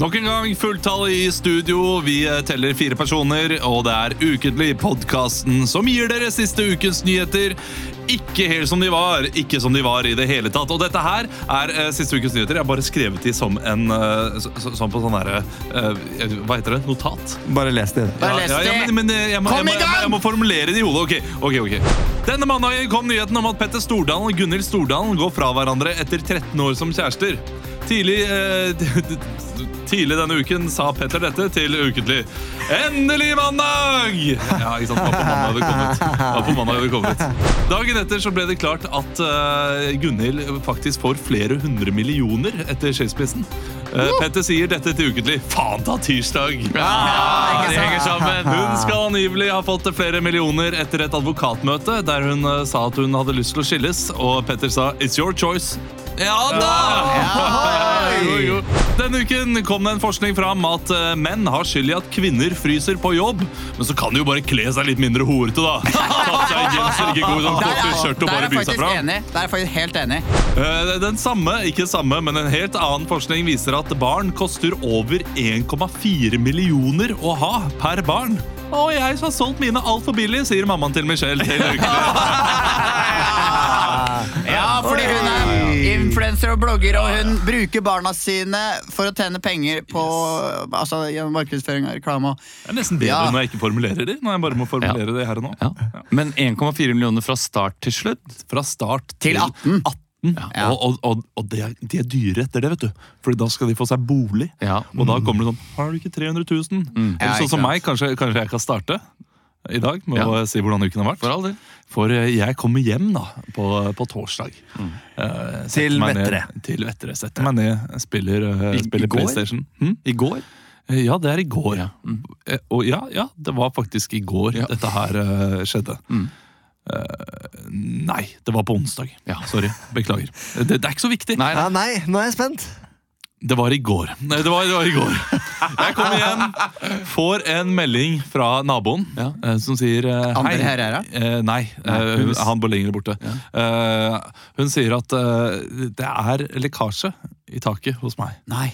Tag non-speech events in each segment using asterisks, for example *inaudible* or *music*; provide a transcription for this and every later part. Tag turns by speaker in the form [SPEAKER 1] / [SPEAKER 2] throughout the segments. [SPEAKER 1] Nok en gang fulltall i studio. Vi eh, teller fire personer, og det er Ukentlig, podkasten som gir dere siste ukens nyheter. Ikke helt som de var, ikke som de var i det hele tatt. Og dette her er eh, siste ukens nyheter. Jeg har bare skrevet de som en eh, så, så, Sånn på sånn herre Hva heter det? Notat?
[SPEAKER 2] Bare les det.
[SPEAKER 1] Ja,
[SPEAKER 3] Bare les
[SPEAKER 1] ja, ja,
[SPEAKER 3] det.
[SPEAKER 1] men, men eh, jeg, må, jeg,
[SPEAKER 3] Kom
[SPEAKER 1] må,
[SPEAKER 3] i
[SPEAKER 1] jeg, må, jeg
[SPEAKER 3] gang!
[SPEAKER 1] må formulere det i hodet. Ok, ok, ok. Denne mandagen kom nyheten om at Petter Stordalen og Gunhild Stordalen går fra hverandre etter 13 år som kjærester. Tidlig, eh, tidlig denne uken sa Petter dette til Ukentlig. Endelig mandag! Ja, ikke sant. Det var på mandag det kom ut. Det var på mandag det kom ut. Dagen etter så ble det klart at eh, Gunhild faktisk får flere hundre millioner etter skilsmissen. Eh, Petter sier dette til Ukentlig. Faen ta tirsdag!
[SPEAKER 3] Ah, det henger sammen.
[SPEAKER 1] Hun skal angivelig ha fått flere millioner etter et advokatmøte der hun eh, sa at hun hadde lyst til å skilles, og Petter sa 'it's your choice'. Ja da! jo, jo. Denne uken kom det en forskning fram at eh, menn har skyld i at kvinner fryser på jobb. Men så kan de jo bare kle seg litt mindre horete, da. *laughs* Ta seg genser, ikke gå i sånn
[SPEAKER 3] Der
[SPEAKER 1] korte
[SPEAKER 3] er,
[SPEAKER 1] skjørt og
[SPEAKER 3] der er
[SPEAKER 1] bare
[SPEAKER 3] jeg
[SPEAKER 1] by seg
[SPEAKER 3] faktisk
[SPEAKER 1] fram.
[SPEAKER 3] enig. Der er jeg faktisk helt enig.
[SPEAKER 1] Eh, Den samme, ikke samme, men en helt annen forskning viser at barn koster over 1,4 millioner å ha per barn. Å, jeg har solgt mine altfor billig, sier mammaen til Michelle. *laughs* Til ukene.
[SPEAKER 3] Ja, fordi hun er influenser og blogger, og hun bruker barna sine for å tjene penger på altså, gjennom markedsføring og reklame. og-
[SPEAKER 1] Det er nesten bedre
[SPEAKER 3] Ja.
[SPEAKER 1] når jeg ikke formulerer det. Når jeg bare må formulere det her og nå.
[SPEAKER 4] Men 1,4 millioner fra start til slutt?
[SPEAKER 1] Fra start
[SPEAKER 3] Til 18. Ja.
[SPEAKER 1] Og, og, og, og de, er, de er dyre etter det, vet du. Fordi da skal de få seg bolig.
[SPEAKER 4] Ja.
[SPEAKER 1] Og da kommer det sånn Har du ikke 300 000?
[SPEAKER 3] Ja,
[SPEAKER 4] Mm.
[SPEAKER 1] Eller
[SPEAKER 3] ikke
[SPEAKER 1] sånn som
[SPEAKER 3] sant.
[SPEAKER 1] meg, kanskje, kanskje jeg kan starte i dag med
[SPEAKER 4] Ja.
[SPEAKER 1] å si hvordan uken har vært.
[SPEAKER 4] For all del.
[SPEAKER 1] For eh, jeg kommer hjem da, på, på torsdag.
[SPEAKER 4] Mm.
[SPEAKER 1] Eh, setter
[SPEAKER 2] Til
[SPEAKER 1] meg
[SPEAKER 2] Vettre.
[SPEAKER 1] Ned, til Vettre. Setter meg ned, spiller, eh,
[SPEAKER 4] I- i
[SPEAKER 1] spiller
[SPEAKER 4] går?
[SPEAKER 1] PlayStation. Hm?
[SPEAKER 4] I går?
[SPEAKER 1] Eh, Ja, det er i går.
[SPEAKER 4] Ja. Mm.
[SPEAKER 1] Eh, Og ja, ja, det var faktisk i går
[SPEAKER 4] Ja. Mm.
[SPEAKER 1] dette her eh, skjedde. Eh, nei, det var på onsdag.
[SPEAKER 4] Ja.
[SPEAKER 1] Sorry. Beklager. Eh, Det, det er ikke så viktig.
[SPEAKER 4] Nei,
[SPEAKER 2] Ja, nei, nå er jeg spent.
[SPEAKER 1] Det var i går. Nei, det var, det var i går. Jeg kommer hjem, får en melding fra naboen
[SPEAKER 4] Ja.
[SPEAKER 1] eh, som sier eh,
[SPEAKER 3] Andre
[SPEAKER 1] hei.
[SPEAKER 3] Herrera?
[SPEAKER 1] Eh, nei, eh,
[SPEAKER 4] hun-
[SPEAKER 1] han bor lenger borte. Eh, hun sier at eh, det er lekkasje i taket hos meg.
[SPEAKER 3] Nei.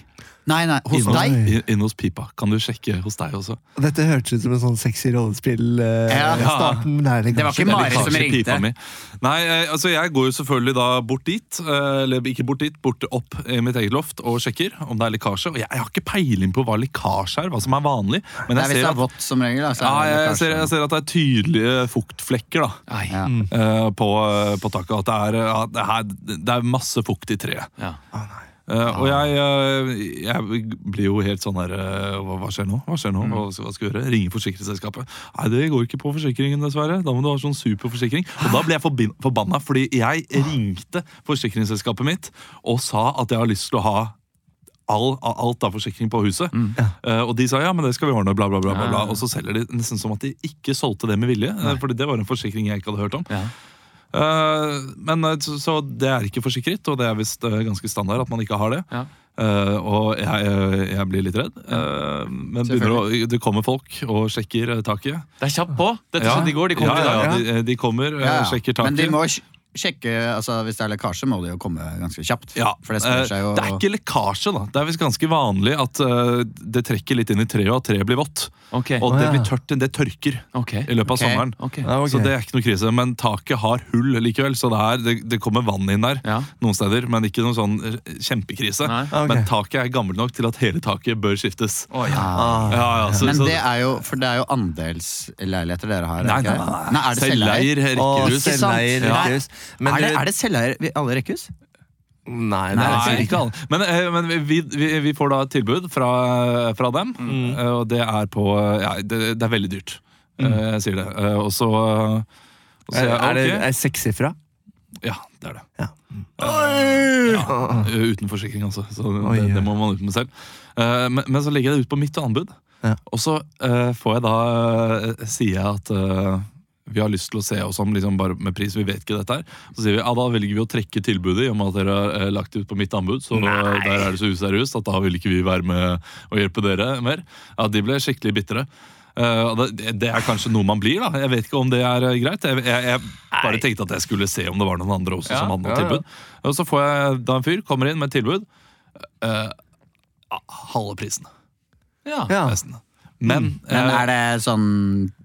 [SPEAKER 3] Nei, nei. Hos
[SPEAKER 1] Inne
[SPEAKER 3] deg?
[SPEAKER 1] In, inne hos pipa. Kan du sjekke hos deg også?
[SPEAKER 2] Dette hørtes ut som en sånn sexy rollespill. eh,
[SPEAKER 3] Ja.
[SPEAKER 2] starten, men det er det
[SPEAKER 3] Det var
[SPEAKER 2] kanskje.
[SPEAKER 3] ikke Mari
[SPEAKER 1] Lekkasje
[SPEAKER 3] som
[SPEAKER 1] i pipa
[SPEAKER 3] ringte.
[SPEAKER 1] mi. Nei, eh, altså jeg går jo selvfølgelig da bort dit, eh, eller ikke bort dit, bort opp i mitt eget loft og sjekker om det er lekkasje. Og jeg, jeg har ikke peiling på hva lekkasje er, hva som er vanlig. Men jeg
[SPEAKER 3] Nei, hvis det
[SPEAKER 1] ser
[SPEAKER 3] er
[SPEAKER 1] at
[SPEAKER 3] vått som regel, da, så
[SPEAKER 1] Ja,
[SPEAKER 3] er det
[SPEAKER 1] jeg ser,
[SPEAKER 3] kanskje-
[SPEAKER 1] jeg ser at det er tydelige fuktflekker da,
[SPEAKER 4] Nei.
[SPEAKER 3] Ja.
[SPEAKER 1] eh, på, på taket. At det er, eh, at det er, det er masse fukt i treet.
[SPEAKER 4] Ja.
[SPEAKER 1] Eh, og jeg, eh, jeg blir jo helt sånn der eh, hva, hva skjer nå? Hva skjer
[SPEAKER 3] Mm.
[SPEAKER 1] nå? Hva, skal- hva skal vi gjøre? Ringe forsikringsselskapet? Nei, det går ikke på forsikringen, dessverre. Da må du ha sånn superforsikring. Og da ble jeg forbin- forbanna, fordi jeg
[SPEAKER 3] Ah.
[SPEAKER 1] ringte forsikringsselskapet mitt og sa at jeg har lyst til å ha all, alt av forsikring på huset.
[SPEAKER 4] Mm.
[SPEAKER 1] Eh, og de sa ja, men det skal vi ordne, bla, bla, bla. bla, bla. Og så selger de nesten som at de ikke solgte det med vilje, eh, fordi det var en forsikring jeg ikke hadde hørt om.
[SPEAKER 4] Ja.
[SPEAKER 1] Eh, men eh, så, så det er ikke forsikret, og det er visst eh, ganske standard at man ikke har det.
[SPEAKER 4] Ja.
[SPEAKER 1] Eh, og jeg, eh, jeg blir litt redd. eh, men begynner å, det kommer folk og sjekker eh, taket.
[SPEAKER 4] Det er kjapt på! Dette
[SPEAKER 1] Ja,
[SPEAKER 4] skjedde i går. De kommer
[SPEAKER 1] ja,
[SPEAKER 4] i dag.
[SPEAKER 1] Ja, de, eh, de kommer, eh,
[SPEAKER 3] Ja, ja.
[SPEAKER 1] sjekker
[SPEAKER 3] Men de
[SPEAKER 1] taket.
[SPEAKER 3] må sj- sjekke, altså Hvis det er lekkasje, må det jo komme ganske kjapt.
[SPEAKER 1] Ja,
[SPEAKER 3] For det sprer
[SPEAKER 1] eh,
[SPEAKER 3] seg jo
[SPEAKER 1] det er ikke lekkasje, da. Det er visst ganske vanlig at eh, det trekker litt inn i treet, og at treet blir vått.
[SPEAKER 4] Ok.
[SPEAKER 1] Og at det
[SPEAKER 2] Å, ja.
[SPEAKER 1] blir tørt, det tørker
[SPEAKER 4] Ok.
[SPEAKER 1] i løpet av
[SPEAKER 3] Ok.
[SPEAKER 1] sommeren.
[SPEAKER 4] Ok.
[SPEAKER 2] Ja, ok.
[SPEAKER 1] Så det er ikke noe krise, men taket har hull likevel, så det, er, det, det kommer vann inn der
[SPEAKER 4] Ja.
[SPEAKER 1] noen steder, men ikke noen sånn eh, kjempekrise.
[SPEAKER 4] Nei.
[SPEAKER 2] Ok.
[SPEAKER 1] Men taket er gammelt nok til at hele taket bør skiftes.
[SPEAKER 4] Å, ja.
[SPEAKER 2] Ah.
[SPEAKER 1] Ja, ja, så,
[SPEAKER 3] Men
[SPEAKER 1] så,
[SPEAKER 3] det er jo, for det er jo andelsleiligheter dere har? er
[SPEAKER 1] Nei,
[SPEAKER 3] ikke
[SPEAKER 1] nei, nei, nei.
[SPEAKER 3] det? nei, er det
[SPEAKER 1] Selveier,
[SPEAKER 3] selveier?
[SPEAKER 2] Og
[SPEAKER 1] rekkehus.
[SPEAKER 3] Ikke sant?
[SPEAKER 2] selveier
[SPEAKER 3] Ja.
[SPEAKER 2] rekkehus. Men
[SPEAKER 3] er, det,
[SPEAKER 2] dere-
[SPEAKER 3] er det selveier i alle rekkehus?
[SPEAKER 2] Nei, det er
[SPEAKER 1] Nei,
[SPEAKER 2] det ikke.
[SPEAKER 1] ikke alle. Men, eh, men vi, vi, vi får da et tilbud fra, fra dem,
[SPEAKER 3] Mm.
[SPEAKER 1] eh, og det er på ja, det, det er veldig dyrt. Eh, Jeg sier det. Eh, Og så og så
[SPEAKER 3] altså.
[SPEAKER 1] sier
[SPEAKER 2] Er,
[SPEAKER 1] jeg,
[SPEAKER 2] er det
[SPEAKER 1] ok.
[SPEAKER 2] er sekssifra?
[SPEAKER 1] Ja, det er det.
[SPEAKER 2] Ja.
[SPEAKER 1] Eh, ja, uten forsikring, altså. Så det,
[SPEAKER 2] Oi,
[SPEAKER 1] det
[SPEAKER 2] ja.
[SPEAKER 1] må man ut med selv. Eh, men, men så legger jeg det ut på mitt anbud,
[SPEAKER 2] Ja.
[SPEAKER 1] og så eh, får jeg da eh, Sier jeg at eh, vi har lyst til å se oss om liksom bare med pris, vi vet ikke dette her. Så sier vi ja, da velger vi å trekke tilbudet i og med at dere har eh, lagt det ut på mitt anbud. Så eh, der er det så useriøst at da vil ikke vi være med og hjelpe dere mer. Ja, De ble skikkelig bitre. Eh, og det, det er kanskje noe man blir, da. Jeg vet ikke om det er eh, greit. Jeg, jeg, jeg bare tenkte at jeg skulle se om det var noen andre også
[SPEAKER 4] Ja,
[SPEAKER 1] som hadde
[SPEAKER 4] ja,
[SPEAKER 1] noe
[SPEAKER 4] ja.
[SPEAKER 1] tilbud. Og så får jeg da en fyr kommer inn med et tilbud. Eh, ah, halve prisen.
[SPEAKER 4] Ja.
[SPEAKER 2] Ja.
[SPEAKER 1] Nesten. Men,
[SPEAKER 3] Men
[SPEAKER 1] eh,
[SPEAKER 3] er det sånn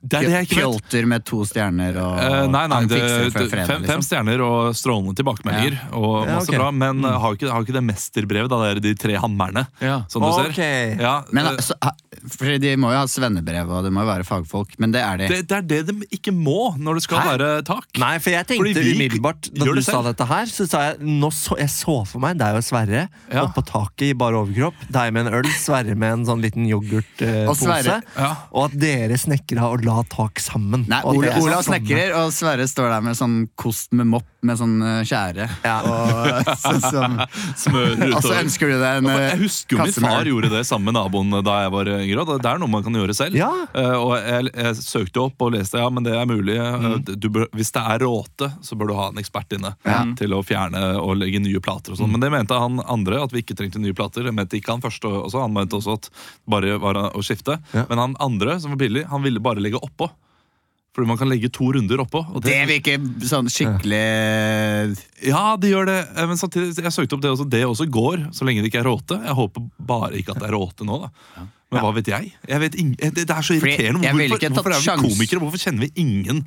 [SPEAKER 1] Det er det jeg ikke vet.
[SPEAKER 3] fjolter med to stjerner og
[SPEAKER 1] Eh, nei, nei,
[SPEAKER 3] han
[SPEAKER 1] det,
[SPEAKER 3] fikser
[SPEAKER 1] det,
[SPEAKER 3] før
[SPEAKER 1] fem,
[SPEAKER 3] fredag?
[SPEAKER 1] fem
[SPEAKER 3] liksom?
[SPEAKER 1] stjerner og strålende tilbakemeldinger. Og
[SPEAKER 2] Ja,
[SPEAKER 1] masse
[SPEAKER 2] ok.
[SPEAKER 1] bra, Men eh, har jo ikke, har jo ikke det mesterbrevet, da, det er de tre hammerne,
[SPEAKER 4] Ja.
[SPEAKER 1] som du
[SPEAKER 2] Ok.
[SPEAKER 1] ser. Ja, eh,
[SPEAKER 3] Men altså, ha- for De må jo ha svennebrev, og det må jo være fagfolk, men det er de.
[SPEAKER 1] det, det er det de ikke må når det skal
[SPEAKER 2] Hæ?
[SPEAKER 1] være tak.
[SPEAKER 2] Nei, for jeg
[SPEAKER 1] Fordi
[SPEAKER 2] tenkte
[SPEAKER 1] vi
[SPEAKER 2] umiddelbart da
[SPEAKER 1] gjør
[SPEAKER 2] du
[SPEAKER 1] det
[SPEAKER 2] sa
[SPEAKER 1] selv.
[SPEAKER 2] dette her, så sa jeg nå så, Jeg så for meg deg og Sverre
[SPEAKER 1] Ja.
[SPEAKER 2] oppå taket i bar overkropp. Deg med en øl, Sverre med en sånn liten yoghurtpose.
[SPEAKER 3] Og Sverre-
[SPEAKER 1] Ja.
[SPEAKER 2] og at dere snekra og la tak sammen.
[SPEAKER 3] Nei,
[SPEAKER 2] og sånn- at
[SPEAKER 3] Ola,
[SPEAKER 2] dere
[SPEAKER 3] Ola
[SPEAKER 2] satt sammen.
[SPEAKER 3] snekrer, og Sverre står der med sånn kost med mopp med sånn eh, skjære.
[SPEAKER 2] Ja.
[SPEAKER 1] *laughs*
[SPEAKER 3] Og, eh, så, som, *laughs*
[SPEAKER 1] Smør
[SPEAKER 3] og så
[SPEAKER 1] utover.
[SPEAKER 3] ønsker du deg Altså, en
[SPEAKER 1] Jeg
[SPEAKER 3] eh,
[SPEAKER 1] husker jo min
[SPEAKER 3] kasse med
[SPEAKER 1] far
[SPEAKER 3] øl.
[SPEAKER 1] gjorde det sammen med naboen da jeg var yngre. og Det det er noe man kan gjøre selv.
[SPEAKER 2] Ja.
[SPEAKER 1] Eh, og jeg, jeg søkte opp og leste ja, men det er mulig. Eh, Du bør, hvis det er råte, så bør du ha en ekspert inne til å fjerne og legge nye plater. og sånn. Men det mente han andre, at vi ikke trengte nye plater. Det mente ikke Han første også, han mente også at bare var å skifte.
[SPEAKER 2] Ja.
[SPEAKER 1] Men han andre, som var billig, han ville bare legge oppå. Fordi man kan legge to runder oppå. og
[SPEAKER 3] Det virker sånn eh, skikkelig
[SPEAKER 1] ja, det gjør det. Eh, Men samtidig, jeg søkte opp det også. Det også går, så lenge det ikke er råte. Jeg håper bare ikke at det er råte nå, da. Men hva vet jeg? jeg vet ing det, det er så
[SPEAKER 3] Fordi
[SPEAKER 1] irriterende.
[SPEAKER 3] jeg ville
[SPEAKER 1] Hvorfor,
[SPEAKER 3] ikke tatt
[SPEAKER 1] hvorfor er vi
[SPEAKER 3] sjans-
[SPEAKER 1] komikere? Hvorfor kjenner vi ingen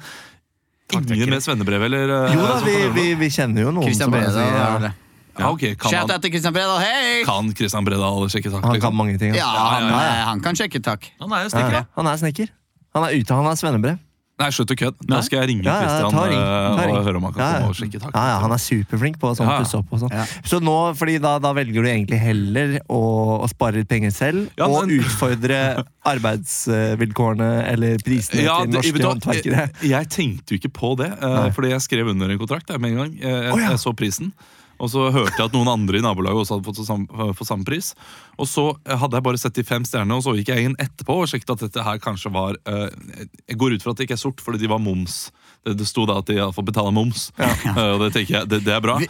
[SPEAKER 1] Ingen med svennebrev, eller eh,
[SPEAKER 2] Jo da,
[SPEAKER 1] som
[SPEAKER 2] vi,
[SPEAKER 1] kan gjøre
[SPEAKER 2] vi,
[SPEAKER 1] noe?
[SPEAKER 2] vi kjenner jo noen
[SPEAKER 3] Christian
[SPEAKER 2] som er-
[SPEAKER 3] Breda.
[SPEAKER 2] ja.
[SPEAKER 3] det.
[SPEAKER 1] ja, ok, kan,
[SPEAKER 3] Shout
[SPEAKER 1] han,
[SPEAKER 3] out til Christian Breda, hei!
[SPEAKER 1] kan Christian Bredal sjekke tak?
[SPEAKER 2] Han kan
[SPEAKER 1] Liksom?
[SPEAKER 2] mange ting. altså.
[SPEAKER 3] Ja, han,
[SPEAKER 1] ja,
[SPEAKER 3] eh, han kan sjekke tak.
[SPEAKER 4] Han er jo
[SPEAKER 2] Ja,
[SPEAKER 4] snekker,
[SPEAKER 2] ja. Han er snekker. Han er ute, han har svennebrev.
[SPEAKER 1] Nei, slutt å kødde.
[SPEAKER 4] Nei.
[SPEAKER 1] Da skal jeg ringe
[SPEAKER 2] Ja, ja,
[SPEAKER 1] Christian
[SPEAKER 2] ta ring, ta
[SPEAKER 1] eh,
[SPEAKER 2] ring.
[SPEAKER 1] og høre om han kan
[SPEAKER 2] Ja, ja.
[SPEAKER 1] komme og sjekke tak.
[SPEAKER 2] Ja, ja, han er superflink på å sånn
[SPEAKER 1] Ja, ja.
[SPEAKER 2] pusse opp og sånn.
[SPEAKER 3] Ja.
[SPEAKER 2] Så nå, fordi da, da velger du egentlig heller å, å spare litt penger selv
[SPEAKER 1] Ja,
[SPEAKER 2] og
[SPEAKER 1] men-
[SPEAKER 2] utfordre
[SPEAKER 1] *laughs*
[SPEAKER 2] arbeidsvilkårene eller prisene
[SPEAKER 1] Ja, det-
[SPEAKER 2] til
[SPEAKER 1] vet
[SPEAKER 2] norske
[SPEAKER 1] du hva,
[SPEAKER 2] håndverkere.
[SPEAKER 1] Jeg, jeg tenkte jo ikke på det, eh,
[SPEAKER 2] Nei.
[SPEAKER 1] fordi jeg skrev under en kontrakt der med en gang. Jeg, jeg,
[SPEAKER 2] Å, ja.
[SPEAKER 1] jeg så prisen, og så hørte jeg at noen andre i nabolaget også hadde fått samme, fått samme pris. Og så eh, hadde jeg bare sett de fem stjernene, og så gikk jeg inn etterpå og sjekket at dette her kanskje var eh, Jeg går ut fra at det ikke er sort, fordi de var moms. Det, det sto da at de iallfall betaler moms, *laughs* Eh, og det tenker jeg, det, det er bra.
[SPEAKER 3] Vi,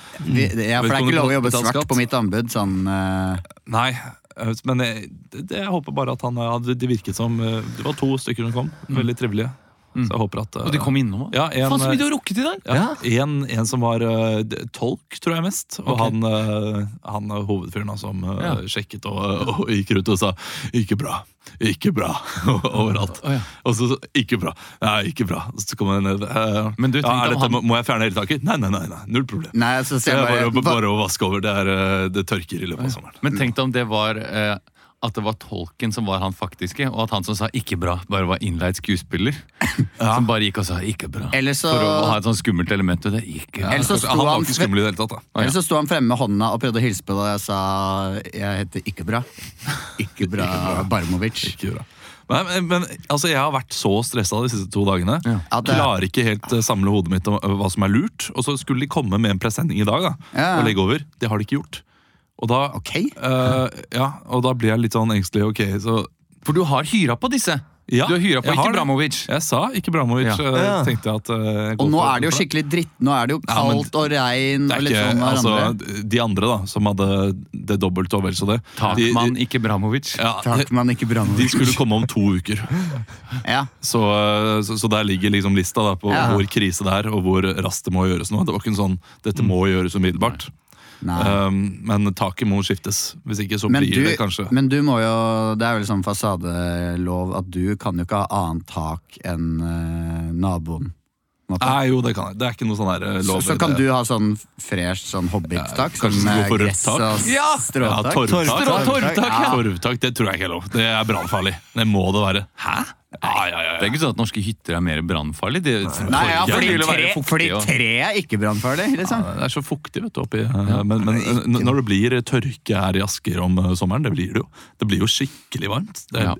[SPEAKER 3] vi, ja, for
[SPEAKER 1] Vet du
[SPEAKER 3] det er
[SPEAKER 1] om du
[SPEAKER 3] ikke lov å jobbe
[SPEAKER 1] betaler
[SPEAKER 3] svart
[SPEAKER 1] skatt?
[SPEAKER 3] på mitt anbud. Sånn, eh,
[SPEAKER 1] Nei, eh, men jeg, det, det, jeg håper bare at han hadde Det virket som eh, Det var to stykker som kom,
[SPEAKER 2] Mm.
[SPEAKER 1] veldig trivelige. Så jeg håper at eh,
[SPEAKER 4] Og de kom innom òg.
[SPEAKER 1] ja, en,
[SPEAKER 4] Faen, så
[SPEAKER 1] eh,
[SPEAKER 4] mye du har rukket i dag!
[SPEAKER 1] Ja. En, en som var eh, d- tolk, tror jeg mest. Og
[SPEAKER 4] Ok.
[SPEAKER 1] han, eh, han er hovedfyren da, som eh,
[SPEAKER 4] Ja.
[SPEAKER 1] sjekket og, *laughs* og gikk rundt og sa 'ikke bra', 'ikke bra' *laughs* overalt.
[SPEAKER 4] Å, ja.
[SPEAKER 1] Og så 'ikke bra', ja, 'ikke bra'. Så kom jeg ned. eh,
[SPEAKER 4] Men du
[SPEAKER 1] ja,
[SPEAKER 4] tenkte om
[SPEAKER 1] er dette,
[SPEAKER 4] han-
[SPEAKER 1] må- Må jeg fjerne hele taket? Nei, nei, nei, nei null problem.
[SPEAKER 3] nei, så
[SPEAKER 1] Det
[SPEAKER 3] ser
[SPEAKER 1] er
[SPEAKER 3] jeg
[SPEAKER 1] bare,
[SPEAKER 3] bare,
[SPEAKER 1] bare, å vaske over. Det, er, eh, det tørker i løpet av sommeren.
[SPEAKER 4] Men tenk deg om det var eh, at det var tolken som var han faktiske, og at han som sa 'ikke bra', bare var innleid *laughs* skuespiller. Som bare gikk og sa 'ikke bra'.
[SPEAKER 3] Eller så-
[SPEAKER 4] For å ha et sånn skummelt element ved det. Ikke bra.
[SPEAKER 3] Eller så sto
[SPEAKER 1] han var
[SPEAKER 3] han-
[SPEAKER 1] ikke skummel i det hele tatt. da
[SPEAKER 3] Eller så sto han fremme med hånda og prøvde å hilse på deg, og jeg sa jeg heter Ikke Bra. Ikke Bra Barmovic.
[SPEAKER 1] Ikke bra. Nei, men, men altså, Jeg har vært så stressa de siste to dagene.
[SPEAKER 3] Ja, det-
[SPEAKER 1] Klarer ikke helt eh, samle hodet mitt om eh, hva som er lurt. Og så skulle de komme med en presenning i dag da,
[SPEAKER 3] Ja.
[SPEAKER 1] og legge over. Det har de ikke gjort. Og da,
[SPEAKER 3] Ok.
[SPEAKER 1] eh, ja, og da blir jeg litt sånn engstelig. Ok, så
[SPEAKER 4] For du har hyra på disse!
[SPEAKER 1] Ja,
[SPEAKER 4] du har hyra på
[SPEAKER 1] jeg har
[SPEAKER 4] ikke
[SPEAKER 1] det.
[SPEAKER 4] Bramovic.
[SPEAKER 1] Jeg sa ikke Bramovic.
[SPEAKER 4] Ja.
[SPEAKER 1] eh,
[SPEAKER 2] Ja.
[SPEAKER 1] tenkte jeg at eh, jeg går
[SPEAKER 3] Og nå
[SPEAKER 1] for-
[SPEAKER 3] er det jo
[SPEAKER 1] for
[SPEAKER 3] skikkelig dritt. Nå er det jo
[SPEAKER 1] Ja, men
[SPEAKER 3] kaldt og regn
[SPEAKER 1] det
[SPEAKER 3] og
[SPEAKER 1] er
[SPEAKER 3] litt
[SPEAKER 1] ikke,
[SPEAKER 3] sånn
[SPEAKER 1] altså,
[SPEAKER 3] hverandre.
[SPEAKER 1] De andre da, som hadde det dobbelte og vel så det de,
[SPEAKER 4] Takman,
[SPEAKER 1] de,
[SPEAKER 4] ikke Bramovic.
[SPEAKER 1] ja,
[SPEAKER 3] Takk, men ikke
[SPEAKER 1] de
[SPEAKER 3] Bramovic.
[SPEAKER 1] skulle komme om to uker.
[SPEAKER 3] Ja.
[SPEAKER 1] Så, så, så der ligger liksom lista da, på
[SPEAKER 3] Ja.
[SPEAKER 1] hvor krise det er, og hvor raskt det må gjøres noe. Det var ikke en sånn 'dette må gjøres umiddelbart'.
[SPEAKER 3] Mm. Nei.
[SPEAKER 1] Um, men taket må skiftes. Hvis ikke så
[SPEAKER 3] Men
[SPEAKER 1] blir det
[SPEAKER 3] du,
[SPEAKER 1] kanskje
[SPEAKER 3] men du må jo Det er vel sånn fasadelov at du kan jo ikke ha annet tak enn eh, naboen. på en måte.
[SPEAKER 1] Nei, jo, det kan jeg. Det er ikke noe sånn her eh,
[SPEAKER 3] Så,
[SPEAKER 1] lover.
[SPEAKER 3] så kan
[SPEAKER 1] det.
[SPEAKER 3] du ha sånn fresh sånn hobbittak.
[SPEAKER 1] Ja,
[SPEAKER 3] Som
[SPEAKER 1] kanskje du
[SPEAKER 3] eh,
[SPEAKER 1] går for rødt
[SPEAKER 3] gress
[SPEAKER 1] tak?
[SPEAKER 3] og
[SPEAKER 4] Ja!
[SPEAKER 1] ja,
[SPEAKER 3] stråtak.
[SPEAKER 1] torvtak,
[SPEAKER 4] Torvtak,
[SPEAKER 1] torvtak,
[SPEAKER 4] ja.
[SPEAKER 1] ja. torvtak, det tror jeg ikke er lov. Det er brannfarlig. Det må det være. Hæ? Ja, ja, ja,
[SPEAKER 4] Det er
[SPEAKER 1] ja.
[SPEAKER 4] ikke sånn at norske hytter er mer brannfarlig. De-
[SPEAKER 3] Nei, ja,
[SPEAKER 4] Torvtak
[SPEAKER 3] fordi
[SPEAKER 4] vil jo være
[SPEAKER 3] tre,
[SPEAKER 4] fuktig
[SPEAKER 3] fordi
[SPEAKER 4] og-
[SPEAKER 3] tre er ikke brannfarlig, liksom.
[SPEAKER 1] Det er så fuktig vet du, oppi eh, Men, men eh, når det blir tørke her i Asker om eh, sommeren, det blir det jo. Det blir jo skikkelig varmt. Det,
[SPEAKER 4] Ja.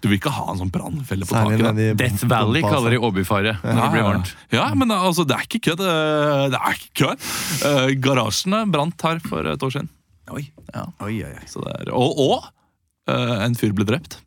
[SPEAKER 1] Du vil ikke ha en sånn brannfelle på
[SPEAKER 2] Særlig
[SPEAKER 1] taket. da.
[SPEAKER 2] nedi
[SPEAKER 4] Death Valley
[SPEAKER 2] Bompa,
[SPEAKER 4] kaller de Åbyfaret når det blir varmt.
[SPEAKER 1] Ah, Ja, men altså, det er ikke kødd. eh, Det er ikke kødd. Eh, Garasjene brant her for et år siden.
[SPEAKER 3] Oi, oi, oi.
[SPEAKER 1] Så det er, og og eh, en fyr ble drept.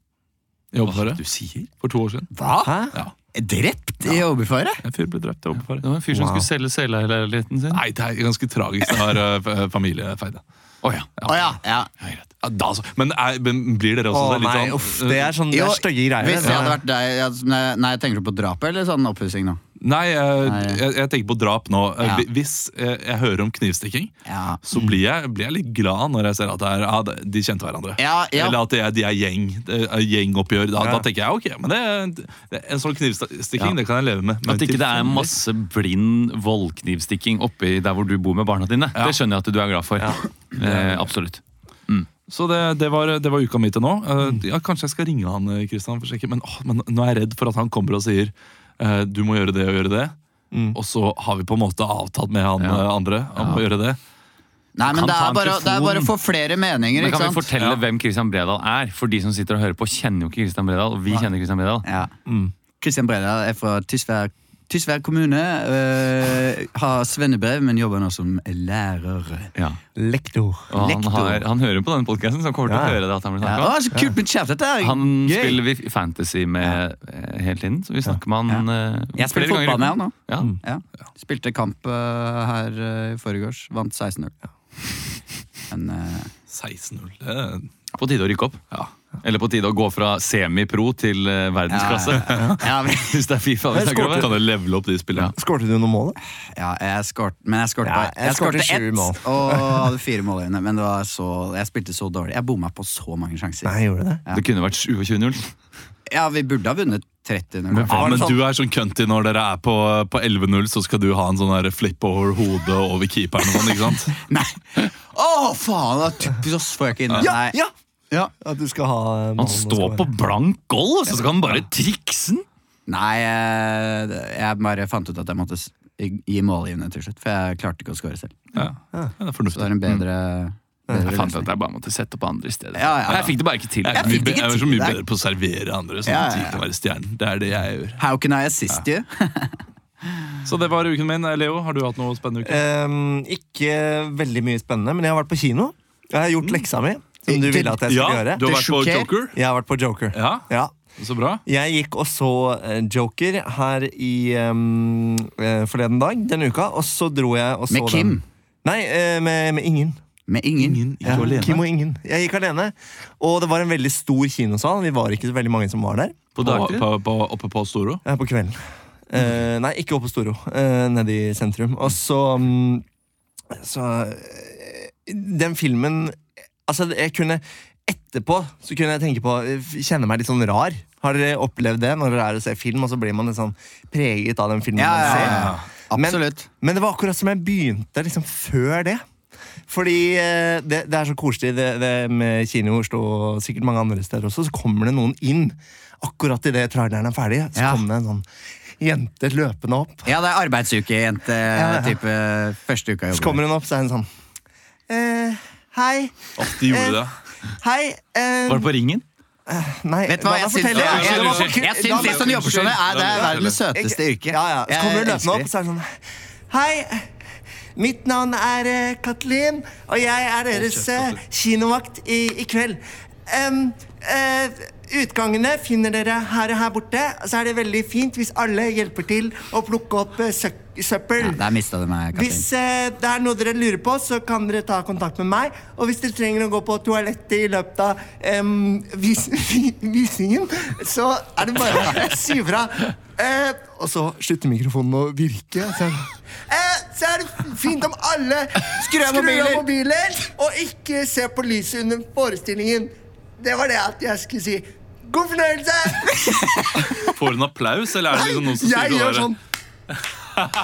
[SPEAKER 1] I Åbefaret.
[SPEAKER 4] Du sier?
[SPEAKER 1] For to år siden.
[SPEAKER 3] Hva?
[SPEAKER 2] Hæ?
[SPEAKER 3] Drept i overfaret?
[SPEAKER 1] En fyr ble drept i Åbefaret.
[SPEAKER 4] Det var en fyr som skulle selge selvleiligheten sin.
[SPEAKER 1] Nei, det er ganske tragisk. Det er eh, f- eh, familiefeide.
[SPEAKER 4] Å ja.
[SPEAKER 3] Å ja. ja.
[SPEAKER 1] Ja, da, altså. men, er, men blir dere
[SPEAKER 2] Å
[SPEAKER 1] også litt
[SPEAKER 2] nei,
[SPEAKER 1] sånn
[SPEAKER 2] uff, det er sånn det
[SPEAKER 3] Jo,
[SPEAKER 2] er stygge greier.
[SPEAKER 3] Hvis jeg hadde vært deg jeg- Nei, nei, tenker du på drapet eller sånn oppussing nå?
[SPEAKER 1] Nei, jeg,
[SPEAKER 3] Nei.
[SPEAKER 1] jeg, jeg tenker på drap nå. Eh,
[SPEAKER 3] Ja.
[SPEAKER 1] hvi- Hvis eh, jeg hører om knivstikking,
[SPEAKER 3] Ja.
[SPEAKER 1] så blir jeg, blir jeg litt glad når jeg ser at det er, ah, det- de kjente hverandre.
[SPEAKER 3] Ja, ja.
[SPEAKER 1] Eller at de er, de er gjeng, det er gjengoppgjør. Da,
[SPEAKER 2] Ja.
[SPEAKER 1] da tenker jeg ok, men det, det, en sånn knivstikking
[SPEAKER 4] Ja.
[SPEAKER 1] det kan jeg leve med. Men
[SPEAKER 4] At ikke det er
[SPEAKER 1] tilfeldig-
[SPEAKER 4] masse blind voldknivstikking oppi der hvor du bor med barna dine. Det skjønner jeg at du er glad for. Eh, absolutt.
[SPEAKER 1] Så det, det, var, det var uka mi til nå. Eh,
[SPEAKER 4] Mm.
[SPEAKER 1] ja, kanskje jeg skal ringe han, eh, Christian, for å sjekke. Men, åh, men nå er jeg redd for at han kommer og sier eh, du må gjøre det og gjøre det. Og så har vi på en måte avtalt med han
[SPEAKER 4] Mm. Ja.
[SPEAKER 1] eh, andre om å gjøre det.
[SPEAKER 3] Nei, men
[SPEAKER 4] Kan
[SPEAKER 3] det
[SPEAKER 4] ta
[SPEAKER 3] er,
[SPEAKER 4] en
[SPEAKER 3] bare, det er
[SPEAKER 4] telefon.
[SPEAKER 3] bare å få flere meninger,
[SPEAKER 4] Men
[SPEAKER 3] ikke
[SPEAKER 4] kan vi
[SPEAKER 3] sant?
[SPEAKER 4] fortelle hvem Christian Bredal er? For de som sitter og hører på, kjenner jo ikke Christian Bredal. Og vi kjenner Christian Bredal.
[SPEAKER 3] Ja.
[SPEAKER 4] Mm.
[SPEAKER 3] Christian Bredal er fra Tysvær, Tysvær kommune. øh, har svennebrev, men jobber nå som lærer.
[SPEAKER 4] Ja.
[SPEAKER 2] Lektor.
[SPEAKER 4] Og han,
[SPEAKER 3] Lektor.
[SPEAKER 4] har, han hører på denne podkasten, så han kommer til å
[SPEAKER 2] Ja.
[SPEAKER 4] høre det. at han blir
[SPEAKER 3] Ja.
[SPEAKER 4] snakket om.
[SPEAKER 3] Å, så kult med chat, dette er
[SPEAKER 4] Han
[SPEAKER 3] gøy!
[SPEAKER 4] spiller vi fantasy med eh, hele tiden, så vi snakker med han eh,
[SPEAKER 3] Jeg spiller
[SPEAKER 4] flere ganger i
[SPEAKER 3] fotball med han
[SPEAKER 4] uken.
[SPEAKER 3] nå.
[SPEAKER 4] Ja.
[SPEAKER 3] Ja. Spilte kamp øh, her øh, i forgårs. Vant 16-0. Men øh,
[SPEAKER 1] 16-0. det-
[SPEAKER 4] På tide å rykke opp. Eller på tide å gå fra semipro til eh, verdensklasse.
[SPEAKER 3] ja, vi-
[SPEAKER 4] *laughs* Hvis det er Fifa vi
[SPEAKER 2] Jeg
[SPEAKER 4] snakker
[SPEAKER 1] Kan
[SPEAKER 4] om.
[SPEAKER 1] du levele opp de spillerne?
[SPEAKER 2] Skårte du noen mål? da?
[SPEAKER 3] Ja, jeg skårte, men jeg skårte
[SPEAKER 2] Ja,
[SPEAKER 3] bare
[SPEAKER 2] jeg
[SPEAKER 3] Jeg
[SPEAKER 2] skårte
[SPEAKER 3] skårte
[SPEAKER 2] sju
[SPEAKER 3] ett
[SPEAKER 2] mål.
[SPEAKER 3] og hadde fire mål inne, men det var så, jeg spilte så dårlig. Jeg bomma på så mange sjanser.
[SPEAKER 2] Nei, gjorde du det?
[SPEAKER 4] Det kunne vært 27-0.
[SPEAKER 3] Ja, vi burde ha vunnet 30 0
[SPEAKER 1] Ja, men du er sånn cunty når dere er på, på 11-0, så skal du ha en sånn der flip over hodet og over keeperen og sånn, ikke sant?
[SPEAKER 3] Nei! Å, faen! Det er typisk oss, får jeg ikke inn det. Nei.
[SPEAKER 2] ja!
[SPEAKER 3] Ja.
[SPEAKER 2] At du skal ha eh, ballen
[SPEAKER 4] Han
[SPEAKER 2] og
[SPEAKER 4] står
[SPEAKER 2] skåre.
[SPEAKER 4] på blank gold, og så skal han bare trikse den!
[SPEAKER 3] Nei, eh, jeg bare fant ut at jeg måtte s- gi målgivende til slutt, for jeg klarte ikke å skåre selv.
[SPEAKER 1] *laughs* Ja, ja det er
[SPEAKER 3] Så det
[SPEAKER 1] fornuftig.
[SPEAKER 3] er en
[SPEAKER 2] Mm.
[SPEAKER 3] bedre, bedre
[SPEAKER 4] Jeg fant ut at
[SPEAKER 3] løsning.
[SPEAKER 4] jeg bare måtte sette på andre i stedet.
[SPEAKER 3] Ja, ja, ja.
[SPEAKER 4] Jeg fikk det bare ikke til.
[SPEAKER 1] Jeg er, så mye,
[SPEAKER 3] fikk ikke
[SPEAKER 1] jeg er så
[SPEAKER 3] tid
[SPEAKER 1] mye
[SPEAKER 3] der.
[SPEAKER 1] bedre på å servere andre, sånn
[SPEAKER 3] Ja,
[SPEAKER 1] at
[SPEAKER 3] ja,
[SPEAKER 1] de
[SPEAKER 3] ja.
[SPEAKER 1] kan være stjernen. Det er det jeg gjør.
[SPEAKER 3] How can I assist you?
[SPEAKER 1] Så det var uken min. Leo, har du hatt noe spennende uke?
[SPEAKER 2] Ehm, ikke veldig mye spennende, men jeg har vært på kino. Jeg har gjort leksa mi, som du ville at jeg
[SPEAKER 1] Mm. Ja, du
[SPEAKER 2] skulle gjøre.
[SPEAKER 1] har
[SPEAKER 3] Det
[SPEAKER 1] vært på
[SPEAKER 3] sjokker.
[SPEAKER 1] Joker.
[SPEAKER 2] Jeg har vært på Joker.
[SPEAKER 1] Ja,
[SPEAKER 2] Ja.
[SPEAKER 1] så bra.
[SPEAKER 2] Jeg gikk og så eh, Joker her i ehm, eh, forleden dag, denne uka, og så dro jeg og så
[SPEAKER 3] Med Kim?
[SPEAKER 2] Den. Nei, eh, med, med ingen.
[SPEAKER 3] Med ingen.
[SPEAKER 1] Ingen ikke
[SPEAKER 2] Ja,
[SPEAKER 1] alene.
[SPEAKER 2] Kim og ingen. Jeg gikk alene, og det var en veldig stor kinosal. Vi var ikke så veldig mange som var der.
[SPEAKER 4] På
[SPEAKER 1] på,
[SPEAKER 4] dagtid.
[SPEAKER 1] på, på, oppe på Storo.
[SPEAKER 2] Eh, på kvelden. Eh, nei, ikke oppe på Storo. eh, nede i sentrum. Og så mm, Så eh, Den filmen Altså, jeg kunne Etterpå så kunne jeg tenke på eh, Kjenne meg litt sånn rar. Har dere opplevd det når dere er og ser film, og så blir man litt sånn preget av den filmen
[SPEAKER 3] Ja, ja,
[SPEAKER 2] man ser?
[SPEAKER 3] ja, ja.
[SPEAKER 2] Men-
[SPEAKER 3] Absolutt.
[SPEAKER 2] Men det var akkurat som jeg begynte liksom før det. Fordi eh, det, det er så koselig det, det med kino i Oslo og sikkert mange andre steder også. Så kommer det noen inn akkurat idet traileren er ferdig. Så
[SPEAKER 3] Ja.
[SPEAKER 2] kommer det en sånn jente løpende opp.
[SPEAKER 3] Ja, det er
[SPEAKER 2] ja.
[SPEAKER 3] arbeidsuke-jente-type første uka i
[SPEAKER 2] Så
[SPEAKER 3] jobben.
[SPEAKER 2] kommer hun opp, så er hun sånn eh, Hei. Eh,
[SPEAKER 1] Åh, de gjorde det.
[SPEAKER 2] Hei. eh,
[SPEAKER 4] Var det på ringen?
[SPEAKER 2] nei,
[SPEAKER 3] Vet du hva,
[SPEAKER 2] da
[SPEAKER 3] jeg syns
[SPEAKER 2] forteller
[SPEAKER 1] jeg- jeg-
[SPEAKER 2] jeg- da
[SPEAKER 1] jeg-
[SPEAKER 2] forteller-
[SPEAKER 3] Jeg
[SPEAKER 2] da-
[SPEAKER 3] syns de som jobber som det, er, det er verdens søteste
[SPEAKER 2] Ikke-
[SPEAKER 3] yrke.
[SPEAKER 2] Ja, ja. Så kommer
[SPEAKER 3] Jeg
[SPEAKER 2] hun løpende
[SPEAKER 3] elsker
[SPEAKER 2] opp,
[SPEAKER 3] det.
[SPEAKER 2] så er det sånn Hei, mitt navn er eh, Kathleen, og jeg er deres eh, kinovakt i, i kveld. Em, eh, utgangene finner dere her og her borte. Og så er det veldig fint hvis alle hjelper til å plukke opp eh, søk- søppel.
[SPEAKER 3] Ja, Der mista du meg, Katrin.
[SPEAKER 2] Hvis eh, det er noe dere lurer på, så kan dere ta kontakt med meg. Og hvis dere trenger å gå på toalettet i løpet av em, vis *laughs* vi- visningen, så er det bare å si ifra. Eh, og så slutter mikrofonen å virke. Så er, det- eh, så er det fint om alle skrur av
[SPEAKER 3] mobiler.
[SPEAKER 2] mobiler og ikke ser på lyset under forestillingen. Det var det at jeg skulle si. God fornøyelse!
[SPEAKER 1] Får hun applaus, eller er det liksom noen som
[SPEAKER 2] Jeg
[SPEAKER 1] sier det
[SPEAKER 2] gjør
[SPEAKER 1] der?
[SPEAKER 2] sånn.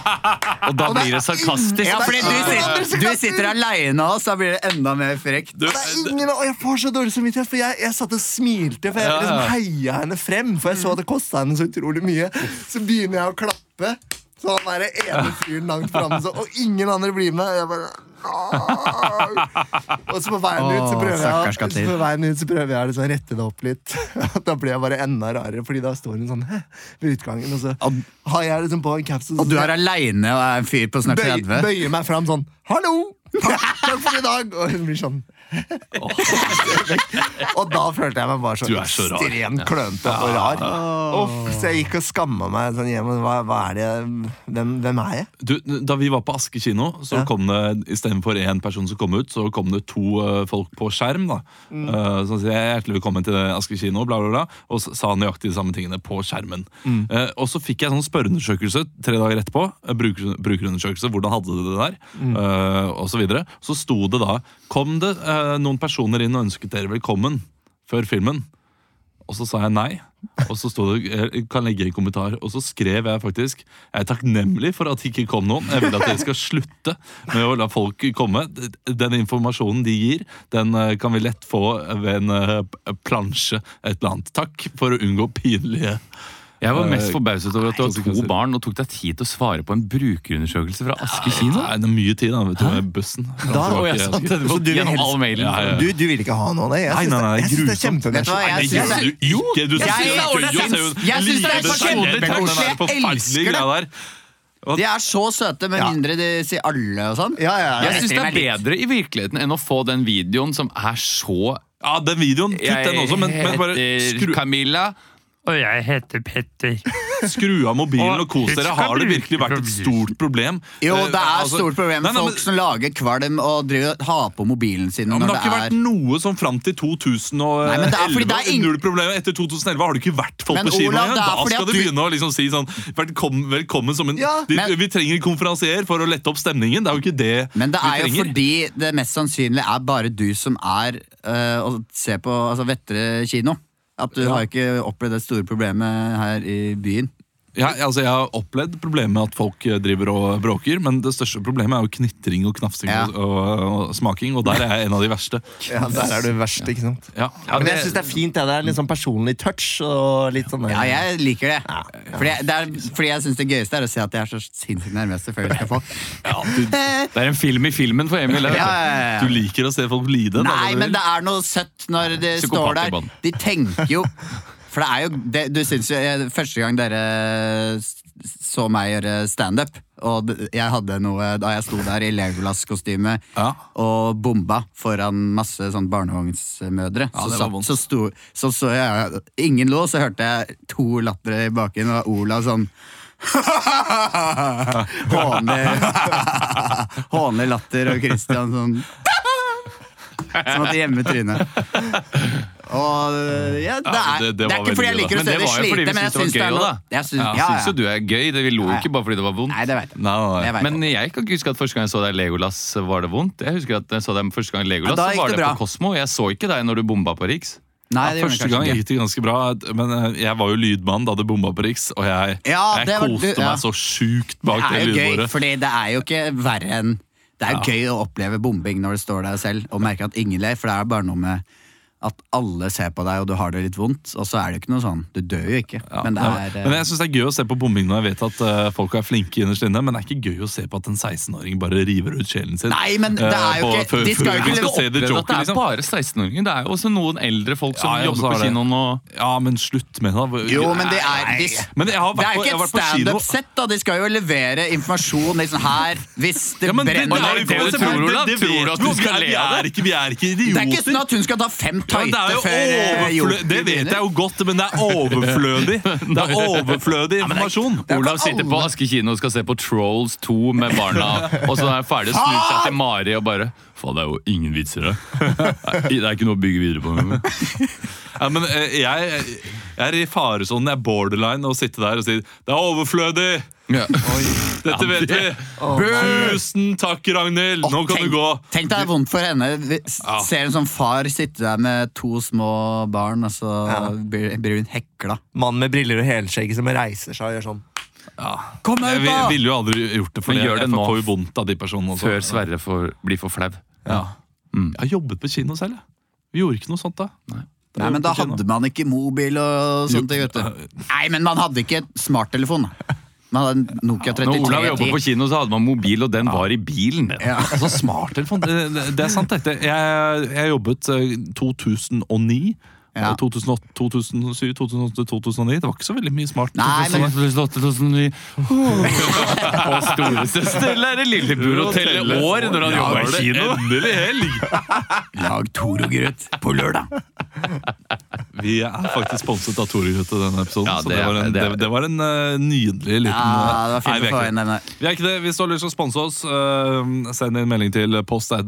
[SPEAKER 4] Og da blir det sarkastisk.
[SPEAKER 3] Ja, fordi du sitter,
[SPEAKER 2] sitter-
[SPEAKER 3] du
[SPEAKER 2] du
[SPEAKER 3] sitter aleine av oss, da blir det enda mer frekt.
[SPEAKER 1] Du, eh,
[SPEAKER 2] Det er
[SPEAKER 1] det-
[SPEAKER 2] ingen, og jeg får så dårlig samvittighet, for jeg, jeg satt og smilte. For jeg
[SPEAKER 1] Ja, ja.
[SPEAKER 2] liksom heia henne frem, for jeg så at det kosta henne så utrolig mye. Så begynner jeg å klappe. Så han er den ene fyren langt framme, så- og ingen andre blir med. Jeg bare, «Åh!» og så på veien ut så
[SPEAKER 3] Åh,
[SPEAKER 2] prøver jeg,
[SPEAKER 3] stakkars Katin.
[SPEAKER 2] så på veien ut, så prøver jeg liksom å rette det opp litt. *laughs* da blir jeg bare enda rarere, Fordi da står hun sånn «Hæ?» ved utgangen, og så har jeg liksom på en caps.
[SPEAKER 3] Og du er aleine og er en fyr på snart
[SPEAKER 2] Bøy,
[SPEAKER 3] 30.
[SPEAKER 2] bøyer meg fram sånn Hallo! Takk for i dag! Og hun blir
[SPEAKER 1] *laughs*
[SPEAKER 2] sånn Og da følte jeg meg bare så,
[SPEAKER 1] Du er så rar.
[SPEAKER 2] ekstremt klønete og rar. Uff, så jeg gikk og skamma meg sånn hjemme. Hva, hva er det hvem, hvem er jeg?
[SPEAKER 1] Du, da vi var på Aske kino, så
[SPEAKER 2] Ja.
[SPEAKER 1] kom det istedenfor én person som kom ut, så kom det to eh, folk på skjerm. da Eh, Som sier hjertelig velkommen til Aske kino, bla, bla, bla. Og s- sa nøyaktig de samme tingene på skjermen. Eh, og så fikk jeg sånn spørreundersøkelse tre dager etterpå. eh, Bruker, brukerundersøkelse, hvordan hadde du det der? eh, og så videre. Så sto det da Kom det eh, noen personer inn og ønsket dere velkommen før filmen? Og så sa jeg nei. Og så sto det jeg kan legge en kommentar. Og så skrev jeg faktisk jeg er takknemlig for at det ikke kom noen. Jeg vil at dere skal slutte med å la folk komme. Den informasjonen de gir, den eh, kan vi lett få ved en eh, p- plansje et eller annet. Takk for å unngå pinlige
[SPEAKER 4] Jeg var mest
[SPEAKER 1] Eh,
[SPEAKER 4] forbauset over at du
[SPEAKER 1] nei,
[SPEAKER 4] har to
[SPEAKER 1] konsekvenser.
[SPEAKER 4] barn og tok deg tid til å svare på en brukerundersøkelse fra Aske kino.
[SPEAKER 1] Nei, det er mye tid da, vet du, med bussen.
[SPEAKER 2] Da-
[SPEAKER 4] Å,
[SPEAKER 1] Tilbake,
[SPEAKER 4] jeg
[SPEAKER 1] jeg
[SPEAKER 4] satt
[SPEAKER 1] husker.
[SPEAKER 4] det
[SPEAKER 2] Så
[SPEAKER 4] var
[SPEAKER 2] du vil
[SPEAKER 4] gjennom
[SPEAKER 2] helst-
[SPEAKER 4] all mailen.
[SPEAKER 1] Ja, ja.
[SPEAKER 2] Du, du vil ikke ha noe av det? Jeg
[SPEAKER 1] Nei,
[SPEAKER 2] syns
[SPEAKER 1] nei, nei,
[SPEAKER 2] det, jeg synes det er
[SPEAKER 1] grusomt.
[SPEAKER 3] Vet du hva,
[SPEAKER 2] kjempenasjonalt.
[SPEAKER 1] Nei,
[SPEAKER 3] jeg
[SPEAKER 1] det
[SPEAKER 3] synes
[SPEAKER 1] gjør
[SPEAKER 3] det
[SPEAKER 1] du ikke! Du synes det er
[SPEAKER 3] Jeg synes-
[SPEAKER 1] ordentlig.
[SPEAKER 3] jeg synes- jeg synes det er
[SPEAKER 1] Livet
[SPEAKER 3] kjempekoselig.
[SPEAKER 1] takk, den der forferdelige
[SPEAKER 3] Jeg elsker det.
[SPEAKER 1] greia der.
[SPEAKER 3] De er så søte, med
[SPEAKER 2] Ja.
[SPEAKER 3] mindre de sier alle og sånn.
[SPEAKER 2] Ja, ja, ja.
[SPEAKER 4] Jeg syns det er bedre i virkeligheten enn å få den videoen som er så
[SPEAKER 1] Ja, den videoen, kutt den også, men, men bare
[SPEAKER 4] heter
[SPEAKER 1] skru,
[SPEAKER 4] Camilla.
[SPEAKER 5] Og jeg heter Petter.
[SPEAKER 1] skru av mobilen
[SPEAKER 5] Og
[SPEAKER 1] og kos dere.
[SPEAKER 5] det
[SPEAKER 1] Har
[SPEAKER 5] skal
[SPEAKER 1] det
[SPEAKER 5] bli
[SPEAKER 1] virkelig vært et
[SPEAKER 5] virkelig
[SPEAKER 1] stort problem?
[SPEAKER 3] Jo,
[SPEAKER 1] Eh,
[SPEAKER 3] det er et
[SPEAKER 1] altså-
[SPEAKER 3] stort problem
[SPEAKER 1] Nei, nei,
[SPEAKER 3] med
[SPEAKER 1] men-
[SPEAKER 3] folk som lager kvalm og driver og har på mobilen sin.
[SPEAKER 1] Ja, men
[SPEAKER 3] når
[SPEAKER 1] det har ikke
[SPEAKER 3] det er...
[SPEAKER 1] vært noe som fram til 2011.
[SPEAKER 3] Nei, men det er fordi det er ing-
[SPEAKER 1] Null problem. Etter 2011 har du ikke vært folk
[SPEAKER 3] Men
[SPEAKER 1] på kino
[SPEAKER 3] Olav,
[SPEAKER 1] engang.
[SPEAKER 3] det er
[SPEAKER 1] Da
[SPEAKER 3] fordi
[SPEAKER 1] skal
[SPEAKER 3] at
[SPEAKER 1] du
[SPEAKER 3] du-
[SPEAKER 1] begynne å liksom si sånn Velkommen, velkommen som en
[SPEAKER 2] Ja,
[SPEAKER 1] de,
[SPEAKER 3] men-
[SPEAKER 1] Vi trenger en konferansier for å lette opp stemningen. Det er jo ikke det
[SPEAKER 3] Men det er
[SPEAKER 1] vi
[SPEAKER 3] jo
[SPEAKER 1] trenger.
[SPEAKER 3] fordi det mest sannsynlig er bare du som er øh, og ser på altså, Vettre kino. At du har ikke opplevd det store problemet her i byen.
[SPEAKER 1] Ja, altså, jeg har opplevd problemet med at folk eh, driver og bråker, men det største problemet er jo knitring og knafsing
[SPEAKER 3] Ja.
[SPEAKER 1] og, og, og smaking, og der er jeg en av de verste.
[SPEAKER 2] Ja, der er du verst, ikke sant?
[SPEAKER 1] Ja,
[SPEAKER 2] Ja, men jeg syns det er fint. Ja. Det er litt sånn personlig touch. Og litt sånn
[SPEAKER 3] Ja, jeg liker det. Fordi, jeg- det er, fordi jeg syns det gøyeste er å se at jeg er så sinnssykt nervøs
[SPEAKER 1] *laughs*
[SPEAKER 3] selvfølgelig skal få.
[SPEAKER 4] Det er en film i filmen for Emil. det vet du.
[SPEAKER 3] Ja, ja, ja.
[SPEAKER 1] Du liker å se folk lide? da,
[SPEAKER 3] Nei,
[SPEAKER 1] eller?
[SPEAKER 3] men det er noe søtt når de
[SPEAKER 4] Psykopat
[SPEAKER 3] står
[SPEAKER 4] i bånd.
[SPEAKER 3] der. De tenker jo For det er jo det, Du syns jo eh, Første gang dere s- så meg gjøre standup, og d- jeg hadde noe da jeg sto der i Legolas-kostyme
[SPEAKER 1] Ja.
[SPEAKER 3] og bomba foran masse sånn barnevognsmødre,
[SPEAKER 1] Ja,
[SPEAKER 3] så,
[SPEAKER 1] det var
[SPEAKER 3] satt,
[SPEAKER 1] vondt.
[SPEAKER 3] så, sto, så så jeg Ingen lo, så hørte jeg to latter i baken, og Olav sånn *laughs* *laughs* Håner Håner latter og Christian sånn Som at de gjemmer trynet. Og eh, ja,
[SPEAKER 1] Ja,
[SPEAKER 3] det, er,
[SPEAKER 1] men det-
[SPEAKER 3] det,
[SPEAKER 1] det
[SPEAKER 3] er
[SPEAKER 1] var
[SPEAKER 3] ikke fordi jeg
[SPEAKER 1] veldig gøy,
[SPEAKER 3] liker
[SPEAKER 1] da.
[SPEAKER 4] Men det
[SPEAKER 3] å se de
[SPEAKER 4] var jo fordi
[SPEAKER 3] slite,
[SPEAKER 4] vi
[SPEAKER 3] men jeg
[SPEAKER 4] syntes det var gøy
[SPEAKER 3] syns det er noe
[SPEAKER 4] også, da.
[SPEAKER 3] Jeg syns
[SPEAKER 4] Ja,
[SPEAKER 3] ja,
[SPEAKER 4] Syns jo
[SPEAKER 3] ja.
[SPEAKER 4] du er gøy. Det Vi lo
[SPEAKER 3] Nei.
[SPEAKER 4] ikke bare fordi det var vondt.
[SPEAKER 3] Nei, det vet jeg.
[SPEAKER 1] Nei, nei, nei.
[SPEAKER 3] Det vet jeg.
[SPEAKER 4] Men jeg kan ikke huske at første gang jeg så deg i Legolas, var det vondt. Jeg husker at jeg så deg første gang i Legolas,
[SPEAKER 3] Ja, da
[SPEAKER 4] så
[SPEAKER 3] gikk
[SPEAKER 4] var
[SPEAKER 3] det
[SPEAKER 4] det
[SPEAKER 3] bra.
[SPEAKER 4] på Kosmo. Jeg så ikke deg når du bomba på Riks.
[SPEAKER 3] Nei, det
[SPEAKER 1] Ja,
[SPEAKER 3] gjorde
[SPEAKER 1] første
[SPEAKER 3] jeg
[SPEAKER 1] gang
[SPEAKER 3] kanskje ikke.
[SPEAKER 1] gikk det ganske bra, men eh, jeg var jo lydmann da det bomma på Riks, og jeg,
[SPEAKER 3] Ja,
[SPEAKER 1] jeg
[SPEAKER 3] det var-
[SPEAKER 1] koste
[SPEAKER 3] du- ja.
[SPEAKER 1] meg så sjukt bak
[SPEAKER 3] Det
[SPEAKER 1] det,
[SPEAKER 3] er jo gøy,
[SPEAKER 1] lydbordet.
[SPEAKER 3] fordi det er jo ikke verre enn Det er jo gøy å oppleve bombing når du står der selv og merker at ingen ler, for det er bare noe med at alle ser på deg, og du har det litt vondt, og så er det jo ikke noe sånn Du dør jo ikke,
[SPEAKER 1] Ja,
[SPEAKER 3] men det
[SPEAKER 1] nei,
[SPEAKER 3] er eh,
[SPEAKER 1] men jeg syns det er gøy å se på bombing når jeg vet at eh, folk er flinke innerst inne, men det er ikke gøy å se på at en 16-åring bare river ut sjelen sin.
[SPEAKER 3] Nei, men det
[SPEAKER 1] eh,
[SPEAKER 3] er jo
[SPEAKER 1] på-
[SPEAKER 3] ikke
[SPEAKER 1] før-
[SPEAKER 3] De skal
[SPEAKER 1] før
[SPEAKER 3] jo
[SPEAKER 1] vi
[SPEAKER 3] ikke
[SPEAKER 1] skal se
[SPEAKER 4] Det
[SPEAKER 1] The
[SPEAKER 4] er
[SPEAKER 1] Joker, liksom.
[SPEAKER 4] bare 16-åringer. Det er jo også noen eldre folk som
[SPEAKER 1] Ja, ja, så
[SPEAKER 4] jobber
[SPEAKER 1] er
[SPEAKER 4] på
[SPEAKER 1] det-
[SPEAKER 4] kinoen og
[SPEAKER 1] Ja, men slutt med det. da.
[SPEAKER 3] Jo, men det er de,
[SPEAKER 1] Men jeg har vært
[SPEAKER 3] Det er
[SPEAKER 1] på- jeg har
[SPEAKER 3] jo ikke et
[SPEAKER 1] vært på kino.
[SPEAKER 3] standup-sett, da! De skal jo levere informasjon liksom her, hvis det
[SPEAKER 1] ja, men det, det,
[SPEAKER 3] brenner
[SPEAKER 1] er
[SPEAKER 4] det er
[SPEAKER 1] jo-
[SPEAKER 4] jo det du tror, Olav.
[SPEAKER 1] det
[SPEAKER 4] Tror du
[SPEAKER 1] vet
[SPEAKER 4] at
[SPEAKER 1] vi
[SPEAKER 4] du
[SPEAKER 1] jo. Vi
[SPEAKER 4] skal
[SPEAKER 1] er- vi
[SPEAKER 4] le av
[SPEAKER 1] er ikke- Vi er ikke
[SPEAKER 3] Det er ikke
[SPEAKER 1] idioter.
[SPEAKER 3] sånn at hun skal ta fem
[SPEAKER 1] Ja, men
[SPEAKER 3] tighte
[SPEAKER 1] det,
[SPEAKER 3] før
[SPEAKER 1] er
[SPEAKER 3] eh,
[SPEAKER 1] jo
[SPEAKER 3] joken
[SPEAKER 1] overflø- det vet jeg jo godt, men det *laughs* er overflødig. Det er overflødig informasjon.
[SPEAKER 4] Olav sitter på Aske kino og skal se på Trolls 2 med
[SPEAKER 3] *laughs*
[SPEAKER 4] barna, og så er han ferdig og
[SPEAKER 3] Ah!
[SPEAKER 4] snur seg til Mari og bare Faen, det er jo ingen vitser her. Nei, Det er ikke noe å bygge videre på. Men.
[SPEAKER 1] Ja, men eh, jeg, jeg er i faresonen. Jeg er borderline å sitte der og si det er overflødig. Dette
[SPEAKER 4] Ja,
[SPEAKER 1] vet vi.
[SPEAKER 4] det-
[SPEAKER 1] Tusen takk, Ragnhild. Nå kan
[SPEAKER 3] tenk,
[SPEAKER 1] du gå.
[SPEAKER 3] Tenk deg det er vondt for henne. Vi s-
[SPEAKER 1] Ja.
[SPEAKER 3] Ser en sånn far sitte der med to små barn, og så blir, blir hun hekla.
[SPEAKER 2] Mannen med briller og helskjegg som reiser seg og gjør sånn.
[SPEAKER 3] Kom deg
[SPEAKER 1] Jeg
[SPEAKER 3] ut,
[SPEAKER 1] Eh, vi-
[SPEAKER 3] da!
[SPEAKER 1] ville jo aldri gjort det, for
[SPEAKER 4] Men
[SPEAKER 1] jeg,
[SPEAKER 4] gjør
[SPEAKER 1] jeg
[SPEAKER 4] det nå.
[SPEAKER 1] får jo vondt av de personene. også.
[SPEAKER 4] *laughs* Før Sverre får, blir for flau.
[SPEAKER 1] Ja. Jeg har jobbet på kino selv. jeg. Vi gjorde ikke noe sånt da. Da
[SPEAKER 3] Nei, men da
[SPEAKER 1] jobbet på
[SPEAKER 3] hadde
[SPEAKER 1] kino.
[SPEAKER 3] man ikke mobil og sånt. Vet du. Nei, men man hadde ikke smarttelefon. da. Man hadde en Nokia
[SPEAKER 4] Når Olav jobba på
[SPEAKER 3] 3310.
[SPEAKER 4] kino, så hadde man mobil, og den var i bilen.
[SPEAKER 3] Ja.
[SPEAKER 1] *laughs* Altså, smarttelefon, det, det- det er sant dette. Jeg, jeg jobbet eh, 2009,
[SPEAKER 3] Ja.
[SPEAKER 1] 2008, 2007, 2008, 2009. Det var ikke så veldig mye smart. sånn-
[SPEAKER 3] Nei, men
[SPEAKER 4] 2008, 2009 *laughs* Og storesøster lærer lillebror å telle år når han
[SPEAKER 1] Ja,
[SPEAKER 4] jobber
[SPEAKER 1] var det
[SPEAKER 4] i kino.
[SPEAKER 1] Endelig helg!
[SPEAKER 3] lag Toro-grøt på lørdag!
[SPEAKER 1] Vi er faktisk sponset av Tore Gutte denne episoden.
[SPEAKER 4] Ja, det
[SPEAKER 1] så det
[SPEAKER 4] er-
[SPEAKER 1] var en,
[SPEAKER 4] det
[SPEAKER 1] det,
[SPEAKER 4] er-
[SPEAKER 1] det var en eh, nydelig liten eh,
[SPEAKER 3] Ja, det var
[SPEAKER 1] Nei,
[SPEAKER 3] fint
[SPEAKER 1] vi er
[SPEAKER 3] å få
[SPEAKER 1] ikke-
[SPEAKER 3] inn den der.
[SPEAKER 1] Vi er ikke det. Hvis du har lyst til å sponse oss, eh, send en melding til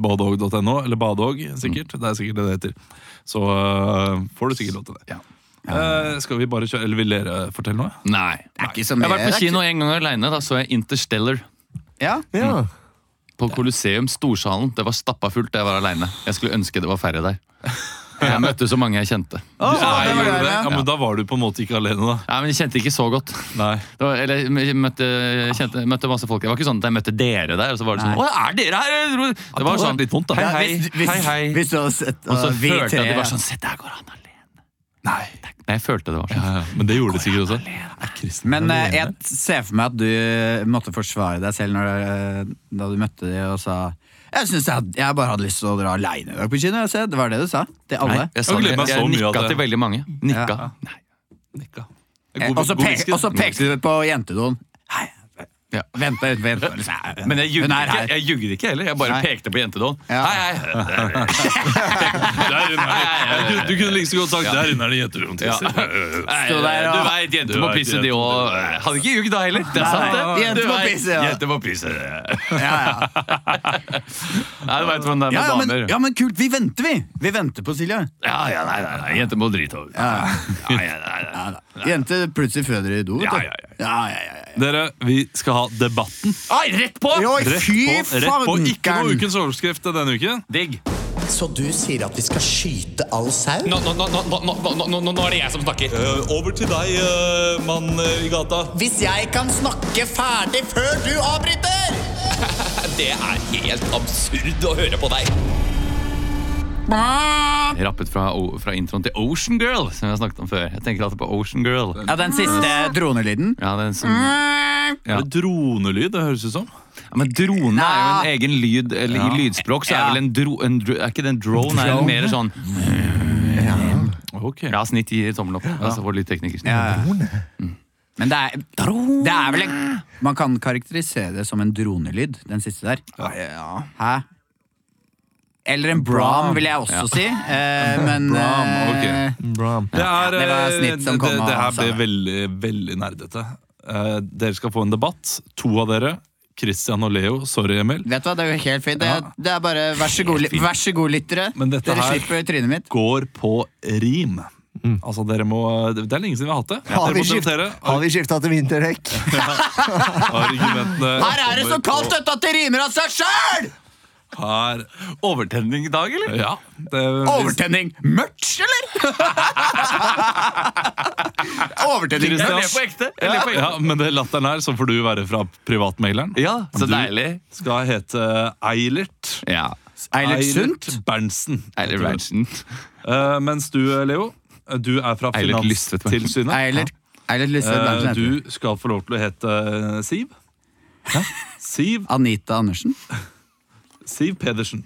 [SPEAKER 1] post.badog.no, eller Badog, sikkert.
[SPEAKER 3] Mm.
[SPEAKER 1] Det er sikkert det det heter. Så eh, får du sikkert lov til det. Eh, skal vi bare kjøre, eller vil dere fortelle noe?
[SPEAKER 4] Nei.
[SPEAKER 3] Det er ikke så
[SPEAKER 4] Jeg
[SPEAKER 3] mye
[SPEAKER 4] har vært
[SPEAKER 3] det
[SPEAKER 4] på
[SPEAKER 3] er ikke-
[SPEAKER 4] kino en gang aleine. Da så jeg Interstellar.
[SPEAKER 3] Ja,
[SPEAKER 2] Ja.
[SPEAKER 4] På Colosseum, Storsalen. Det var stappa fullt da jeg var aleine. Jeg skulle ønske det var færre der. Jeg møtte så mange jeg kjente.
[SPEAKER 1] Nei,
[SPEAKER 3] det var
[SPEAKER 1] gjorde
[SPEAKER 3] det,
[SPEAKER 1] du det?
[SPEAKER 3] ja.
[SPEAKER 1] Ja, men Da var du på en måte ikke alene, da.
[SPEAKER 4] Nei, men Jeg kjente ikke så godt.
[SPEAKER 1] Nei.
[SPEAKER 4] Det var, eller jeg møtte, jeg kjente, møtte masse folk. Det var ikke sånn at jeg møtte dere der. Og så var det sånn, Å,
[SPEAKER 3] Nei.
[SPEAKER 4] er dere her? Jeg trodde- Det
[SPEAKER 1] hadde
[SPEAKER 4] var
[SPEAKER 1] vært
[SPEAKER 4] sånn
[SPEAKER 1] litt vondt, da.
[SPEAKER 4] Hei,
[SPEAKER 1] Ja,
[SPEAKER 4] hei,
[SPEAKER 3] hvis, hvis,
[SPEAKER 4] hei, hei.
[SPEAKER 3] hvis du hadde sett
[SPEAKER 4] og så
[SPEAKER 3] uh, vi
[SPEAKER 4] følte jeg at
[SPEAKER 3] tre-
[SPEAKER 4] de var sånn Se, der går han alene.
[SPEAKER 1] Nei.
[SPEAKER 4] Nei, jeg følte det var sånn.
[SPEAKER 1] Ja, ja. Men det gjorde det sikkert også. Er Kristin
[SPEAKER 3] Men eh,
[SPEAKER 1] alene?
[SPEAKER 3] jeg ser for meg at du eh, måtte forsvare deg selv når, eh, da du møtte de og sa jeg synes jeg, hadde- jeg bare hadde lyst til å dra aleine i dag på kino. jeg ser». Det var det du sa til alle.
[SPEAKER 4] Jeg,
[SPEAKER 1] Jeg
[SPEAKER 4] sa,
[SPEAKER 1] gleder
[SPEAKER 4] jeg,
[SPEAKER 1] meg så mye
[SPEAKER 4] nikka
[SPEAKER 1] at det-
[SPEAKER 4] til veldig mange. Nikka. Nei.
[SPEAKER 1] Nikka.
[SPEAKER 3] Eh,
[SPEAKER 1] God-
[SPEAKER 3] Og så
[SPEAKER 1] god
[SPEAKER 3] pe-
[SPEAKER 1] whisky.
[SPEAKER 3] og så pekte du på jentedoen. Hei,
[SPEAKER 4] Ja.
[SPEAKER 3] vent deg utenfor jentedoen.
[SPEAKER 4] Men jeg
[SPEAKER 3] Hun
[SPEAKER 4] jugde,
[SPEAKER 3] er
[SPEAKER 4] ikke,
[SPEAKER 3] her.
[SPEAKER 4] jeg jugde ikke heller. Jeg bare
[SPEAKER 3] Nei.
[SPEAKER 4] pekte på jentedoen.
[SPEAKER 3] Ja.
[SPEAKER 4] Hei, hei.
[SPEAKER 1] Der inne er det- Du, du kunne like så godt sagt
[SPEAKER 4] Ja.
[SPEAKER 1] 'der inne er det jenter rundt tisser'.
[SPEAKER 4] Nei,
[SPEAKER 3] Stå der og-
[SPEAKER 4] Du veit, jenter må
[SPEAKER 1] Du vet,
[SPEAKER 4] pisse, de
[SPEAKER 1] jenter-
[SPEAKER 4] òg. Hadde ikke jugd da heller. Det er sant,
[SPEAKER 3] Nei,
[SPEAKER 4] det.
[SPEAKER 3] jenter
[SPEAKER 4] Du
[SPEAKER 3] må
[SPEAKER 4] vet,
[SPEAKER 3] pisse, ja.
[SPEAKER 4] Jenter må pisse.
[SPEAKER 3] Ja, ja.
[SPEAKER 4] Nei, du veit hvordan det er *laughs* med
[SPEAKER 3] Ja, ja, men,
[SPEAKER 4] damer.
[SPEAKER 3] ja, men kult. Vi venter, vi! Vi venter på Silje.
[SPEAKER 4] Ja, ja, nei, nei, nei. Jenter må drite over. Ja, ja, nei, nei.
[SPEAKER 3] *laughs* Ja, da. Jente plutselig føder i do. vet du.
[SPEAKER 4] Ja, ja, ja.
[SPEAKER 3] ja, ja, ja, ja.
[SPEAKER 1] Dere, vi skal ha Debatten.
[SPEAKER 4] Ai, rett på!
[SPEAKER 3] Jo,
[SPEAKER 1] Rett
[SPEAKER 3] fy
[SPEAKER 1] på, rett på. Ikke noe
[SPEAKER 3] fankeren!
[SPEAKER 1] ukens overskrift denne uken.
[SPEAKER 4] Digg.
[SPEAKER 6] Så du sier at vi skal skyte all sau?
[SPEAKER 7] Nå, nå, nå, nå, nå, nå, nå, nå er det jeg som snakker.
[SPEAKER 1] Eh, over til deg, eh, mann i gata.
[SPEAKER 6] Hvis jeg kan snakke ferdig før du avbryter!
[SPEAKER 7] Det er helt absurd å høre på deg.
[SPEAKER 4] Rappet fra, fra introen til Ocean Girl, som vi har snakket om før. Jeg tenker alltid på Ocean Girl.
[SPEAKER 3] Ja, den siste dronelyden.
[SPEAKER 4] Ja, den som...
[SPEAKER 3] Mm.
[SPEAKER 4] Ja.
[SPEAKER 1] Er det Dronelyd, det høres ut som.
[SPEAKER 4] Ja, men drone er jo en egen lyd Eller
[SPEAKER 3] Ja.
[SPEAKER 4] i lydspråk så er
[SPEAKER 3] Ja.
[SPEAKER 4] vel en dro... En dro er ikke den drone, er det mer sånn
[SPEAKER 1] Ok.
[SPEAKER 4] Ja, snitt gir tommel opp. Altså for lydtekniker.
[SPEAKER 3] Men det er, det er vel en, Man kan karakterisere det som en dronelyd, den siste der. Hæ? Eller en bram, vil jeg også
[SPEAKER 1] *laughs*
[SPEAKER 3] si. Eh, men
[SPEAKER 1] Bram, ok.
[SPEAKER 3] eh,
[SPEAKER 1] Det, er,
[SPEAKER 3] det var
[SPEAKER 1] eh,
[SPEAKER 3] snitt som kom
[SPEAKER 1] det,
[SPEAKER 3] og
[SPEAKER 1] det her
[SPEAKER 3] sa
[SPEAKER 1] ble
[SPEAKER 3] det.
[SPEAKER 1] veldig, veldig nerdete. Eh, dere skal få en debatt. To av dere. Christian og Leo. Sorry, Emil.
[SPEAKER 3] Vet du hva, det er jo helt fint. Det, er- det er bare vær så god, li- vær så god lyttere.
[SPEAKER 1] Men dette
[SPEAKER 3] Dere
[SPEAKER 1] her-
[SPEAKER 3] slipper trynet mitt.
[SPEAKER 1] Går på rim.
[SPEAKER 3] Mm.
[SPEAKER 1] Altså, dere må Det er lenge siden vi har hatt det.
[SPEAKER 2] Har
[SPEAKER 1] Dere
[SPEAKER 2] vi
[SPEAKER 1] må
[SPEAKER 2] skift-
[SPEAKER 1] debattere.
[SPEAKER 2] Har vi skifta til vinterdekk?
[SPEAKER 1] Argumentene
[SPEAKER 3] *laughs* Her er det så
[SPEAKER 1] kommer
[SPEAKER 3] kaldt
[SPEAKER 1] på-
[SPEAKER 3] dette at det rimer av seg sjøl!
[SPEAKER 1] Her
[SPEAKER 4] Overtenning i dag, eller?
[SPEAKER 1] Ja. Det,
[SPEAKER 3] Overtenning. Merch,
[SPEAKER 1] *laughs*
[SPEAKER 3] eller? Overtenning.
[SPEAKER 1] Christian.
[SPEAKER 4] Jeg ler på ekte. Jeg ler
[SPEAKER 1] ja,
[SPEAKER 4] på ekte.
[SPEAKER 1] ja, men det latteren her, så får du være fra privatmegleren.
[SPEAKER 4] Ja, så
[SPEAKER 1] Du-
[SPEAKER 4] deilig.
[SPEAKER 1] Skal hete Eilert.
[SPEAKER 4] Ja.
[SPEAKER 3] Eilert Sundt.
[SPEAKER 1] Berntsen.
[SPEAKER 4] Eilert Ranchen.
[SPEAKER 1] Eh, mens du, Leo, du er fra
[SPEAKER 4] Eilert Lystvedt Berntsen.
[SPEAKER 1] Finanstilsynet.
[SPEAKER 3] Eilert Eilert Lyseth
[SPEAKER 1] Eh,
[SPEAKER 3] Berntsen heter
[SPEAKER 1] du skal få lov til å hete Siv. Siv,
[SPEAKER 3] Anita Andersen.
[SPEAKER 1] Siv Pedersen.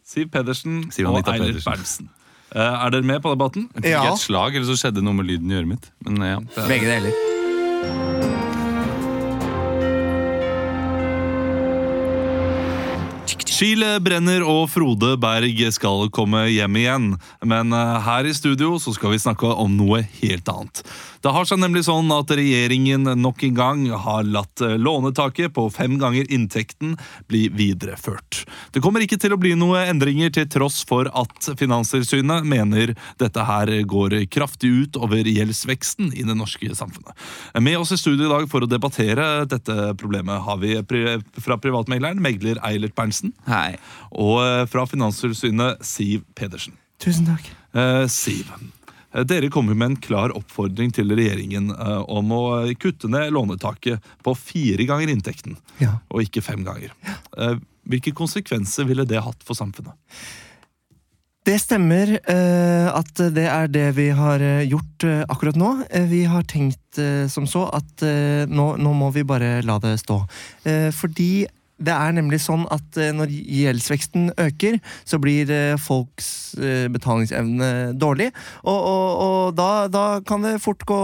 [SPEAKER 1] Siv Pedersen
[SPEAKER 4] Mm. Siv
[SPEAKER 1] og
[SPEAKER 4] Anita
[SPEAKER 1] Eilert
[SPEAKER 4] Pedersen.
[SPEAKER 1] Berntsen. Eh, er dere med på debatten?
[SPEAKER 4] Jeg fikk
[SPEAKER 2] Ja.
[SPEAKER 4] et slag, eller så skjedde noe med lyden i øret mitt. Men ja, det
[SPEAKER 3] Begge deler.
[SPEAKER 1] Chile brenner og Frode Berg skal komme hjem igjen. Men eh, her i studio så skal vi snakke om noe helt annet. Det har seg nemlig sånn at regjeringen nok en gang har latt eh, lånetaket på fem ganger inntekten bli videreført. Det kommer ikke til å bli noe endringer til tross for at Finanstilsynet mener dette her går kraftig ut over gjeldsveksten i det norske samfunnet. Med oss i studio i dag for å debattere dette problemet har vi pri fra privatmegleren, megler Eilert Berntsen.
[SPEAKER 4] Hei.
[SPEAKER 1] Og eh, fra Finanstilsynet Siv Pedersen.
[SPEAKER 2] Tusen takk.
[SPEAKER 1] Eh, Siv, eh, dere kommer med en klar oppfordring til regjeringen eh, om å eh, kutte ned lånetaket på fire ganger inntekten,
[SPEAKER 2] Ja.
[SPEAKER 1] og ikke fem ganger. Eh, hvilke konsekvenser ville det hatt for samfunnet?
[SPEAKER 2] Det stemmer eh, at det er det vi har eh, gjort eh, akkurat nå. Eh, vi har tenkt eh, som så at eh, nå, nå må vi bare la det stå. Eh, fordi Det er nemlig sånn at eh, når gjeldsveksten øker, så blir eh, folks eh, betalingsevne dårlig. Og, og, og da, da kan det fort gå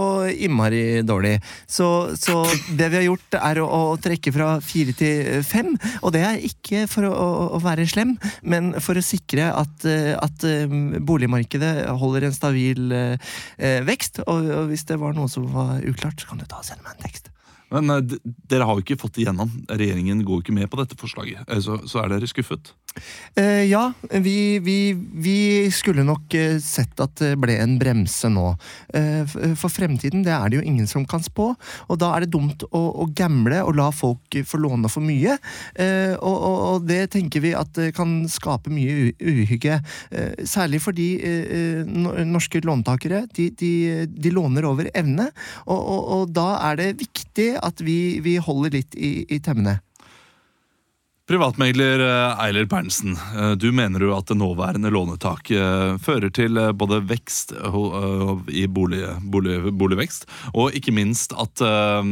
[SPEAKER 2] innmari dårlig. Så, så det vi har gjort, er å, å trekke fra fire til eh, fem. Og det er ikke for å, å- å være slem, men for å sikre at, eh, at eh, boligmarkedet holder en stabil eh, eh, vekst. Og, og hvis det var noe som var uklart, så kan du ta og sende meg en tekst.
[SPEAKER 1] Men eh, d- dere har jo ikke fått igjennom. Regjeringen går jo ikke med på dette forslaget. Eh, Så, så er dere skuffet.
[SPEAKER 2] Eh, ja, vi, vi, vi skulle nok eh, sett at det ble en bremse nå. Eh, f- eh, for fremtiden det er det jo ingen som kan spå, og da er det dumt å, å gamble og la folk eh, få låne for mye. Eh, og, og, og det tenker vi at eh, kan skape mye u uhygge. Eh, særlig fordi eh, eh, no- norske låntakere de, de, de låner over evne, og, og, og da er det viktig at vi, vi holder litt i, i temmene.
[SPEAKER 1] Privatmegler eh, Eiler Berntsen, eh, du mener jo at det nåværende lånetak eh, fører til eh, både vekst ho- eh, i bolig, bolig, boligvekst, og ikke minst at, eh,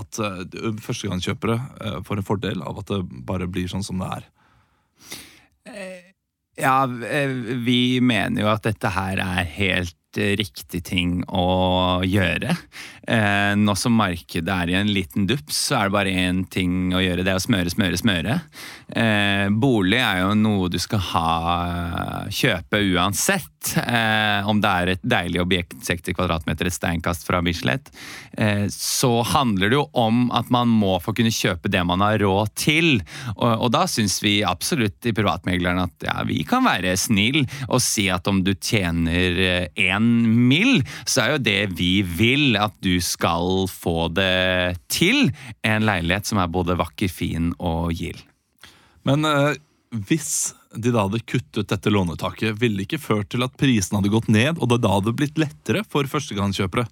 [SPEAKER 1] at eh, førstegangskjøpere eh, får en fordel av at det bare blir sånn som det er.
[SPEAKER 4] *laughs* Ja, eh, vi mener jo at dette her er helt eh, riktig ting å gjøre. Eh, nå som markedet er i en liten dupp, så er det bare én ting å gjøre. Det er å smøre, smøre, smøre. Eh, bolig er jo noe du skal ha kjøpe uansett. Eh, om det er et deilig objekt, 60 kvadratmeter, et steinkast fra Bislett. Eh, så handler det jo om at man må få kunne kjøpe det man har råd til. Og, og da syns vi absolutt i privatmegleren at ja, vi kan være snill og si at om du tjener én mill, så er jo det vi vil at du skal få det til. En leilighet som er både vakker, fin og gild.
[SPEAKER 1] Men eh, hvis de da hadde kuttet dette lånetaket, ville det ikke ført til at prisene hadde gått ned, og det da hadde blitt lettere for førstegangskjøpere?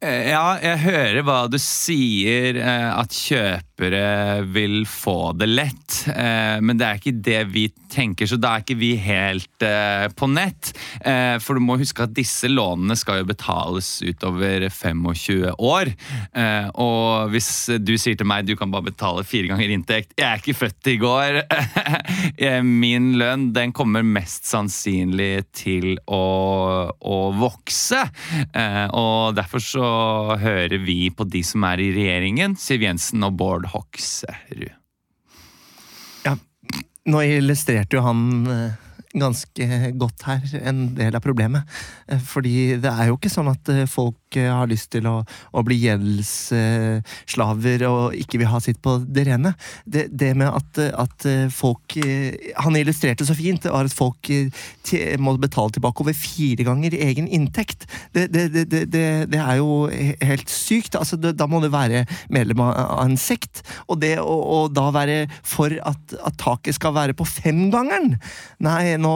[SPEAKER 4] Eh, Ja, jeg hører hva du sier, eh, at kjøpere vil få det lett. eh, Men det er ikke det vi tenker, så da er ikke vi helt eh, på nett. Eh, For du må huske at disse lånene skal jo betales utover 25 år. Eh, Og hvis du sier til meg du kan bare betale fire ganger inntekt Jeg er ikke født i går. *laughs* Eh, Min lønn den kommer mest sannsynlig til å, å vokse. Eh, Og derfor så hører vi på de som er i regjeringen, Siv Jensen og Bård Hoksrud.
[SPEAKER 2] Ja, nå illustrerte jo han eh, ganske godt her en del av problemet. Eh, Fordi det er jo ikke sånn at eh, folk eh, har lyst til å, å bli gjeldsslaver og ikke vil ha sitt på det rene. Det, det med at, eh, at eh, folk eh, Han illustrerte så fint var at folk eh, te- må betale tilbake over fire ganger egen inntekt. Det, det, det, det, det, det er jo he- helt sykt. Altså, det, da må du være medlem av av en sekt. Og det å, å da være for at, at taket skal være på femgangeren Nei, nå,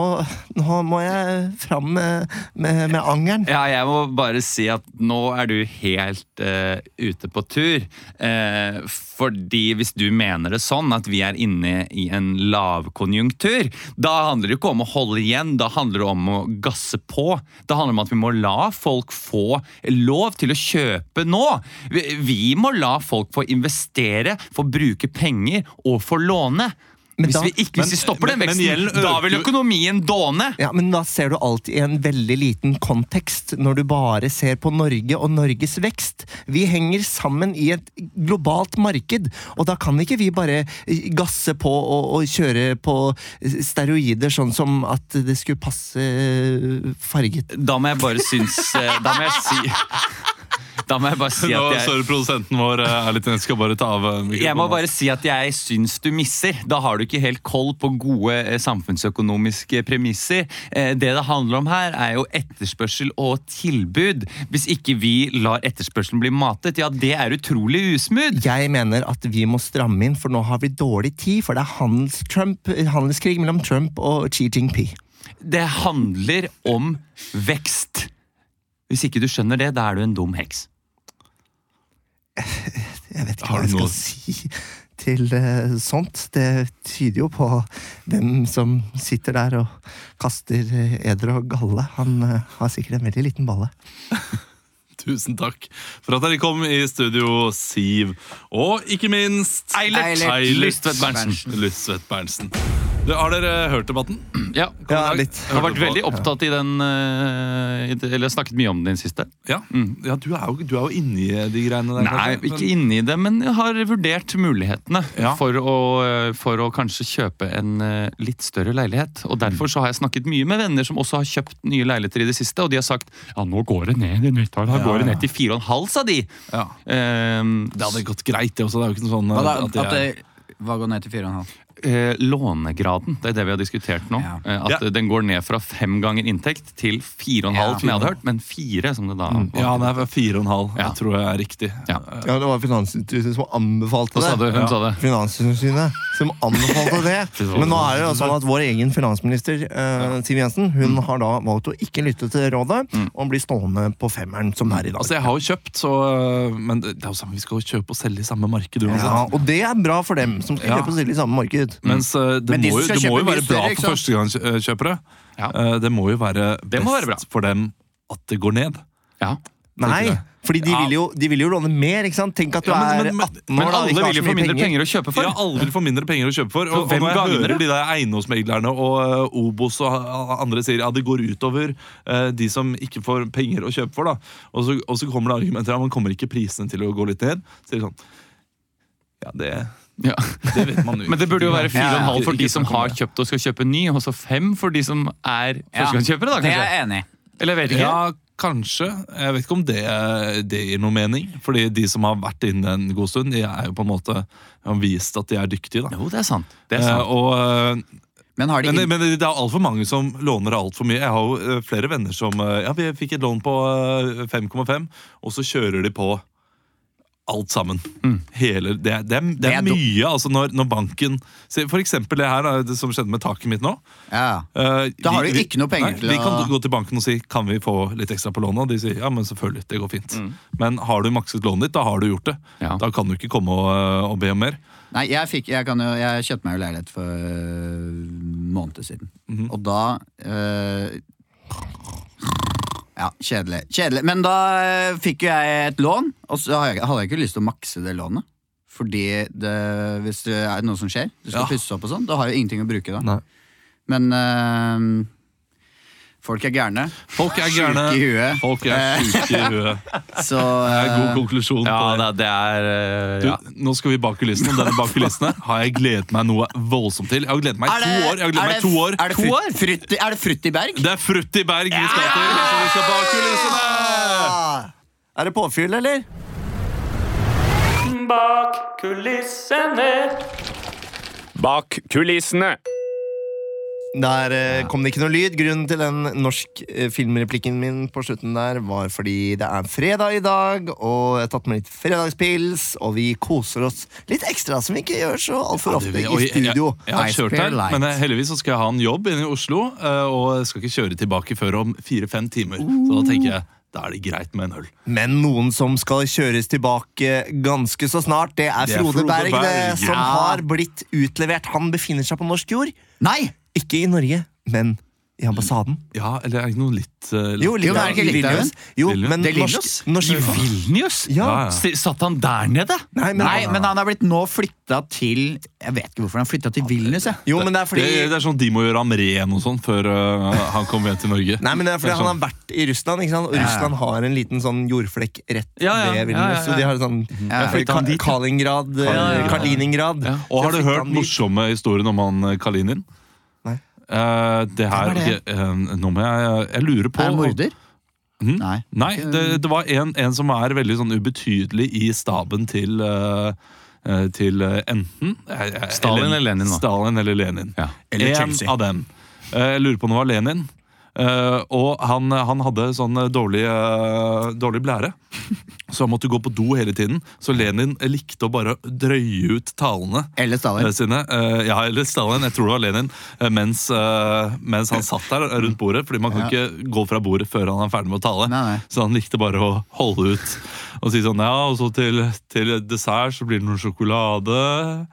[SPEAKER 2] nå må jeg fram med, med, med angeren.
[SPEAKER 4] Ja, jeg må bare si at nå er du helt eh, ute på tur. Eh, fordi hvis du mener det sånn at vi er inne i en lavkonjunktur, da handler det jo ikke om å holde igjen, da handler det om å gasse på. Da handler det om at vi må la folk få lov til å kjøpe nå. Vi, vi må la folk få investere, få bruke penger og få låne.
[SPEAKER 2] Men
[SPEAKER 4] hvis,
[SPEAKER 2] da-
[SPEAKER 4] vi ikke,
[SPEAKER 1] Men-
[SPEAKER 4] hvis vi stopper den
[SPEAKER 1] men- men
[SPEAKER 4] veksten,
[SPEAKER 1] gjelden
[SPEAKER 4] da
[SPEAKER 1] øker
[SPEAKER 4] vil
[SPEAKER 1] jo-
[SPEAKER 4] økonomien dåne.
[SPEAKER 2] Ja, Men da ser du alt i en veldig liten kontekst, når du bare ser på Norge og Norges vekst. Vi henger sammen i et globalt marked, og da kan ikke vi bare eh, gasse på og, og kjøre på steroider, sånn som at det skulle passe eh, farget
[SPEAKER 4] Da må jeg bare synes eh, Da må jeg si *laughs* Da må jeg bare si
[SPEAKER 1] Nå
[SPEAKER 4] at jeg
[SPEAKER 1] står produsenten vår eh, er litt Jeg skal bare ta av eh, mikrofonen.
[SPEAKER 4] jeg må bare si at jeg syns du misser. Da har du ikke helt koll på gode eh, samfunnsøkonomiske premisser. Eh, Det det handler om her, er jo etterspørsel og tilbud. Hvis ikke vi lar etterspørselen bli matet, ja, det er utrolig usmooth.
[SPEAKER 2] Jeg mener at vi må stramme inn, for nå har vi dårlig tid, for det er handelstrump- eh, handelskrig mellom Trump og Xi Jinping.
[SPEAKER 4] Det handler om vekst. Hvis ikke du skjønner det, da er du en dum heks.
[SPEAKER 2] Jeg vet ikke
[SPEAKER 1] Har
[SPEAKER 2] hva
[SPEAKER 1] du
[SPEAKER 2] jeg skal
[SPEAKER 1] noe-
[SPEAKER 2] si til eh, sånt. Det tyder jo på hvem som sitter der og kaster eh, eder og galle. Han eh, har sikkert en veldig liten balle.
[SPEAKER 1] Tusen takk for at dere kom i studio, Siv. Og ikke minst
[SPEAKER 3] Eilert.
[SPEAKER 1] Lystvedt Berntsen. Lystvedt Berntsen. Du, har dere hørt debatten?
[SPEAKER 4] Ja,
[SPEAKER 2] Ja,
[SPEAKER 1] Dag.
[SPEAKER 2] litt.
[SPEAKER 4] Jeg har vært veldig opptatt i den eh, i det- Eller snakket mye om den siste.
[SPEAKER 1] Ja, Mm. ja du, er jo, du er jo inni de greiene der.
[SPEAKER 4] Nei,
[SPEAKER 1] kanskje, men-
[SPEAKER 4] ikke inni det, men jeg har vurdert mulighetene
[SPEAKER 1] Ja.
[SPEAKER 4] for, å, eh, for å kanskje kjøpe en eh, litt større leilighet. Og
[SPEAKER 1] Mm.
[SPEAKER 4] Derfor så har jeg snakket mye med venner som også har kjøpt nye leiligheter i det siste, og de har sagt ja, nå går det ned i nyttår. Da går det ned til fire og en halv, sa de.
[SPEAKER 1] Ja.
[SPEAKER 4] Ehm,
[SPEAKER 1] Det hadde gått greit, det også. Det er jo ikke noe sånn
[SPEAKER 3] Hva, da,
[SPEAKER 1] eh, at
[SPEAKER 3] at
[SPEAKER 1] jeg-
[SPEAKER 3] det, hva går ned til 4,5?
[SPEAKER 4] eh, lånegraden, det er det vi har diskutert nå.
[SPEAKER 3] Ja.
[SPEAKER 4] eh, At
[SPEAKER 1] Ja.
[SPEAKER 4] den går ned fra fem ganger inntekt til fire og en halv,
[SPEAKER 3] Ja.
[SPEAKER 4] som jeg hadde hørt. Men fire, som det da var.
[SPEAKER 1] Mm. Ja, det er fire og en halv.
[SPEAKER 4] Ja.
[SPEAKER 1] Jeg tror jeg er riktig.
[SPEAKER 4] Ja.
[SPEAKER 2] Ja, det var Finanstilsynet som anbefalte
[SPEAKER 4] Hva sa du?
[SPEAKER 2] det.
[SPEAKER 4] Hun sa det.
[SPEAKER 2] Finanstilsynet som anbefalte
[SPEAKER 4] *laughs*
[SPEAKER 2] det. Men nå er det jo sånn at vår egen finansminister eh, Siv Jensen Hun
[SPEAKER 4] Mm.
[SPEAKER 2] har da valgt å ikke lytte til rådet og blir stående på femmeren som er i dag.
[SPEAKER 1] Altså, jeg har jo kjøpt, så, men det det er jo samme, vi skal jo kjøpe og selge i samme marked uansett.
[SPEAKER 2] Ja, Mm. og det er bra for dem som skal
[SPEAKER 1] Ja.
[SPEAKER 2] kjøpe og selge i samme marked.
[SPEAKER 1] Mens eh, det,
[SPEAKER 3] Men de
[SPEAKER 1] må jo,
[SPEAKER 3] som skal
[SPEAKER 1] det må jo
[SPEAKER 3] kjøpe
[SPEAKER 1] være
[SPEAKER 3] mye
[SPEAKER 1] bra
[SPEAKER 3] større, ikke
[SPEAKER 1] for
[SPEAKER 3] sant?
[SPEAKER 1] førstegangskjøpere.
[SPEAKER 4] Ja.
[SPEAKER 1] Eh, Det må jo være
[SPEAKER 4] Det
[SPEAKER 1] best
[SPEAKER 4] må være bra.
[SPEAKER 1] for dem at det går ned.
[SPEAKER 4] Ja.
[SPEAKER 2] Nei,
[SPEAKER 1] det.
[SPEAKER 2] fordi de vil, jo, de vil jo låne mer, ikke sant? Tenk at du
[SPEAKER 1] Ja, men-
[SPEAKER 2] er
[SPEAKER 1] men- men-
[SPEAKER 2] 18 år
[SPEAKER 4] Men
[SPEAKER 2] da, og
[SPEAKER 4] alle
[SPEAKER 2] ikke har
[SPEAKER 4] vil jo
[SPEAKER 2] så
[SPEAKER 4] få
[SPEAKER 2] mye
[SPEAKER 4] mindre penger å kjøpe for.
[SPEAKER 1] Jeg har aldri får mindre penger å kjøpe for. Og,
[SPEAKER 4] hvem
[SPEAKER 1] og når jeg
[SPEAKER 4] gagner
[SPEAKER 1] hører
[SPEAKER 4] det?
[SPEAKER 1] de der eiendomsmeglerne og eh, Obos og a- andre sier ja, det går utover eh, de som ikke får penger å kjøpe for, da. Og så, og så kommer det argumenter ja, man kommer ikke prisene til å gå litt ned. Så er det sånn Ja, det,
[SPEAKER 4] Ja.
[SPEAKER 1] det vet man jo.
[SPEAKER 4] *laughs* Men det burde jo være fire og en halv for
[SPEAKER 1] Ikke
[SPEAKER 4] de som
[SPEAKER 1] snakk om
[SPEAKER 4] har
[SPEAKER 1] det.
[SPEAKER 4] kjøpt og skal kjøpe ny, og så fem for de som er
[SPEAKER 3] Ja,
[SPEAKER 4] førstegangskjøpere, da,
[SPEAKER 3] Det er
[SPEAKER 4] kanskje?
[SPEAKER 3] jeg enig i.
[SPEAKER 4] Eller jeg vet ikke.
[SPEAKER 1] Ja, kanskje. Jeg vet ikke om det, det gir noe mening. Fordi de som har vært inne en god stund, de er jo på en måte har vist at de er dyktige. da.
[SPEAKER 4] Jo, det er sant. Det er
[SPEAKER 1] Eh,
[SPEAKER 4] sant.
[SPEAKER 1] og, eh,
[SPEAKER 3] Men har de
[SPEAKER 1] men,
[SPEAKER 3] inn-
[SPEAKER 1] men det er altfor mange som låner altfor mye. Jeg har jo eh, flere venner som eh, Ja, vi fikk et lån på eh, 5,5, og så kjører de på alt sammen. Hele, det, er- det, er- det
[SPEAKER 3] Mm. Det er
[SPEAKER 1] er
[SPEAKER 3] do-
[SPEAKER 1] mye, altså, når, når banken se, For eksempel det her da, det som skjedde med taket mitt nå.
[SPEAKER 3] ja.
[SPEAKER 1] Eh,
[SPEAKER 3] Da har
[SPEAKER 1] vi-
[SPEAKER 3] du
[SPEAKER 1] vi-
[SPEAKER 3] ikke noe penger
[SPEAKER 1] nei,
[SPEAKER 3] til
[SPEAKER 1] Vi
[SPEAKER 3] å-
[SPEAKER 1] kan gå til banken og si Kan vi få litt ekstra på lånet. Og de sier ja, men selvfølgelig, det går fint.
[SPEAKER 3] Mm.
[SPEAKER 1] Men har du makset lånet ditt, da har du gjort det.
[SPEAKER 4] Ja.
[SPEAKER 1] Da kan du ikke komme og, og be om mer.
[SPEAKER 3] Nei, jeg, fikk, jeg, kan jo, jeg kjøpte meg jo leilighet for en måned siden.
[SPEAKER 1] Mhm.
[SPEAKER 3] Og da øh, Ja, kjedelig. kjedelig. Men da øh, fikk jo jeg et lån, og så har jeg- hadde jeg ikke lyst til å makse det lånet. Fordi det, hvis det er noe som skjer, du skal
[SPEAKER 1] Ja.
[SPEAKER 3] pusse opp og sånn, da har jeg jo ingenting å bruke da.
[SPEAKER 1] Nei.
[SPEAKER 3] Men øh, folk er gærne,
[SPEAKER 1] Folk er
[SPEAKER 3] Syke
[SPEAKER 1] gærne.
[SPEAKER 3] i huet.
[SPEAKER 1] Folk er syke i
[SPEAKER 3] *laughs*
[SPEAKER 1] huet.
[SPEAKER 3] så
[SPEAKER 1] Det er en
[SPEAKER 3] øh,
[SPEAKER 1] god konklusjon.
[SPEAKER 4] Ja,
[SPEAKER 1] på det.
[SPEAKER 4] da, det er eh,
[SPEAKER 1] Du,
[SPEAKER 4] ja.
[SPEAKER 1] Nå skal vi bak kulissene. og Denne bak kulissene har jeg gledet meg noe voldsomt til. Jeg har gledet meg i
[SPEAKER 3] eh, er det-
[SPEAKER 1] to år. Jeg har
[SPEAKER 3] er
[SPEAKER 1] gledet meg
[SPEAKER 3] det-
[SPEAKER 1] i to år.
[SPEAKER 3] Er det,
[SPEAKER 1] To
[SPEAKER 3] frutt, frutt, i- er det frutt i berg?
[SPEAKER 1] Det er Frutti Berg vi skal til. Så vi skal bak kulissene!
[SPEAKER 2] Ah, Er det påfyll, eller?
[SPEAKER 5] Bak kulissene.
[SPEAKER 8] Bak kulissene.
[SPEAKER 2] Der eh, kom det ikke noe lyd. Grunnen til den norsk eh, filmreplikken min på slutten der var fordi det er fredag i dag, og jeg har tatt med litt fredagspils, og vi koser oss litt ekstra, som vi ikke gjør så altfor ofte
[SPEAKER 1] Og
[SPEAKER 2] i
[SPEAKER 1] jeg-
[SPEAKER 2] studio.
[SPEAKER 1] Jeg, jeg har
[SPEAKER 3] Ice
[SPEAKER 1] kjørt
[SPEAKER 3] Bear
[SPEAKER 1] her,
[SPEAKER 3] Light.
[SPEAKER 1] men eh, heldigvis så skal jeg ha en jobb inne i Oslo, eh, og jeg skal ikke kjøre tilbake før om fire-fem timer. Så da tenker jeg, da er det greit med en øl.
[SPEAKER 2] Men noen som skal kjøres tilbake ganske så snart, det er
[SPEAKER 1] Det er
[SPEAKER 2] Frode
[SPEAKER 1] Frode
[SPEAKER 2] Berg, det,
[SPEAKER 1] Berg,
[SPEAKER 2] som
[SPEAKER 1] ja.
[SPEAKER 2] har blitt utlevert. Han befinner seg på norsk jord.
[SPEAKER 3] Nei!
[SPEAKER 2] Ikke i Norge, men i ambassaden.
[SPEAKER 1] Ja, eller er det ikke noe litt eh,
[SPEAKER 2] Jo,
[SPEAKER 3] men er det ikke
[SPEAKER 2] i
[SPEAKER 3] Litauen?
[SPEAKER 2] Vilnius. Jo,
[SPEAKER 1] Vilnius?
[SPEAKER 2] men
[SPEAKER 3] Det er
[SPEAKER 2] norsk,
[SPEAKER 3] Vilnius?
[SPEAKER 2] norsk
[SPEAKER 4] Vilnius?
[SPEAKER 2] Ja.
[SPEAKER 1] Ja, ja.
[SPEAKER 4] S- Satt han der nede?
[SPEAKER 2] Nei, men,
[SPEAKER 3] Nei, men han er blitt nå flytta til Jeg vet ikke hvorfor han flytta til Vilnius. Jeg.
[SPEAKER 2] Jo, men det er fordi
[SPEAKER 1] det, det er sånn de må gjøre ham ren og sånn før eh, han kommer hjem til
[SPEAKER 2] *laughs*
[SPEAKER 1] Norge.
[SPEAKER 2] Nei, men det er fordi
[SPEAKER 1] Det er
[SPEAKER 2] han har vært i Russland, ikke sant? og Russland har en liten sånn jordflekk rett
[SPEAKER 4] Ja, ja,
[SPEAKER 2] ved
[SPEAKER 4] ja,
[SPEAKER 2] Vilnius.
[SPEAKER 4] ja,
[SPEAKER 2] Så de har sånn
[SPEAKER 3] Ja,
[SPEAKER 2] Ka- Kaliningrad, eh,
[SPEAKER 4] ja, ja.
[SPEAKER 2] Kaliningrad.
[SPEAKER 1] Og har du
[SPEAKER 2] Så flyttet
[SPEAKER 1] hørt
[SPEAKER 2] han dit.
[SPEAKER 1] morsomme historien om han eh, Kalinin?
[SPEAKER 2] Nei.
[SPEAKER 1] Eh, det her
[SPEAKER 3] Hvem er
[SPEAKER 1] ok, eh, Nå må jeg Jeg lurer på
[SPEAKER 3] Er han morder? Mhm. Nei.
[SPEAKER 1] Nei, det, det var en, en som er veldig sånn ubetydelig i staben til eh, eh, til eh, enten eh, eh,
[SPEAKER 4] Stalin eller Lenin, da?
[SPEAKER 1] Stalin eller Lenin.
[SPEAKER 4] Ja.
[SPEAKER 1] Eller en
[SPEAKER 4] Chelsea.
[SPEAKER 1] av dem. Eh, jeg lurer på om det var Lenin. Eh, og han, han hadde sånn eh, dårlig, eh, dårlig blære, så han måtte gå på do hele tiden. Så Lenin likte å bare drøye ut talene
[SPEAKER 3] Eller Stalin?
[SPEAKER 1] eh, sine. Eh, ja, eller Stalin. Jeg tror det var Lenin. eh, mens, eh, mens han satt der rundt bordet, fordi man kan ikke gå fra bordet før han er ferdig med å tale.
[SPEAKER 3] Nei, nei.
[SPEAKER 1] Så han likte bare å holde ut og si sånn Ja, og så til, til dessert så blir det noe sjokolade.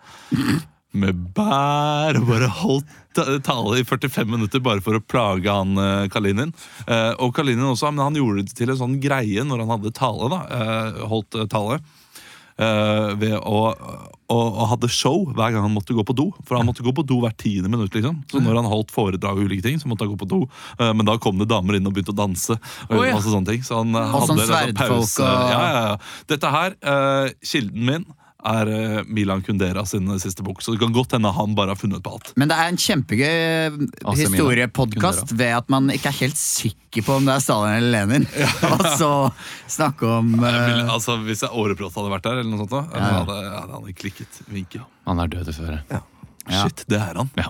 [SPEAKER 1] med bær og bare holdt ta- tale i 45 minutter bare for å plage han eh, Kalinin. Eh, og Kalinin også, men han gjorde det til en sånn greie når han hadde tale, da. eh, holdt eh, tale. eh, ved å, å, å hadde show hver gang han måtte gå på do. For han måtte gå på do hvert tiende minutt. liksom Så når han holdt foredrag, og ulike ting Så måtte han gå på do. Eh, men da kom det damer inn og begynte å danse. Og
[SPEAKER 3] Å, ja.
[SPEAKER 1] masse sånne ting Så han eh,
[SPEAKER 3] Og sånn
[SPEAKER 1] hadde en
[SPEAKER 3] sverdfolk
[SPEAKER 1] pause.
[SPEAKER 3] og-
[SPEAKER 1] Ja, ja, ja. Dette her, eh, kilden min, er eh, Milan Kundera sin siste bok. Så det kan godt hende han bare har funnet på alt.
[SPEAKER 3] Men det er en kjempegøy
[SPEAKER 4] Mina.
[SPEAKER 3] historiepodkast ved at man ikke er helt sikker på om det er Stalin eller Lenin. *laughs* Og så snakke om
[SPEAKER 1] Jeg ville-
[SPEAKER 3] eh,
[SPEAKER 1] altså, hvis jeg åreprott hadde vært der, eller noe sånt, da, hadde, hadde han klikket vinket.
[SPEAKER 4] Han er død dessverre.
[SPEAKER 1] Shit, det er han.
[SPEAKER 4] Ja.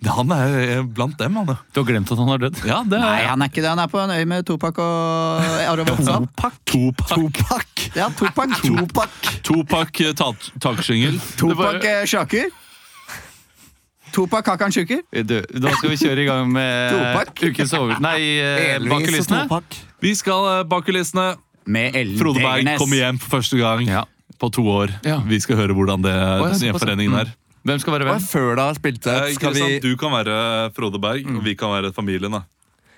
[SPEAKER 1] Det, han er eh, blant dem, han. ja.
[SPEAKER 4] Du har glemt at han er død?
[SPEAKER 1] Ja, det er
[SPEAKER 3] Nei, han er ikke det. Han er på en øy med Topak og Arve Oppsal.
[SPEAKER 1] Topak.
[SPEAKER 3] Altså, Ja, Topak. Topak,
[SPEAKER 1] Topak eh, tak- takskyngel.
[SPEAKER 3] Topak eh, Sjaker. Topak Hakan Sjuker.
[SPEAKER 4] Du, da skal vi kjøre i gang med eh,
[SPEAKER 3] Topak.
[SPEAKER 4] ukens over... Nei, eh, bak kulissene.
[SPEAKER 1] Vi skal eh, bak kulissene.
[SPEAKER 3] Med Ellen
[SPEAKER 1] Frode Berg
[SPEAKER 3] Degernes.
[SPEAKER 1] kommer hjem for første gang
[SPEAKER 4] Ja.
[SPEAKER 1] på to år.
[SPEAKER 4] Ja.
[SPEAKER 1] Vi skal høre hvordan det,
[SPEAKER 4] ja,
[SPEAKER 1] den
[SPEAKER 4] såpass, ja.
[SPEAKER 1] gjenforeningen
[SPEAKER 3] Mm.
[SPEAKER 1] er.
[SPEAKER 4] Hvem skal være
[SPEAKER 2] Og
[SPEAKER 4] hvem?
[SPEAKER 2] før da spilte
[SPEAKER 1] Eh,
[SPEAKER 2] Skal vi
[SPEAKER 1] Kristian, Du kan være Frode Berg,
[SPEAKER 3] Mm.
[SPEAKER 1] og vi kan være familien. da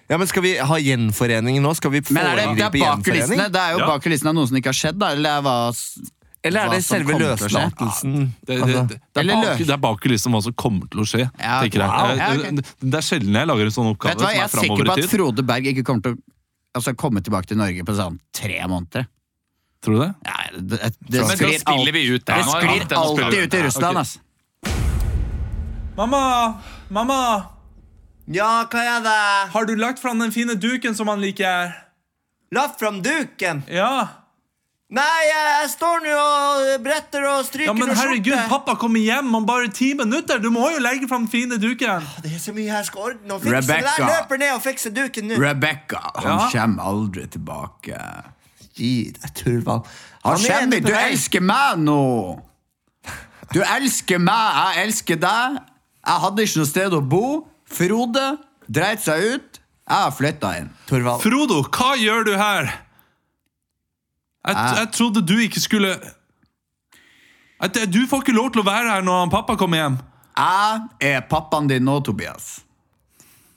[SPEAKER 2] Ja, men skal vi ha gjenforening nå? Skal vi
[SPEAKER 3] Men er det, det er
[SPEAKER 2] foregripe
[SPEAKER 3] bak
[SPEAKER 2] gjenforening?
[SPEAKER 3] kulissene. Det er jo
[SPEAKER 1] Ja.
[SPEAKER 3] bak kulissene av noe som ikke har skjedd, da. Eller det er hva s-
[SPEAKER 2] Eller er
[SPEAKER 3] hva
[SPEAKER 2] det
[SPEAKER 3] som
[SPEAKER 2] selve
[SPEAKER 3] kommer til å skje.
[SPEAKER 2] løslatelsen?
[SPEAKER 1] Det, det,
[SPEAKER 2] Altså,
[SPEAKER 1] det, det,
[SPEAKER 3] Eller
[SPEAKER 1] er bak,
[SPEAKER 3] løk.
[SPEAKER 1] det er bak liksom hva som kommer til å skje.
[SPEAKER 3] Ja,
[SPEAKER 1] tenker jeg.
[SPEAKER 3] wow.
[SPEAKER 1] Eh,
[SPEAKER 3] Ja, ok.
[SPEAKER 1] det, det er sjelden jeg lager en sånn oppgave
[SPEAKER 3] Vet du hva, jeg er
[SPEAKER 1] som er
[SPEAKER 3] sikker
[SPEAKER 1] framover
[SPEAKER 3] på
[SPEAKER 1] i tid.
[SPEAKER 3] at Frode Berg ikke kommer til å altså, komme tilbake til Norge på sånn tre måneder.
[SPEAKER 1] Tror du det?
[SPEAKER 3] Ja, det, det, det
[SPEAKER 4] Men da
[SPEAKER 3] sklir, alt,
[SPEAKER 4] spiller vi ut der.
[SPEAKER 3] det
[SPEAKER 4] Nå har vi
[SPEAKER 3] sklir
[SPEAKER 4] hatt den å spille
[SPEAKER 3] alltid ut i Russland, ass.
[SPEAKER 1] Mamma! Mamma!
[SPEAKER 2] ja, hva er det?
[SPEAKER 1] Har du lagt fram den fine duken som han liker?
[SPEAKER 2] La fram duken!
[SPEAKER 1] Ja.
[SPEAKER 2] Nei, jeg, jeg står nå og bretter og stryker noe skjorte.
[SPEAKER 1] pappa kommer hjem om bare ti minutter! Du må jo legge fram den fine duken!
[SPEAKER 2] Det er så mye jeg skal ordne og fikse.
[SPEAKER 3] Rebecca.
[SPEAKER 2] Men jeg løper ned og fikser duken nå.
[SPEAKER 3] Rebecca, han
[SPEAKER 1] Ja.
[SPEAKER 3] kommer aldri tilbake.
[SPEAKER 2] Gi deg, Turvald.
[SPEAKER 3] Han
[SPEAKER 2] er ennå
[SPEAKER 3] kommer,
[SPEAKER 2] på
[SPEAKER 3] du
[SPEAKER 2] vei.
[SPEAKER 3] elsker meg nå! Du elsker meg, jeg elsker deg. Jeg hadde ikke noe sted å bo. Frode dreit seg ut. Jeg har flytta inn.
[SPEAKER 2] Turvald.
[SPEAKER 1] Frodo, hva gjør du her? Jeg, jeg trodde du ikke skulle at Du får ikke lov til å være her når han pappa kommer hjem.
[SPEAKER 3] Jeg er pappaen din nå, Tobias.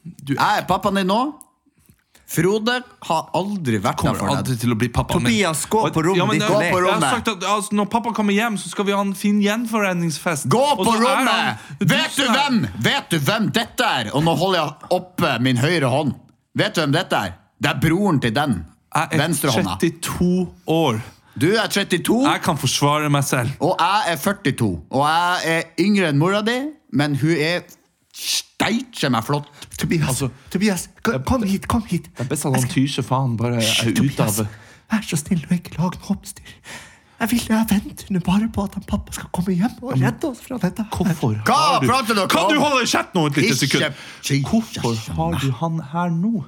[SPEAKER 3] Jeg er pappaen din nå. Frode har aldri vært der
[SPEAKER 1] kommer
[SPEAKER 3] for deg.
[SPEAKER 1] aldri til å bli pappaen min.
[SPEAKER 2] Tobias, gå
[SPEAKER 1] Og-
[SPEAKER 2] på rommet
[SPEAKER 1] ja, men eh,
[SPEAKER 2] ditt
[SPEAKER 1] jeg-
[SPEAKER 2] og
[SPEAKER 3] le.
[SPEAKER 1] Jeg har
[SPEAKER 3] rommet.
[SPEAKER 1] sagt at altså, Når pappa kommer hjem, så skal vi ha en fin gjenforeningsfest.
[SPEAKER 3] Gå
[SPEAKER 1] Og
[SPEAKER 3] på
[SPEAKER 1] så er han-
[SPEAKER 3] rommet! Vet du
[SPEAKER 1] som er-
[SPEAKER 3] hvem Vet du hvem dette er? Og nå holder jeg oppe min høyre hånd. Vet du hvem dette er? Det er broren til den.
[SPEAKER 1] Jeg er
[SPEAKER 3] Venstre hånda.
[SPEAKER 1] 32 år.
[SPEAKER 3] Du er 32,
[SPEAKER 1] Jeg kan forsvare meg selv.
[SPEAKER 3] og jeg er 42. Og jeg er yngre enn mora di, men hun er steikje meg flott.
[SPEAKER 2] Tobias, Altså, Tobias, kom- kom hit, kom hit.
[SPEAKER 1] Det er best at han tyr seg faen bare er ut
[SPEAKER 2] Tobias,
[SPEAKER 1] av
[SPEAKER 2] vær så snill og ikke lag noe oppstyr. Jeg vil jeg venter nå bare på at han pappa skal komme hjem og redde oss fra dette.
[SPEAKER 1] Hvorfor
[SPEAKER 3] Hva
[SPEAKER 1] har du
[SPEAKER 3] prater dere
[SPEAKER 1] Kan du
[SPEAKER 3] om?
[SPEAKER 1] holde kjeft nå et lite
[SPEAKER 3] Ikke-
[SPEAKER 1] sekund?
[SPEAKER 3] Jesus.
[SPEAKER 1] Hvorfor har du han her nå?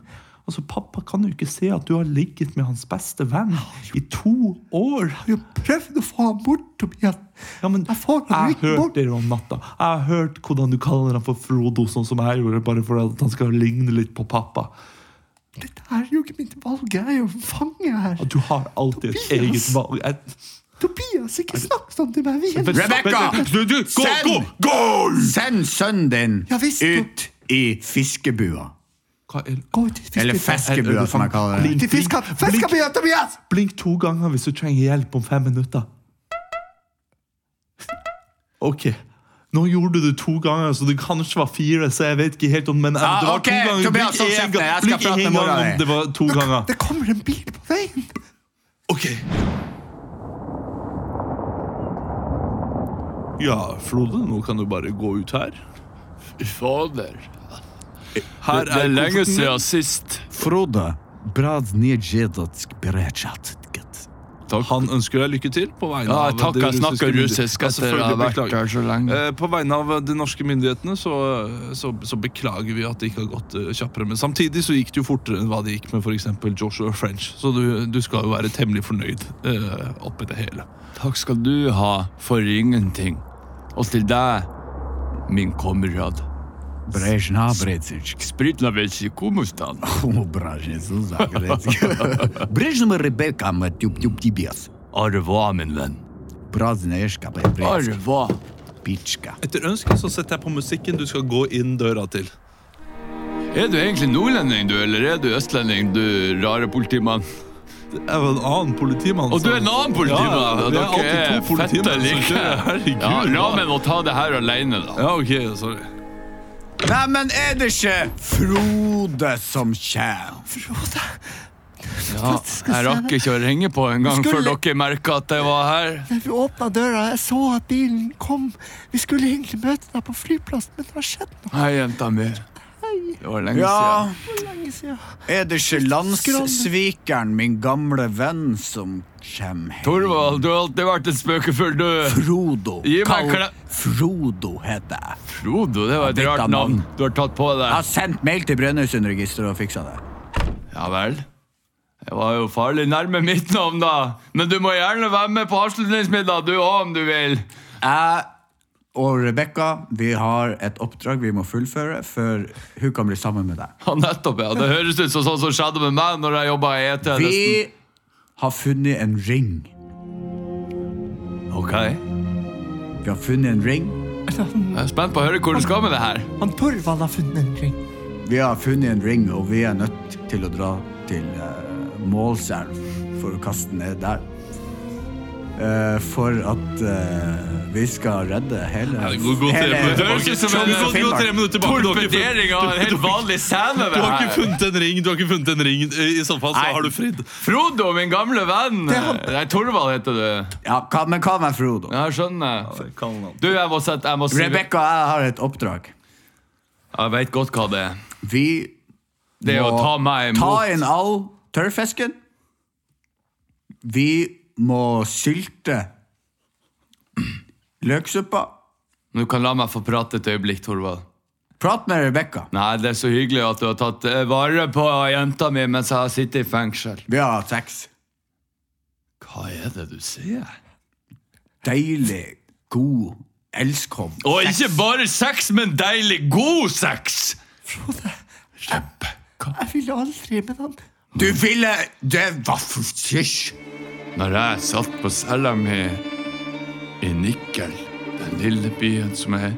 [SPEAKER 1] Altså, Pappa kan jo ikke se at du har ligget med hans beste venn i to år.
[SPEAKER 2] Jeg har jo prøvd å få ham bort, Tobias.
[SPEAKER 1] Ja, men
[SPEAKER 2] jeg får ham
[SPEAKER 1] jeg
[SPEAKER 2] ikke
[SPEAKER 1] har hørt
[SPEAKER 2] bort.
[SPEAKER 1] dere om natta. Jeg har hørt hvordan du kaller ham for Frodo, sånn som jeg gjorde, bare for at han skal ligne litt på pappa.
[SPEAKER 2] Dette er jo ikke mitt valg. Jeg er jo fange her.
[SPEAKER 1] At du har alltid et eget
[SPEAKER 2] Tobias!
[SPEAKER 1] valg. Jeg,
[SPEAKER 2] Tobias, ikke snakk sånn til meg. Vi er
[SPEAKER 1] Vent,
[SPEAKER 3] Rebecca!
[SPEAKER 1] vent, vent, vent, Gå,
[SPEAKER 3] Send!
[SPEAKER 1] gå, gå!
[SPEAKER 3] Send sønnen din
[SPEAKER 2] Ja, visst.
[SPEAKER 3] ut i fiskebua.
[SPEAKER 1] Hva er-
[SPEAKER 2] Gå ut i fiskebua.
[SPEAKER 3] Eller feskebua, som jeg kaller det.
[SPEAKER 2] Ut i fiska- fiskebua, Tobias!
[SPEAKER 1] Blink to ganger hvis du trenger hjelp om fem minutter. Ok. Nå gjorde du det to ganger, så det kanskje var fire. så jeg vet ikke helt om, men eh,
[SPEAKER 3] Ja,
[SPEAKER 1] det var
[SPEAKER 3] ok,
[SPEAKER 1] to ganger.
[SPEAKER 3] Tobias,
[SPEAKER 1] Blink
[SPEAKER 3] hold
[SPEAKER 1] en gang-
[SPEAKER 3] kjeft, jeg skal
[SPEAKER 1] blink en
[SPEAKER 3] prate med
[SPEAKER 1] gang
[SPEAKER 3] mora
[SPEAKER 1] om
[SPEAKER 3] di.
[SPEAKER 1] det var to ganger.
[SPEAKER 2] Det kommer en bil på veien.
[SPEAKER 1] Ok. Ja, Frode, nå kan du bare gå ut her.
[SPEAKER 4] Fader.
[SPEAKER 1] Her
[SPEAKER 4] Det er lenge
[SPEAKER 1] kofferten
[SPEAKER 4] siden
[SPEAKER 1] din.
[SPEAKER 4] sist.
[SPEAKER 3] Frode, brad nedjedatsk beredskapet.
[SPEAKER 1] Han ønsker deg lykke til på vegne
[SPEAKER 4] Ja,
[SPEAKER 1] av
[SPEAKER 4] takk,
[SPEAKER 1] det
[SPEAKER 4] jeg snakker
[SPEAKER 1] myndighet-
[SPEAKER 4] russisk.
[SPEAKER 1] Ja,
[SPEAKER 4] ass, dere
[SPEAKER 1] selvfølgelig,
[SPEAKER 4] har vært
[SPEAKER 1] beklager.
[SPEAKER 4] der så lenge.
[SPEAKER 1] Eh, På vegne av de norske myndighetene så, så, så beklager vi at det ikke har gått eh, kjappere. Men samtidig så gikk det jo fortere enn hva det gikk med for eksempel Joshua French. Så du, du skal jo være temmelig fornøyd eh, oppi det hele.
[SPEAKER 4] Takk skal du ha for ingenting. Og til deg, min kamerat.
[SPEAKER 3] Brezhna bredzisk.
[SPEAKER 4] Spritna vesi komustan. *laughs*
[SPEAKER 3] Brezhna Rebecca med tjup tjup tibias.
[SPEAKER 4] Arva, min venn.
[SPEAKER 3] Braznerska på hebreisk.
[SPEAKER 4] Arva.
[SPEAKER 6] Bitchka.
[SPEAKER 1] Etter ønske så setter jeg på musikken du skal gå inn døra til.
[SPEAKER 7] Er du egentlig nordlending, du, eller er du østlending, du rare politimann?
[SPEAKER 1] Jeg var en annen politimann.
[SPEAKER 7] Og du er en
[SPEAKER 1] som-
[SPEAKER 7] annen politimann!
[SPEAKER 1] Ja,
[SPEAKER 7] og
[SPEAKER 1] vi er
[SPEAKER 7] dere
[SPEAKER 1] alltid to
[SPEAKER 7] er
[SPEAKER 1] politimenn
[SPEAKER 7] fette
[SPEAKER 1] som
[SPEAKER 7] like.
[SPEAKER 1] kjører. Herregud,
[SPEAKER 7] Ja,
[SPEAKER 1] da.
[SPEAKER 7] Ramen må ta det her alene, da.
[SPEAKER 1] Ja, ok, sorry.
[SPEAKER 6] Neimen, er det ikke Frode som kjem?
[SPEAKER 7] Ja, jeg rakk ikke å ringe på engang før
[SPEAKER 9] Skulle-
[SPEAKER 7] dere merka at jeg var her.
[SPEAKER 9] Da vi åpna døra, jeg så at bilen kom. Vi skulle egentlig møte deg på flyplassen, men det har skjedd noe
[SPEAKER 7] Hei, jenta mi. Det var lenge
[SPEAKER 6] Ja,
[SPEAKER 9] lenge siden.
[SPEAKER 6] er det ikke landssvikeren, min gamle venn, som kjem hjem?
[SPEAKER 7] Torvald, du har alltid vært en spøkefull død.
[SPEAKER 6] Frodo.
[SPEAKER 7] Gi meg
[SPEAKER 6] Kall-
[SPEAKER 7] klem.
[SPEAKER 6] Frodo heter jeg.
[SPEAKER 7] Frodo, det var et
[SPEAKER 6] Ja,
[SPEAKER 7] rart
[SPEAKER 6] dette
[SPEAKER 7] navn
[SPEAKER 6] navn.
[SPEAKER 7] du har tatt på
[SPEAKER 6] Jeg har
[SPEAKER 7] deg.
[SPEAKER 6] sendt mail til Brønnøysundregisteret og fiksa det.
[SPEAKER 7] Ja vel. Jeg var jo farlig nærme mitt navn, da. Men du må gjerne være med på avslutningsmiddag, du òg, om du vil.
[SPEAKER 6] Jeg og Rebekka vi har et oppdrag vi må fullføre før hun kan bli sammen med deg.
[SPEAKER 7] Ja, nettopp, ja. Det høres ut som sånn som skjedde med meg når jeg jobba i E ET. nesten.
[SPEAKER 6] Vi har funnet en ring.
[SPEAKER 7] Ok. Jeg
[SPEAKER 6] Vi har funnet en ring.
[SPEAKER 7] er spent på å høre hvor du skal med det her.
[SPEAKER 9] Han Torvald har funnet en ring.
[SPEAKER 6] Vi har funnet en ring, og vi er nødt til å dra til eh, Målselv for å kaste den ned der. Eh, for at eh, vi skal redde hele
[SPEAKER 1] Ja, det går godt tre
[SPEAKER 6] hele-
[SPEAKER 1] minutter
[SPEAKER 7] Det høres
[SPEAKER 1] tilbake.
[SPEAKER 7] ut som en-
[SPEAKER 1] Det går godt tre minutter tilbake. Du har ikke funnet-
[SPEAKER 7] Torpedering av en helt vanlig scene.
[SPEAKER 1] Du har ikke funnet en ring, du har ikke funnet en ring. I så fall så
[SPEAKER 7] Nei.
[SPEAKER 1] har du fridd.
[SPEAKER 7] Frodo, min gamle venn. Nei, Torvald heter du.
[SPEAKER 6] Ja, ka- men hva med Frodo?
[SPEAKER 7] Ja, jeg skjønner. Du, jeg må sette Jeg, må si-
[SPEAKER 6] Rebekka og jeg har et oppdrag.
[SPEAKER 7] jeg veit godt hva det er.
[SPEAKER 6] Vi
[SPEAKER 7] Det er å
[SPEAKER 6] må
[SPEAKER 7] ta meg
[SPEAKER 6] ta
[SPEAKER 7] imot.
[SPEAKER 6] inn all tørrfisken. Vi må sylte løksuppa.
[SPEAKER 7] Du kan la meg få prate et øyeblikk, Torvald.
[SPEAKER 6] Prat med Rebekka.
[SPEAKER 7] Nei, det er så hyggelig at du har tatt eh, vare på jenta mi mens jeg har sittet i fengsel.
[SPEAKER 6] Vi har hatt sex.
[SPEAKER 7] Hva er det du sier?
[SPEAKER 6] Deilig, god elskom.
[SPEAKER 7] Og ikke bare sex, men deilig god sex!
[SPEAKER 9] Jeg ville aldri, men han
[SPEAKER 6] Du ville Det var for hysj!
[SPEAKER 7] Når jeg satt på cella mi i Nikkel, den lille byen som er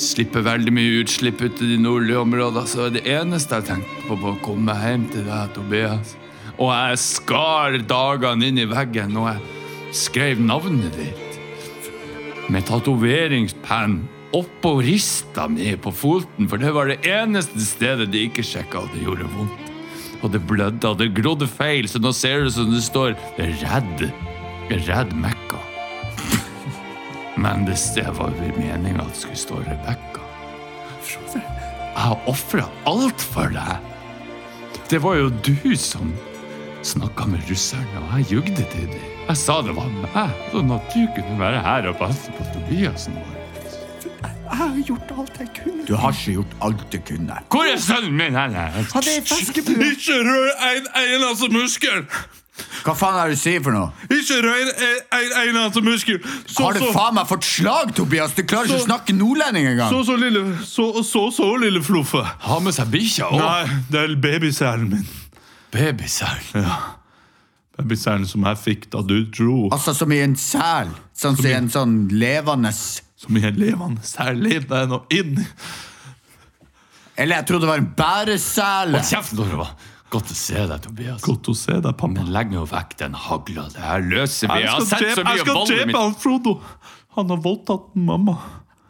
[SPEAKER 7] Slipper veldig mye utslipp ut i de nordlige områdene, så det eneste jeg tenkte på, var å komme hjem til deg, Tobias. Og jeg skar dagene inn i veggen, og jeg skrev navnet ditt med tatoveringspenn oppå rista mi på foten, for det var det eneste stedet de ikke sjekka, og det gjorde vondt og det blødde, og det glodde feil, så nå ser det ut som det står Redd. Redd Mekka. *laughs* Men det stedet var jo meninga at det skulle stå Rebekka. Jeg har ofra alt for deg. Det var jo du som snakka med russerne, og jeg jugde til dem. Jeg sa det var meg, sånn at du kunne være her og passe på Tobiasen vår.
[SPEAKER 9] Jeg har gjort alt jeg kunne.
[SPEAKER 6] Du har ikke gjort alt du kunne.
[SPEAKER 7] Hvor er sønnen min? hen? Jeg
[SPEAKER 9] Han er i feskebua.
[SPEAKER 1] Ikke rør en eneste muskel!
[SPEAKER 6] Hva faen er det du sier for noe?
[SPEAKER 1] Ikke rør en, en eneste muskel! Så,
[SPEAKER 6] Har du
[SPEAKER 1] så-
[SPEAKER 6] faen meg fått slag, Tobias? Du klarer ikke å
[SPEAKER 1] Så-
[SPEAKER 6] snakke nordlending engang!
[SPEAKER 1] Så så lille, så så, så lille fluffe.
[SPEAKER 7] har med seg bikkja og
[SPEAKER 1] Nei, det er babyselen min.
[SPEAKER 7] babyselen.
[SPEAKER 1] Babyselen som jeg fikk da du dro.
[SPEAKER 6] Altså som i en sel. Sånn som i en sånn levende
[SPEAKER 1] Som i en levende sel. Lev deg nå inn.
[SPEAKER 6] Eller jeg trodde det var en bæresele.
[SPEAKER 7] Kjeft, Norva. Godt å se deg, Tobias.
[SPEAKER 1] Godt å se deg, pappa.
[SPEAKER 7] Men legg nå vekk den hagla. Det her løser vi. Jeg har
[SPEAKER 1] Jeg skal
[SPEAKER 7] sett så
[SPEAKER 1] drepe jeg
[SPEAKER 7] mye
[SPEAKER 1] skal
[SPEAKER 7] vold i
[SPEAKER 1] drepe
[SPEAKER 7] mitt
[SPEAKER 1] han Frodo. Han har voldtatt mamma.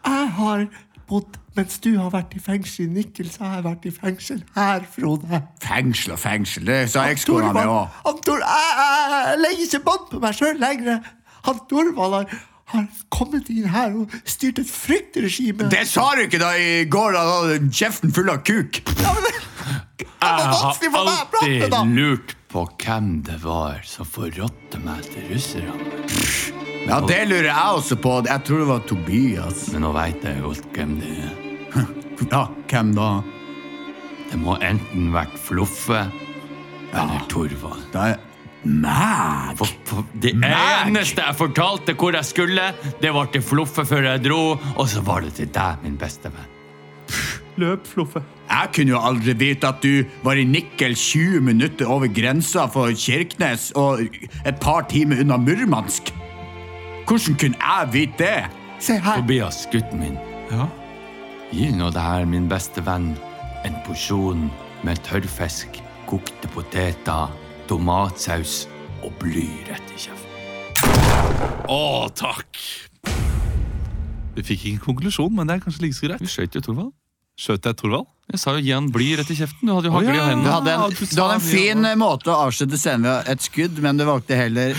[SPEAKER 9] Jeg har bodd Mens du har vært i fengsel i Nikkel, så har jeg vært i fengsel her, Frode.
[SPEAKER 6] Fengsel og fengsel, det sa ekskona mi
[SPEAKER 9] Torvald
[SPEAKER 6] òg.
[SPEAKER 9] Han Tor... Jeg, jeg, jeg legger ikke bånd på meg sjøl lenger. Han Torvald har, har kommet inn her og styrt et fryktregime.
[SPEAKER 6] Det sa du ikke da i går, da du hadde kjeften full av kuk.
[SPEAKER 9] Ja, men, det var vanskelig
[SPEAKER 7] Jeg
[SPEAKER 9] for
[SPEAKER 7] har
[SPEAKER 9] meg å prate,
[SPEAKER 7] alltid
[SPEAKER 9] da!
[SPEAKER 7] lurt på hvem det var som forrådte meg til russerne.
[SPEAKER 6] Ja, det lurer jeg også på. Jeg tror det var Tobias.
[SPEAKER 7] Men nå veit jeg jo hvem det er.
[SPEAKER 6] Ja, hvem da?
[SPEAKER 7] Det må enten vært Fluffe eller Torvald.
[SPEAKER 6] Det er meg.
[SPEAKER 7] For Det
[SPEAKER 6] Meg?
[SPEAKER 7] eneste jeg fortalte hvor jeg skulle, det var til Fluffe før jeg dro, og så var det til deg, min beste venn.
[SPEAKER 1] Løp, Fluffe.
[SPEAKER 6] Jeg kunne jo aldri vite at du var i Nikkel 20 minutter over grensa for Kirkenes og et par timer unna Murmansk. Hvordan kunne jeg vite det?
[SPEAKER 2] Se her.
[SPEAKER 4] Tobias, gutten min,
[SPEAKER 1] Ja.
[SPEAKER 4] gi nå det her, min beste venn, en porsjon med tørrfisk, kokte poteter, tomatsaus og bly rett i kjeften.
[SPEAKER 1] Å, takk! Vi fikk ikke en konklusjon, men det er kanskje like så
[SPEAKER 4] Du
[SPEAKER 1] greit.
[SPEAKER 4] skjøt jo Torvald.
[SPEAKER 1] Skjøt jeg Torvald?
[SPEAKER 4] Jeg sa jo gi han bly rett i kjeften. Du hadde jo
[SPEAKER 1] Å,
[SPEAKER 4] hagl i
[SPEAKER 1] ja.
[SPEAKER 3] Du
[SPEAKER 4] hendene.
[SPEAKER 3] hadde en,
[SPEAKER 1] du sa
[SPEAKER 3] Ah, du hadde en
[SPEAKER 1] det,
[SPEAKER 3] fin måte å avslutte scenen ved et skudd, men du valgte heller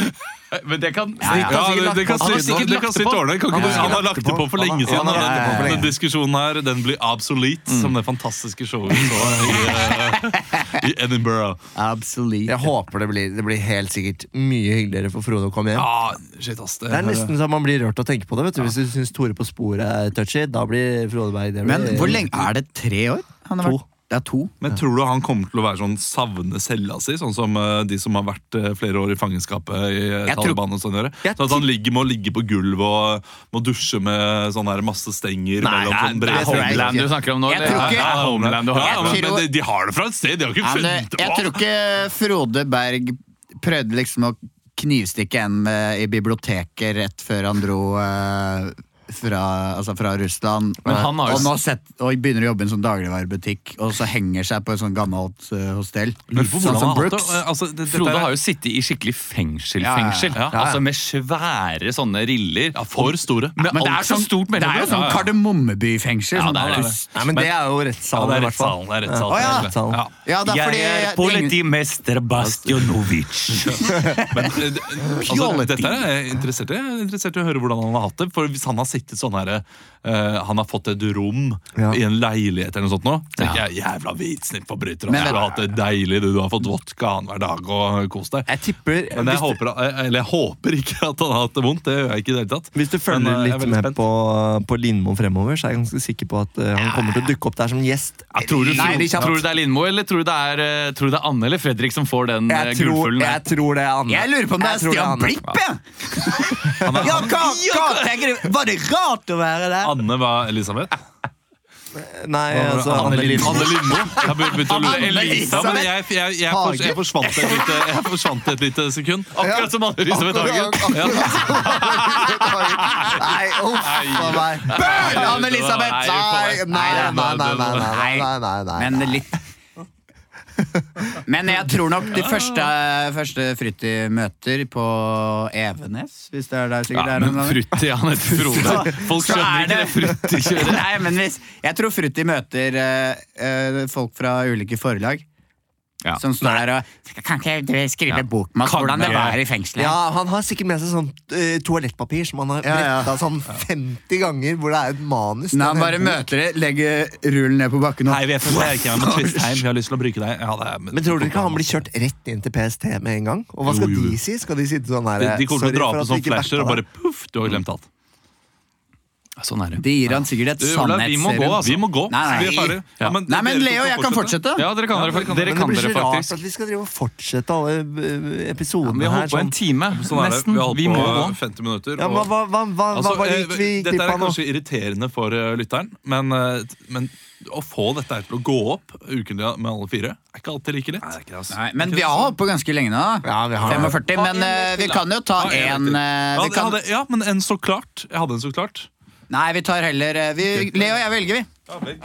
[SPEAKER 4] Men det kan
[SPEAKER 3] ja.
[SPEAKER 1] Ja, det, det kan
[SPEAKER 4] Han har
[SPEAKER 1] sitte
[SPEAKER 4] sikkert
[SPEAKER 1] det
[SPEAKER 4] lagt
[SPEAKER 1] kan
[SPEAKER 4] det
[SPEAKER 1] sitte
[SPEAKER 4] på.
[SPEAKER 1] ordentlig. Kan ikke
[SPEAKER 3] Ja,
[SPEAKER 1] du-
[SPEAKER 3] ja,
[SPEAKER 1] Han har
[SPEAKER 3] ja.
[SPEAKER 1] lagt det på for lenge siden.
[SPEAKER 3] Han har
[SPEAKER 1] og
[SPEAKER 3] lagt det på for
[SPEAKER 1] Den
[SPEAKER 3] lenge.
[SPEAKER 1] den
[SPEAKER 3] Mm.
[SPEAKER 1] diskusjonen her den blir obsolete, som det fantastiske showet vi så i, eh, i Edinburgh.
[SPEAKER 3] Absolute.
[SPEAKER 2] Jeg håper det blir, det blir helt sikkert mye hyggeligere for Frode å komme hjem.
[SPEAKER 1] Ja, shit, ass. Det,
[SPEAKER 2] Det er nesten så man blir rørt å tenke på det. vet du Hvis du syns Tore på sporet er touchy, da blir Frode Berg det blir,
[SPEAKER 3] Men hvor lenge Er det tre år? Han har
[SPEAKER 2] To.
[SPEAKER 3] vært, det er to.
[SPEAKER 1] Men tror du han kommer til å være sånn savne cella si, sånn som eh, de som har vært eh, flere år i fangenskapet i eh,
[SPEAKER 3] Jeg tror-
[SPEAKER 1] Taliban og sånn gjør?
[SPEAKER 3] Jeg
[SPEAKER 1] Sånn at han ligger, må ligge på gulvet og må dusje med sånn her masse stenger
[SPEAKER 3] Nei,
[SPEAKER 1] mellom sånn
[SPEAKER 3] det
[SPEAKER 1] brede
[SPEAKER 3] tror jeg
[SPEAKER 1] stenger?
[SPEAKER 4] Homeland du snakker om nå?
[SPEAKER 3] Jeg
[SPEAKER 4] eller?
[SPEAKER 3] tror ikke-
[SPEAKER 4] Ja, ja, Homeland du har.
[SPEAKER 1] Ja, men,
[SPEAKER 3] Jeg
[SPEAKER 1] men
[SPEAKER 3] tror-
[SPEAKER 1] de, de har det fra et sted, de har ikke
[SPEAKER 3] Ja, men det-
[SPEAKER 1] funnet det
[SPEAKER 3] jeg
[SPEAKER 1] på!
[SPEAKER 3] tror ikke Frode Berg prøvde liksom å knivstikke en eh, i biblioteket rett før han dro eh, fra, altså fra Russland.
[SPEAKER 4] Men han har jo-
[SPEAKER 3] og, nå sett, og begynner å jobbe i en sånn dagligvarebutikk, og så henger seg på et sånn gammelt eh, hostell.
[SPEAKER 1] Men for hvordan
[SPEAKER 3] Sånn som
[SPEAKER 1] han har hatt
[SPEAKER 3] Brooks.
[SPEAKER 1] det, eh, altså, det- dette
[SPEAKER 4] Frode
[SPEAKER 1] er-
[SPEAKER 4] har jo sittet i skikkelig fengsel,
[SPEAKER 3] Ja, ja, ja.
[SPEAKER 4] fengsel.
[SPEAKER 1] Ja, ja, ja.
[SPEAKER 4] Altså med svære sånne riller.
[SPEAKER 1] ja, For store.
[SPEAKER 4] Med
[SPEAKER 3] Men det
[SPEAKER 4] alt
[SPEAKER 3] er,
[SPEAKER 4] så
[SPEAKER 3] sånn,
[SPEAKER 4] stort
[SPEAKER 3] det er jo
[SPEAKER 4] mellomrom.
[SPEAKER 3] sånn
[SPEAKER 4] Ja, ja.
[SPEAKER 3] kardemommebyfengsel.
[SPEAKER 4] Ja,
[SPEAKER 3] sånn
[SPEAKER 4] det er det.
[SPEAKER 3] hus.
[SPEAKER 2] Nei, men det er jo rettssalen, i hvert fall.
[SPEAKER 1] det er rettssalen.
[SPEAKER 2] Å,
[SPEAKER 1] det
[SPEAKER 2] ja.
[SPEAKER 1] er rettssalen.
[SPEAKER 3] Ja, det er fordi
[SPEAKER 4] politimester Bastionovic.
[SPEAKER 1] Men, eh, det- altså,
[SPEAKER 3] Pjolleting.
[SPEAKER 1] dette er jeg interessert i. Jeg er interessert i å høre hvordan han har hatt det. For Hvis han har sittet sånn her eh, Han har fått et rom
[SPEAKER 2] Ja.
[SPEAKER 1] i en leilighet eller noe sånt nå, tenker jeg jævla hvitsnittforbryter.
[SPEAKER 3] Men-
[SPEAKER 1] Du har hatt det deilig, du. Du har fått vodka annenhver dag og kost deg.
[SPEAKER 2] Jeg tipper
[SPEAKER 1] Men jeg
[SPEAKER 2] hvis,
[SPEAKER 1] håper, eh, eller jeg håper ikke at han har hatt det vondt. Det gjør jeg ikke i det hele tatt.
[SPEAKER 2] hvis du følger
[SPEAKER 1] Men, eh, jeg er
[SPEAKER 2] litt
[SPEAKER 1] veldig
[SPEAKER 2] med
[SPEAKER 1] spent.
[SPEAKER 2] på, på Lindmo fremover, så er jeg ganske sikker på at eh, han kommer til å dukke opp der som gjest.
[SPEAKER 4] Ja, tror, du, tror,
[SPEAKER 3] Nei, det er ikke sant.
[SPEAKER 4] tror du det er Lindmo eller tror du det er, eh, tror du det er Anne eller Fredrik som får den eh,
[SPEAKER 2] Jeg tror,
[SPEAKER 4] gullfuglen?
[SPEAKER 2] jeg tror det er Anne.
[SPEAKER 3] Jeg lurer på om det
[SPEAKER 2] Jeg
[SPEAKER 3] er
[SPEAKER 2] tror
[SPEAKER 3] Stian
[SPEAKER 2] Anne.
[SPEAKER 3] Blipp, *laughs* jeg! Ja, hva, hva tenker du? Var det rart å være der?
[SPEAKER 1] Anne var Elisabeth.
[SPEAKER 2] Nei, altså
[SPEAKER 1] Anne
[SPEAKER 2] Anne
[SPEAKER 1] Lindmo.
[SPEAKER 2] Lindmo.
[SPEAKER 1] Anne Lindmo. Jeg begynte å lure.
[SPEAKER 3] Anne
[SPEAKER 1] Elisa, men
[SPEAKER 3] Elisabeth
[SPEAKER 1] jeg, jeg, jeg, fors- jeg, forsvant et lite, jeg forsvant et lite sekund.
[SPEAKER 4] Akkurat som Anne-Elisabeth Hagen.
[SPEAKER 2] Nei, uff a meg.
[SPEAKER 3] Bø, Anne-Elisabeth!
[SPEAKER 2] Nei, nei, nei, nei, nei, nei, nei, nei, nei, nei.
[SPEAKER 3] Men litt Men jeg tror nok de første, første Frutti møter på Evenes, hvis det er der sikkert
[SPEAKER 4] Ja,
[SPEAKER 3] det er
[SPEAKER 4] men
[SPEAKER 3] noen
[SPEAKER 4] *laughs*
[SPEAKER 3] ganger.
[SPEAKER 4] Frutti, han heter Frode. Folk
[SPEAKER 3] Så
[SPEAKER 4] skjønner
[SPEAKER 3] er
[SPEAKER 4] ikke det Frutti kjører.
[SPEAKER 3] Nei, men hvis, jeg tror Frutti møter eh, eh, folk fra ulike forlag.
[SPEAKER 4] Ja.
[SPEAKER 3] Som står der og Kan ikke du skrive en bok med oss
[SPEAKER 4] Kan
[SPEAKER 3] hvordan det
[SPEAKER 4] ikke.
[SPEAKER 3] var i fengselet?
[SPEAKER 2] Ja, Han har sikkert med seg sånn eh, toalettpapir som han har
[SPEAKER 3] Ja,
[SPEAKER 2] bretta
[SPEAKER 3] ja.
[SPEAKER 2] sånn 50 ganger, hvor det er et manus.
[SPEAKER 3] Nei, han
[SPEAKER 2] Den
[SPEAKER 3] bare
[SPEAKER 2] enden.
[SPEAKER 3] møter det, legger rullen ned på bakken og
[SPEAKER 1] Nei, vi er fra Lerkheim og Tvistheim. Vi har lyst til å bruke deg. Ja, det er,
[SPEAKER 2] Men tror du ikke han blir kjørt rett inn til PST med en gang? Og hva skal
[SPEAKER 1] Jo, jo.
[SPEAKER 2] de si? Skal de sitte sånn her
[SPEAKER 1] De, de kommer til å dra på
[SPEAKER 2] «Sorry for at vi
[SPEAKER 1] sånn
[SPEAKER 2] ikke backa
[SPEAKER 1] flasher og bare
[SPEAKER 2] deg».
[SPEAKER 1] puff, du har glemt alt.
[SPEAKER 4] *laughs* Sånn er det.
[SPEAKER 3] Det gir han sikkert et
[SPEAKER 4] Du, Olav, vi må gå,
[SPEAKER 3] sannhetsserum.
[SPEAKER 4] altså.
[SPEAKER 1] Vi må gå.
[SPEAKER 3] Nei, nei.
[SPEAKER 1] Vi er ferdige.
[SPEAKER 4] Ja.
[SPEAKER 3] Nei, men
[SPEAKER 1] dere
[SPEAKER 3] Leo,
[SPEAKER 1] to
[SPEAKER 3] jeg kan fortsette.
[SPEAKER 4] Ja, dere kan dere, fak- dere,
[SPEAKER 2] Men
[SPEAKER 4] kan
[SPEAKER 2] det blir
[SPEAKER 4] dere
[SPEAKER 2] så rart
[SPEAKER 4] faktisk.
[SPEAKER 2] at vi skal drive og fortsette alle eh, episodene
[SPEAKER 4] Vi har
[SPEAKER 2] her.
[SPEAKER 4] holdt på en
[SPEAKER 2] Sånn.
[SPEAKER 4] time,
[SPEAKER 1] Sånn er det.
[SPEAKER 4] nesten.
[SPEAKER 1] Vi har
[SPEAKER 4] Vi må gå.
[SPEAKER 1] holdt på 50 minutter.
[SPEAKER 2] Ja, men
[SPEAKER 1] og-
[SPEAKER 2] hva, hva, hva, hva
[SPEAKER 1] Altså,
[SPEAKER 2] var det
[SPEAKER 1] eh,
[SPEAKER 2] gikk vi
[SPEAKER 1] dette
[SPEAKER 2] glipp
[SPEAKER 1] er
[SPEAKER 2] av nå?
[SPEAKER 1] kanskje irriterende for eh, lytteren, men, eh, t- men å få dette her til å gå opp ukentlig med alle fire, er ikke alltid like lett.
[SPEAKER 3] Nei, men vi har holdt på ganske lenge nå. da.
[SPEAKER 2] Ja, vi har det.
[SPEAKER 3] 45,
[SPEAKER 1] Ta en
[SPEAKER 3] men eh,
[SPEAKER 1] til,
[SPEAKER 3] vi
[SPEAKER 1] da.
[SPEAKER 3] kan jo ta
[SPEAKER 1] Ta en
[SPEAKER 3] en
[SPEAKER 1] til.
[SPEAKER 3] eh,
[SPEAKER 1] Ja,
[SPEAKER 3] vi
[SPEAKER 1] det
[SPEAKER 3] kan,
[SPEAKER 1] hadde, ja, men en så klart. Jeg hadde en så klart.
[SPEAKER 3] Nei, vi tar heller eh, vi, Leo og jeg velger, vi.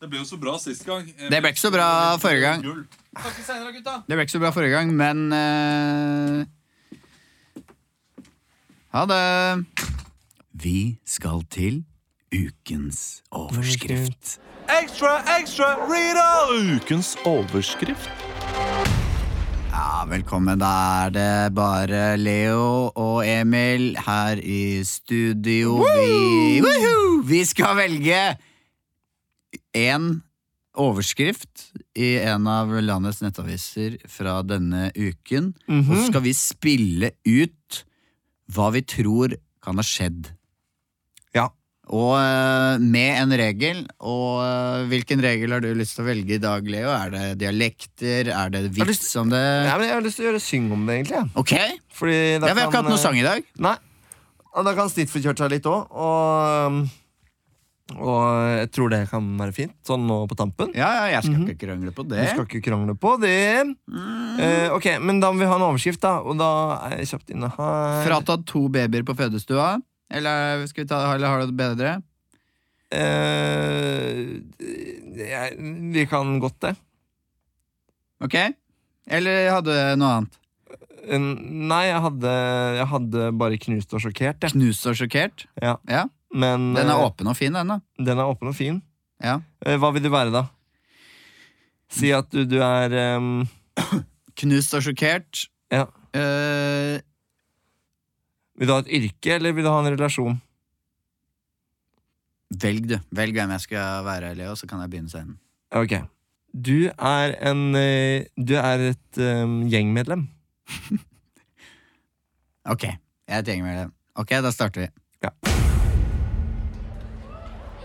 [SPEAKER 1] Det ble jo så bra sist gang.
[SPEAKER 3] Det ble ikke så bra forrige gang. Det ble ikke så bra forrige gang, men eh, Ha det! Vi skal til ukens overskrift.
[SPEAKER 1] Ekstra, ekstra, Rita! Ukens overskrift.
[SPEAKER 3] Ja, velkommen. Da er det bare Leo og Emil her i studio. Vi, Woohoo! vi skal velge en overskrift i en av landets nettaviser fra denne uken. Og
[SPEAKER 2] Mhm.
[SPEAKER 3] så skal vi spille ut hva vi tror kan ha skjedd.
[SPEAKER 2] Ja.
[SPEAKER 3] Og eh, med en regel. Og eh, hvilken regel har du lyst til å velge i dag, Leo? Er det dialekter? Er det
[SPEAKER 2] har
[SPEAKER 3] vits om det?
[SPEAKER 2] Nei, men jeg har lyst til å gjøre syng om det, egentlig. jeg.
[SPEAKER 3] Ok, Eh. ja,
[SPEAKER 2] Fordi da
[SPEAKER 3] vi har ikke
[SPEAKER 2] kan,
[SPEAKER 3] hatt noe
[SPEAKER 2] eh,
[SPEAKER 3] sang i dag.
[SPEAKER 2] Nei. Og da kan Stitt få kjørt seg litt òg, og, um, og jeg tror det kan være fint, sånn nå på tampen.
[SPEAKER 3] Ja, ja, Mm. jeg Mhm. skal ikke krangle på
[SPEAKER 2] Vi
[SPEAKER 3] det.
[SPEAKER 2] skal ikke krangle på det. Eh, ok, Men da må vi ha en overskrift, da. Og da er jeg kjapt inne her.
[SPEAKER 3] Fratatt to babyer på fødestua. Eller, skal vi ta, eller har du det bedre?
[SPEAKER 2] Eh, jeg, vi kan godt det.
[SPEAKER 3] Ok? Eller hadde du noe annet?
[SPEAKER 2] Eh, Nei, jeg hadde, jeg hadde bare knust og sjokkert, jeg.
[SPEAKER 3] Knust og sjokkert?
[SPEAKER 2] Ja.
[SPEAKER 3] Ja.
[SPEAKER 2] Men
[SPEAKER 3] Den er
[SPEAKER 2] eh,
[SPEAKER 3] åpen og fin, den, da.
[SPEAKER 2] den er åpen og fin.
[SPEAKER 3] Ja.
[SPEAKER 2] Eh, Hva vil du være, da? Si at du, du er ehm,
[SPEAKER 3] Knust og sjokkert.
[SPEAKER 2] Ja.
[SPEAKER 3] Eh,
[SPEAKER 2] Vil du ha et yrke, eller vil du ha en relasjon?
[SPEAKER 3] velg, du. Velg hvem jeg skal være, Leo, så kan jeg begynne scenen.
[SPEAKER 2] Ok. Du er en eh, Du er et ehm, gjengmedlem.
[SPEAKER 3] Ok, jeg trenger mer det. Ok, da starter vi.
[SPEAKER 2] Ja.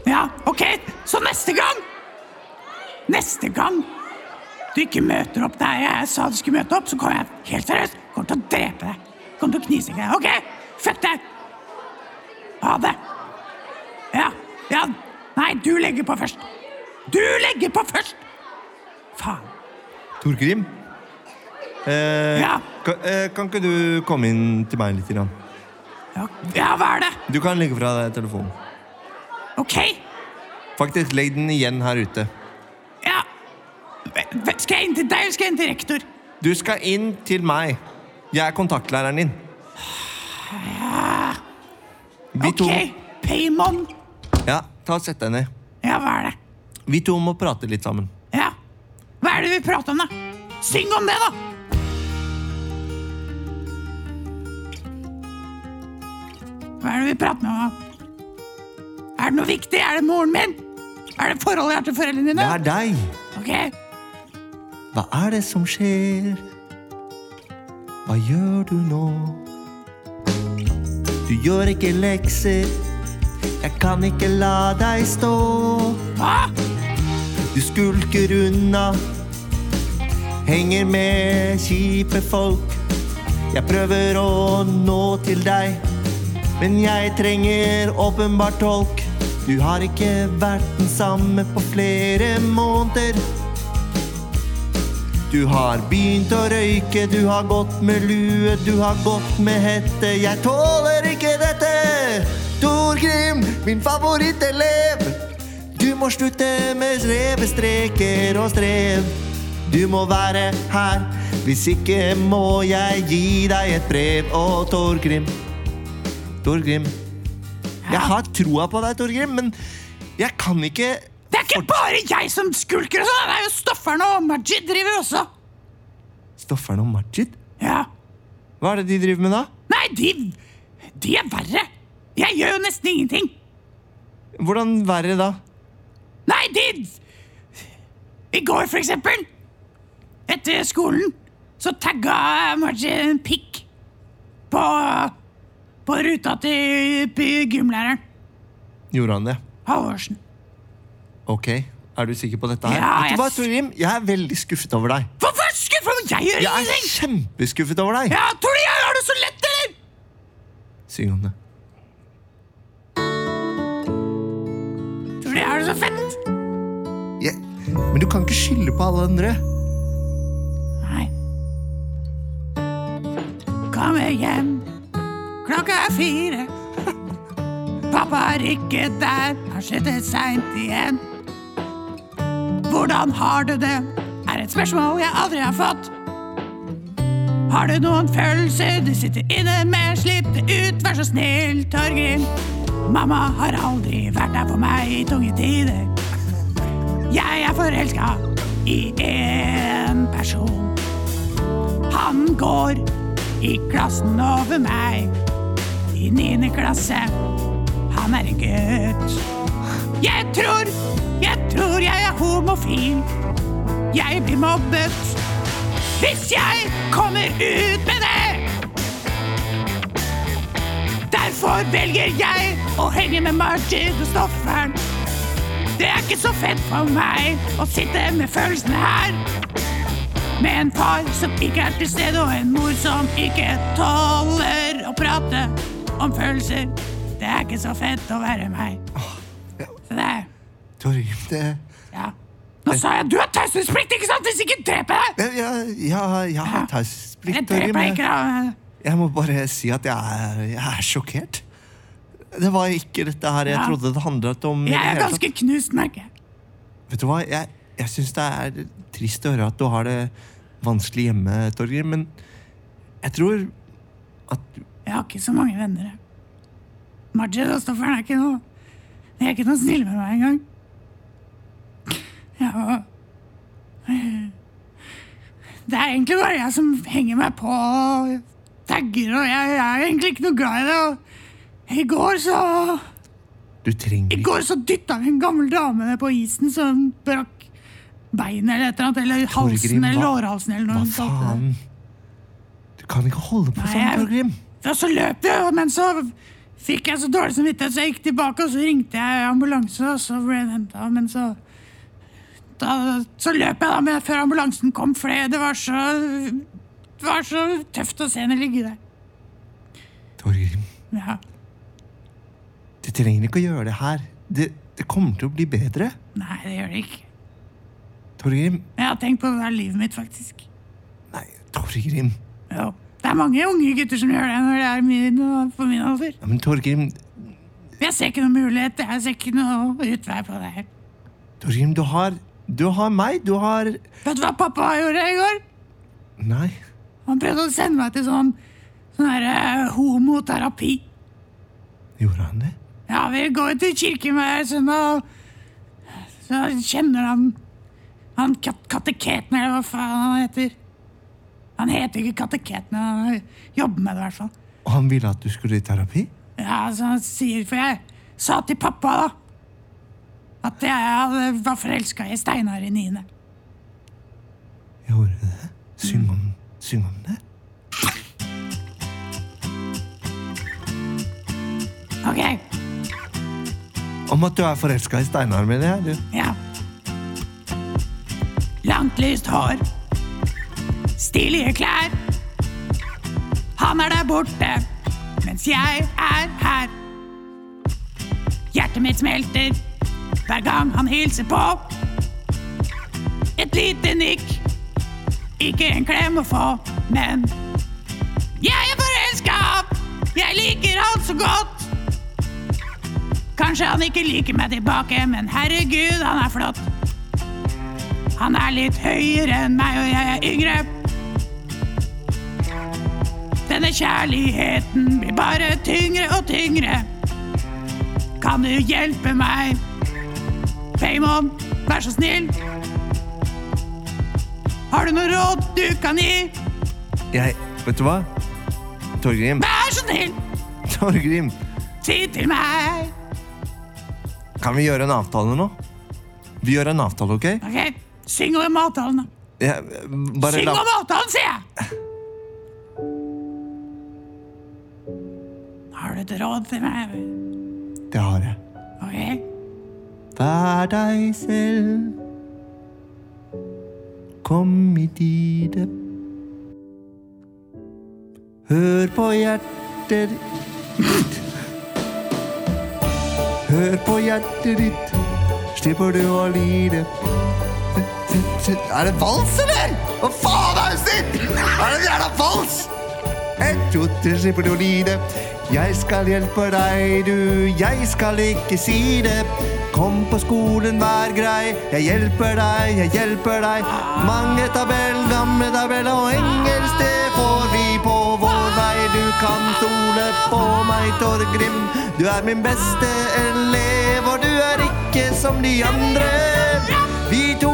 [SPEAKER 10] Ja, ok, så neste gang Neste gang du ikke møter opp der jeg sa du skulle møte opp, så kommer jeg helt seriøst kommer til å drepe deg. Kommer til å knise deg. Ok, fuck deg! Ha det. Ja, ja. Nei, du legger på først. Du legger på først! Faen.
[SPEAKER 2] Torgrim? Eh,
[SPEAKER 10] Ja.
[SPEAKER 2] kan, eh, kan ikke du komme inn til meg litt? Grann?
[SPEAKER 10] Ja, ja hva er det?
[SPEAKER 2] Du kan legge fra deg telefonen.
[SPEAKER 10] Ok,
[SPEAKER 2] Faktisk, legg den igjen her ute.
[SPEAKER 10] ja. V- v- Skal jeg inn til deg, eller skal jeg inn til rektor?
[SPEAKER 2] Du skal inn til meg. Jeg er kontaktlæreren din. Vi
[SPEAKER 10] Ok, Paymon.
[SPEAKER 2] to Ja, ta og Sett deg ned.
[SPEAKER 10] Ja, hva er det?
[SPEAKER 2] Vi to må prate litt sammen.
[SPEAKER 10] Ja. Hva er det vi prater om, da? Syng om det, da! Hva er det vi prater om? da? Er det noe viktig? Er det moren min? Er det forholdet jeg har til foreldrene
[SPEAKER 2] Det
[SPEAKER 10] dine?
[SPEAKER 2] er deg.
[SPEAKER 10] Ok,
[SPEAKER 2] Hva er det som skjer? Hva gjør du nå? Du gjør ikke lekser. Jeg kan ikke la deg stå.
[SPEAKER 10] hva?
[SPEAKER 2] Du skulker unna. Henger med kjipe folk. Jeg prøver å nå til deg, men jeg trenger åpenbart tolk. Du har ikke vært den samme på flere måneder. Du har begynt å røyke, du har gått med lue, du har gått med hette. Jeg tåler ikke dette! Torgrim, min favorittelev. Du må slutte med revestreker og strev. Du må være her, hvis ikke må jeg gi deg et brev. Å, Torgrim. Torgrim. Jeg har troa på deg, Torgrim, men jeg kan ikke
[SPEAKER 10] Det er ikke bare jeg som skulker og sånn! Det er jo Stofferen og Majid driver også.
[SPEAKER 2] Stofferen og Majid?
[SPEAKER 10] Ja.
[SPEAKER 2] Hva er det de driver med da?
[SPEAKER 10] Nei, de De er verre. Jeg gjør jo nesten ingenting.
[SPEAKER 2] Hvordan verre da?
[SPEAKER 10] Nei, de I går, for eksempel, etter skolen, så tagga Margie en pikk på, på ruta til p- gymlæreren
[SPEAKER 2] Gjorde han det?
[SPEAKER 10] Halvorsen.
[SPEAKER 2] Ok, er du sikker på dette her?
[SPEAKER 10] Ja,
[SPEAKER 2] Vet du hva,
[SPEAKER 10] jeg-
[SPEAKER 2] Torgrim? Jeg er veldig skuffet over deg.
[SPEAKER 10] Hvorfor skuffer du meg? Jeg gjør
[SPEAKER 2] Jeg er
[SPEAKER 10] ingenting!
[SPEAKER 2] kjempeskuffet over deg!
[SPEAKER 10] Ja, tror du jeg har det så lett, eller?
[SPEAKER 2] Syng om det.
[SPEAKER 10] Tror du jeg har det så fett?
[SPEAKER 2] Ja, Men du kan ikke skylde på alle andre.
[SPEAKER 10] Nei. Kommer hjem, klokka er fire. *laughs* Pappa er ikke der, har sittet seint igjen. Hvordan har du det? Er et spørsmål jeg aldri har fått. Har du noen følelser du sitter inne med? Slipp det ut, vær så snill, Torgrim. Mamma har aldri vært der for meg i tunge tider. Jeg er forelska i én person. Han går i klassen over meg. I niende klasse. Han er en gutt. Jeg tror, jeg tror jeg er homofil. Jeg blir mobbet. Hvis jeg kommer ut med det! Derfor velger jeg å henge med Martin og Stofferen. Det er ikke så fett for meg å sitte med følelsene her. Med en far som ikke er til stede, og en mor som ikke tåler å prate om følelser. Det er ikke så fett å være meg. Så det er
[SPEAKER 2] Torgrim, det
[SPEAKER 10] Ja. Nå sa jeg du har taushetsplikt, ikke sant? Hvis ikke dreper jeg deg!
[SPEAKER 2] Jeg, jeg, jeg, jeg har taushetsplikt,
[SPEAKER 10] Eller dreper
[SPEAKER 2] Torgrim.
[SPEAKER 10] jeg ikke,
[SPEAKER 2] Jeg-
[SPEAKER 10] da.
[SPEAKER 2] Jeg må bare si at jeg er, jeg er sjokkert. Det var ikke dette her jeg
[SPEAKER 10] Ja.
[SPEAKER 2] trodde det handlet om. i det
[SPEAKER 10] Jeg er
[SPEAKER 2] hele tatt.
[SPEAKER 10] ganske knust, merker jeg.
[SPEAKER 2] Vet du hva, jeg, jeg syns det er trist å høre at du har det vanskelig hjemme, Torgeir, men jeg tror at
[SPEAKER 10] Jeg har ikke så mange venner. jeg. Majid og Stoffer'n er ikke noe De er ikke noe snille med meg engang. Jeg var Det er egentlig bare jeg som henger meg på og tagger, og jeg, jeg er egentlig ikke noe glad i det. Og I går så
[SPEAKER 2] du trenger
[SPEAKER 10] I
[SPEAKER 2] ikke
[SPEAKER 10] går så dytta vi en gammel dame ned på isen så hun brakk beinet eller et eller annet. Eller halsen eller
[SPEAKER 2] hva-
[SPEAKER 10] lårhalsen eller
[SPEAKER 2] Hva
[SPEAKER 10] noe. sånt.
[SPEAKER 2] faen? Du kan ikke holde på
[SPEAKER 10] Mm, Nei,
[SPEAKER 2] sånn,
[SPEAKER 10] jeg-
[SPEAKER 2] Torgrim.
[SPEAKER 10] Og så løp jeg, og- men så fikk jeg så dårlig samvittighet, så jeg gikk tilbake, og så ringte jeg ambulanse, og så ble den henta, men så da, Så løp jeg da med før ambulansen kom, for det var så Det var så tøft å se henne ligge der.
[SPEAKER 2] Torgrim,
[SPEAKER 10] Ja.
[SPEAKER 2] du trenger ikke å gjøre det her. Det, det kommer til å bli bedre.
[SPEAKER 10] Nei, det gjør det ikke.
[SPEAKER 2] Torgrim
[SPEAKER 10] Men jeg har tenkt på det her livet mitt, faktisk.
[SPEAKER 2] Nei, Torgrim.
[SPEAKER 10] Jo. Det er mange unge gutter som gjør det når det er min, på min alder.
[SPEAKER 2] Ja, men Torgrim,
[SPEAKER 10] Jeg ser ikke noen mulighet, jeg ser ikke noe utvei på det her.
[SPEAKER 2] Torgrim, du har Du har meg. Du har
[SPEAKER 10] Vet du hva pappa gjorde i går?
[SPEAKER 2] Nei.
[SPEAKER 10] Han prøvde å sende meg til sånn Sånn her eh, homoterapi.
[SPEAKER 2] Gjorde han det?
[SPEAKER 10] Ja, vi går til kirken hver søndag, og så kjenner han Han kat kateketen, eller hva faen han heter. Han heter ikke kateketen, han jobber med det i hvert fall.
[SPEAKER 2] Og han ville at du skulle i terapi?
[SPEAKER 10] Ja, så han sier For jeg sa til pappa, da, at jeg hadde- var forelska i Steinar i niende.
[SPEAKER 2] Gjorde det? Syng
[SPEAKER 10] Mm.
[SPEAKER 2] om, syng om det?
[SPEAKER 10] Ok,
[SPEAKER 2] Om at du er forelska i Steinar, mener jeg. Du. *laughs*
[SPEAKER 10] ja. Langt, lyst hår. Stilige klær. Han er der borte, mens jeg er her. Hjertet mitt smelter hver gang han hilser på. Et lite nikk, ikke en klem å få, men Jeg er forelska! Jeg liker han så godt. Kanskje han ikke liker meg tilbake, men herregud, han er flott. Han er litt høyere enn meg, og jeg er yngre. Denne kjærligheten blir bare tyngre og tyngre. Kan du hjelpe meg? Paymon, vær så snill. Har du noe råd du kan gi?
[SPEAKER 2] Jeg Vet du hva? Torgrim,
[SPEAKER 10] Vær så snill,
[SPEAKER 2] Torgrim,
[SPEAKER 10] si til meg.
[SPEAKER 2] kan vi gjøre en avtale nå? Vi gjør en avtale, OK?
[SPEAKER 10] Ok, syng om avtalen, da.
[SPEAKER 2] Jeg, bare
[SPEAKER 10] Syng
[SPEAKER 2] la
[SPEAKER 10] om avtalen, sier jeg! Har du et råd til meg?
[SPEAKER 2] Det har jeg.
[SPEAKER 10] Ok.
[SPEAKER 2] Vær deg selv. Kom i tide. Hør på hjertet ditt. Hør på hjertet ditt, slipper du å lide. Er det vals, eller? Hva faen er det sitt? Er det en jævla vals? Et, to, tre, slipper du å lide. Jeg skal hjelpe deg, du. Jeg skal ikke si det. Kom på skolen, vær grei. Jeg hjelper deg, jeg hjelper deg. Mange tabell, gamle tabell og engelsk, det får vi på vår vei. Du kan stole på meg, Torgrim. Du er min beste elev, og du er ikke som de andre. Vi to,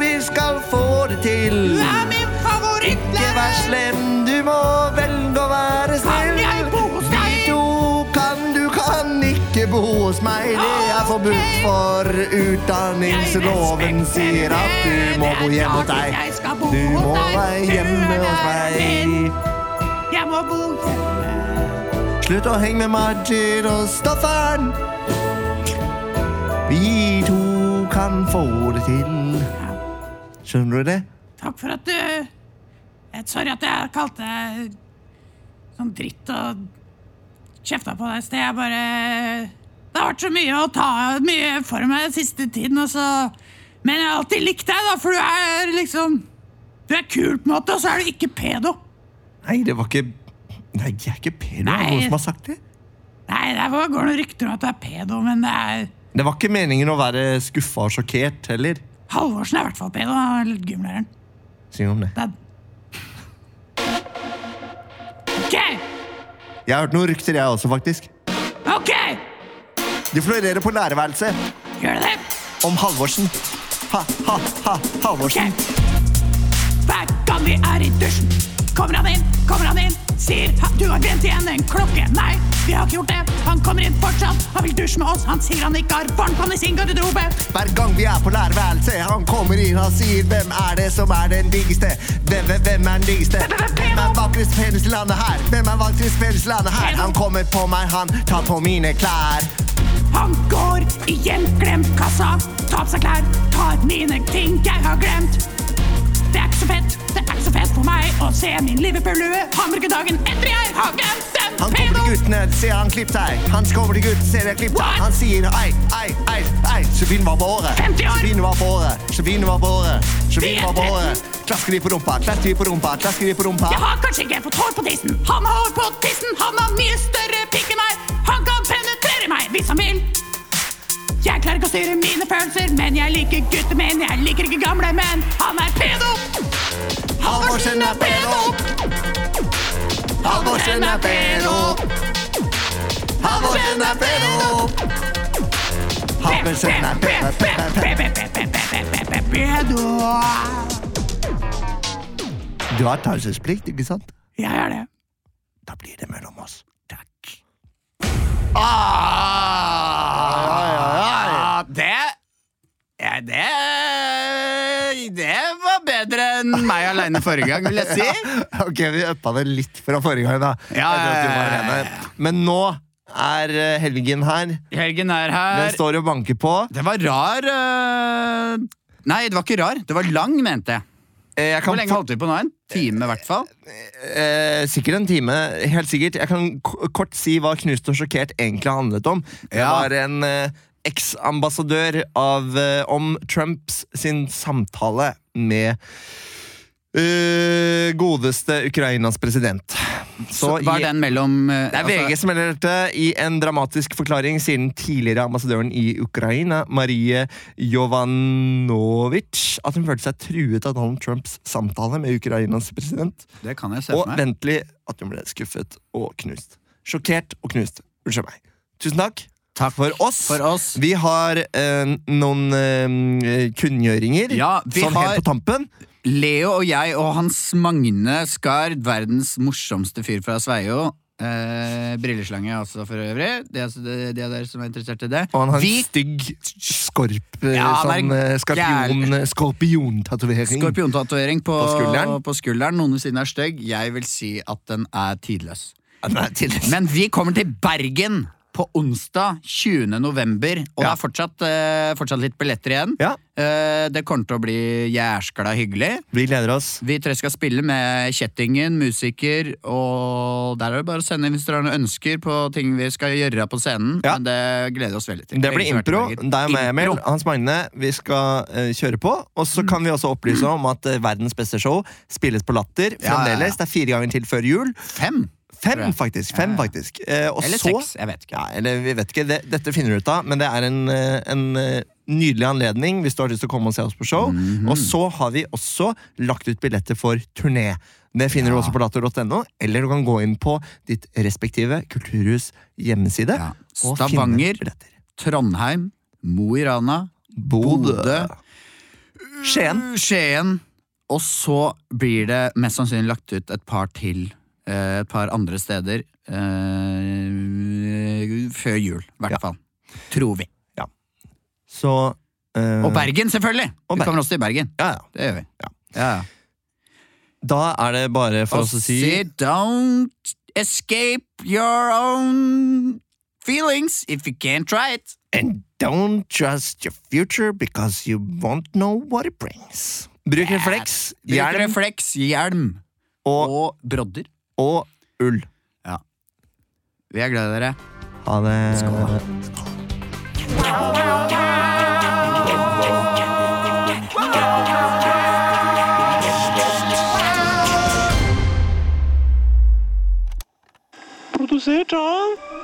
[SPEAKER 2] vi skal få det til.
[SPEAKER 10] Du er min
[SPEAKER 2] Ikke vær
[SPEAKER 10] favorittlærer!
[SPEAKER 2] slem, du må velge å være snill.
[SPEAKER 10] Kan jeg bo hos deg?
[SPEAKER 2] Vi to kan, du kan ikke bo hos meg. Det er forbudt for utdanningsloven sier at du må bo hjemme hos deg.
[SPEAKER 10] Jeg skal bo
[SPEAKER 2] Du
[SPEAKER 10] hos
[SPEAKER 2] må
[SPEAKER 10] deg.
[SPEAKER 2] være
[SPEAKER 10] Du er
[SPEAKER 2] hjemme hos
[SPEAKER 10] læreren min.
[SPEAKER 2] meg.
[SPEAKER 10] Jeg må bo hjemme.
[SPEAKER 2] Slutt å henge med Majid og Staffan. Vi to kan få det til. Skjønner du det?
[SPEAKER 10] Takk for at du Jeg- Sorry at jeg kalte deg sånn dritt og kjefta på deg i sted. Jeg bare Det har vært så mye å ta mye for meg den siste tiden, og så Men jeg har alltid likt deg, da, for du er liksom Du er kul på en måte, og så er du ikke pedo.
[SPEAKER 2] Nei, det var ikke Nei, jeg er ikke pen. Hva er det
[SPEAKER 10] Nei.
[SPEAKER 2] noen som har sagt det?
[SPEAKER 10] Nei, det er- går noen rykter om at du er pedo, men det er
[SPEAKER 2] Det var ikke meningen å være skuffa og sjokkert heller.
[SPEAKER 10] Halvorsen er i hvert fall pedo. han er Gymlæreren.
[SPEAKER 2] Syng om det.
[SPEAKER 10] Det er Ok!
[SPEAKER 2] Jeg har hørt noen rykter, jeg også, faktisk.
[SPEAKER 10] Ok!
[SPEAKER 2] De florerer på lærerværelset
[SPEAKER 10] Gjør det det?
[SPEAKER 2] om Halvorsen. Ha, ha, ha,
[SPEAKER 10] Ok!
[SPEAKER 2] Halvorsen.
[SPEAKER 10] Hver gang vi er i dusjen, kommer han inn, kommer han inn. Sier han, du har glemt igjen en klokke. Nei, vi har ikke gjort det. Han kommer inn fortsatt. Han vil dusje med oss. Han sier han ikke har varmtvann i sin garderobe.
[SPEAKER 2] Hver gang vi er på lærerværelset, han kommer inn, han sier hvem er det som er den diggeste? Hvem, hvem, hvem er den diggeste? Hvem er vakrest penest i landet her? Hvem er vakrest penest i landet her? Han kommer på meg, han tar på mine klær.
[SPEAKER 10] Han går igjen, glemt kassa. Tar på seg klær, tar mine ting jeg har glemt. Det er ikke så fett, det er ikke så fett for meg å se min Liverpool-lue hamburge dagen etter jeg har glemt den.
[SPEAKER 2] Han kommer til guttene, ser han klipp deg. Han kommer til guttene, ser jeg klipp deg. Han sier ei, ei, ei, ei. Josefine var på året.
[SPEAKER 10] 50 år.
[SPEAKER 2] Josefine var på året. Josefine var på året. Josefine var på
[SPEAKER 10] Vi er
[SPEAKER 2] året. Klasker de på rumpa, klasker de på rumpa, klasker de på rumpa.
[SPEAKER 10] Jeg har kanskje ikke fått hår på tissen. Han har hår på tissen, han har mye større pikk enn meg. Han kan penetrere meg hvis han vil. Jeg klarer ikke å styre mine følelser, men jeg liker gutter, men jeg liker ikke gamle menn. Han er pedo!
[SPEAKER 2] Halvorsen er pedo. Halvorsen er pedo. Halvorsen er pedo. Halvorsen er pedo.
[SPEAKER 10] Pedo!
[SPEAKER 2] Du har taushetsplikt, ikke sant?
[SPEAKER 10] Jeg er det.
[SPEAKER 2] Da blir det mellom oss. Takk.
[SPEAKER 3] Ah, Ja, det ja, det Det var bedre enn meg aleine forrige gang, vil jeg *laughs* si.
[SPEAKER 2] Ok, vi uppa det litt fra forrige gang, da.
[SPEAKER 3] Ja,
[SPEAKER 2] Etter at du
[SPEAKER 3] ja,
[SPEAKER 2] var
[SPEAKER 3] ja, ja.
[SPEAKER 2] alene. Men nå er eh, helgen her.
[SPEAKER 3] Helgen er
[SPEAKER 2] Den
[SPEAKER 3] her.
[SPEAKER 2] står og banker på.
[SPEAKER 3] Det var rar øh, Nei, det var ikke rar. Det var lang, mente jeg.
[SPEAKER 2] Eh, Jeg
[SPEAKER 3] Hvor
[SPEAKER 2] kan
[SPEAKER 3] lenge holdt vi på nå? En time, i hvert fall.
[SPEAKER 2] eh, sikkert en time, helt sikkert. Jeg kan k kort si hva Knust og sjokkert egentlig handlet om. Det
[SPEAKER 3] Ja.
[SPEAKER 2] var en eh, eksambassadør av, eh, om Trumps sin samtale med eh, godeste Ukrainas president.
[SPEAKER 3] Så
[SPEAKER 2] i-
[SPEAKER 3] var den mellom øh,
[SPEAKER 2] Det er
[SPEAKER 3] altså-
[SPEAKER 2] VG som melder dette i en dramatisk forklaring siden tidligere ambassadøren i Ukraina, Marie Jovanovic, at hun følte seg truet av Donald Trumps samtale med Ukrainas president,
[SPEAKER 3] Det kan jeg se
[SPEAKER 2] og
[SPEAKER 3] for meg.
[SPEAKER 2] ventelig at hun ble skuffet og knust. Sjokkert og knust. Unnskyld meg. Tusen takk. Takk for oss.
[SPEAKER 3] For oss.
[SPEAKER 2] Vi har eh, noen eh, kunngjøringer
[SPEAKER 3] Ja, vi
[SPEAKER 2] sånn
[SPEAKER 3] har-
[SPEAKER 2] helt på tampen.
[SPEAKER 3] Leo og jeg og Hans Magne Skard, verdens morsomste fyr fra Sveio. Eh, brilleslange også, for øvrig. De, er- de av dere som er interessert i det.
[SPEAKER 2] Og han har en
[SPEAKER 3] Vi
[SPEAKER 2] stygg skorp, eh,
[SPEAKER 3] Ja, han
[SPEAKER 2] sånn,
[SPEAKER 3] er
[SPEAKER 2] eh,
[SPEAKER 3] gæren.
[SPEAKER 2] skorpion, skorpiontatovering.
[SPEAKER 3] Skorpiontatovering på,
[SPEAKER 2] På
[SPEAKER 3] på,
[SPEAKER 2] skulderen.
[SPEAKER 3] skulderen. Noen vil si den er stygg. Jeg vil si at den er tidløs.
[SPEAKER 2] Ja, den er tidløs.
[SPEAKER 3] Men vi kommer til Bergen på onsdag 20. november, og det
[SPEAKER 2] Ja.
[SPEAKER 3] er fortsatt, eh, fortsatt litt billetter igjen.
[SPEAKER 2] Ja.
[SPEAKER 3] Eh, det kommer til å bli jæskla hyggelig.
[SPEAKER 2] Vi gleder oss.
[SPEAKER 3] Vi tre skal spille med Kjettingen, musiker, og der er det bare å sende inn hvis dere har noen ønsker på ting vi skal gjøre på scenen.
[SPEAKER 2] Ja.
[SPEAKER 3] Men det gleder vi oss veldig til.
[SPEAKER 2] Det blir
[SPEAKER 3] Begge som er
[SPEAKER 2] impro.
[SPEAKER 3] til Bergen.
[SPEAKER 2] Det er meg, Emil.
[SPEAKER 3] Impro.
[SPEAKER 2] Hans Magne. Vi skal eh, kjøre på. Og så kan vi også opplyse om at eh, verdens beste show spilles på Latter
[SPEAKER 3] Ja, ja, ja.
[SPEAKER 2] fremdeles. Det er fire ganger til før jul.
[SPEAKER 3] Fem!
[SPEAKER 2] Fem,
[SPEAKER 3] Tror jeg.
[SPEAKER 2] faktisk. Fem, faktisk. Eh, og
[SPEAKER 3] Eller
[SPEAKER 2] så,
[SPEAKER 3] seks, jeg vet ikke.
[SPEAKER 2] Ja, eller vi vet ikke. Det, dette finner du ut av, men det er en, eh, en eh, nydelig anledning hvis du har lyst til å komme og se oss på show.
[SPEAKER 3] Mhm.
[SPEAKER 2] Og så har vi også lagt ut billetter for turné. Det finner du også på latter.no, eller du kan gå inn på ditt respektive kulturhus hjemmeside.
[SPEAKER 3] Ja.
[SPEAKER 2] og finne
[SPEAKER 3] Stavanger.
[SPEAKER 2] billetter.
[SPEAKER 3] Trondheim, Mo i Rana,
[SPEAKER 2] Bodø.
[SPEAKER 3] Bodø,
[SPEAKER 2] Skien.
[SPEAKER 3] Skien. Og så blir det mest sannsynlig lagt ut et par til. eh, Et par andre steder. eh, før jul, i hvert
[SPEAKER 2] Ja.
[SPEAKER 3] fall. Tror vi.
[SPEAKER 2] Så eh,
[SPEAKER 3] Og Bergen, selvfølgelig! Vi
[SPEAKER 2] Og Bergen.
[SPEAKER 3] kommer også til Bergen.
[SPEAKER 2] Ja, ja.
[SPEAKER 3] Det gjør vi.
[SPEAKER 2] Ja.
[SPEAKER 3] Ja.
[SPEAKER 2] Da er det bare for oss å si
[SPEAKER 3] Sit, don't escape your own feelings if you can't try it.
[SPEAKER 2] And don't trust your future because you won't know what it brings. Bruk refleks,
[SPEAKER 3] Bruk
[SPEAKER 2] hjelm
[SPEAKER 3] refleks, hjelm
[SPEAKER 2] og,
[SPEAKER 3] og brodder.
[SPEAKER 2] og ull.
[SPEAKER 3] Vi er glad i dere.
[SPEAKER 2] Ha det.
[SPEAKER 5] Produsert av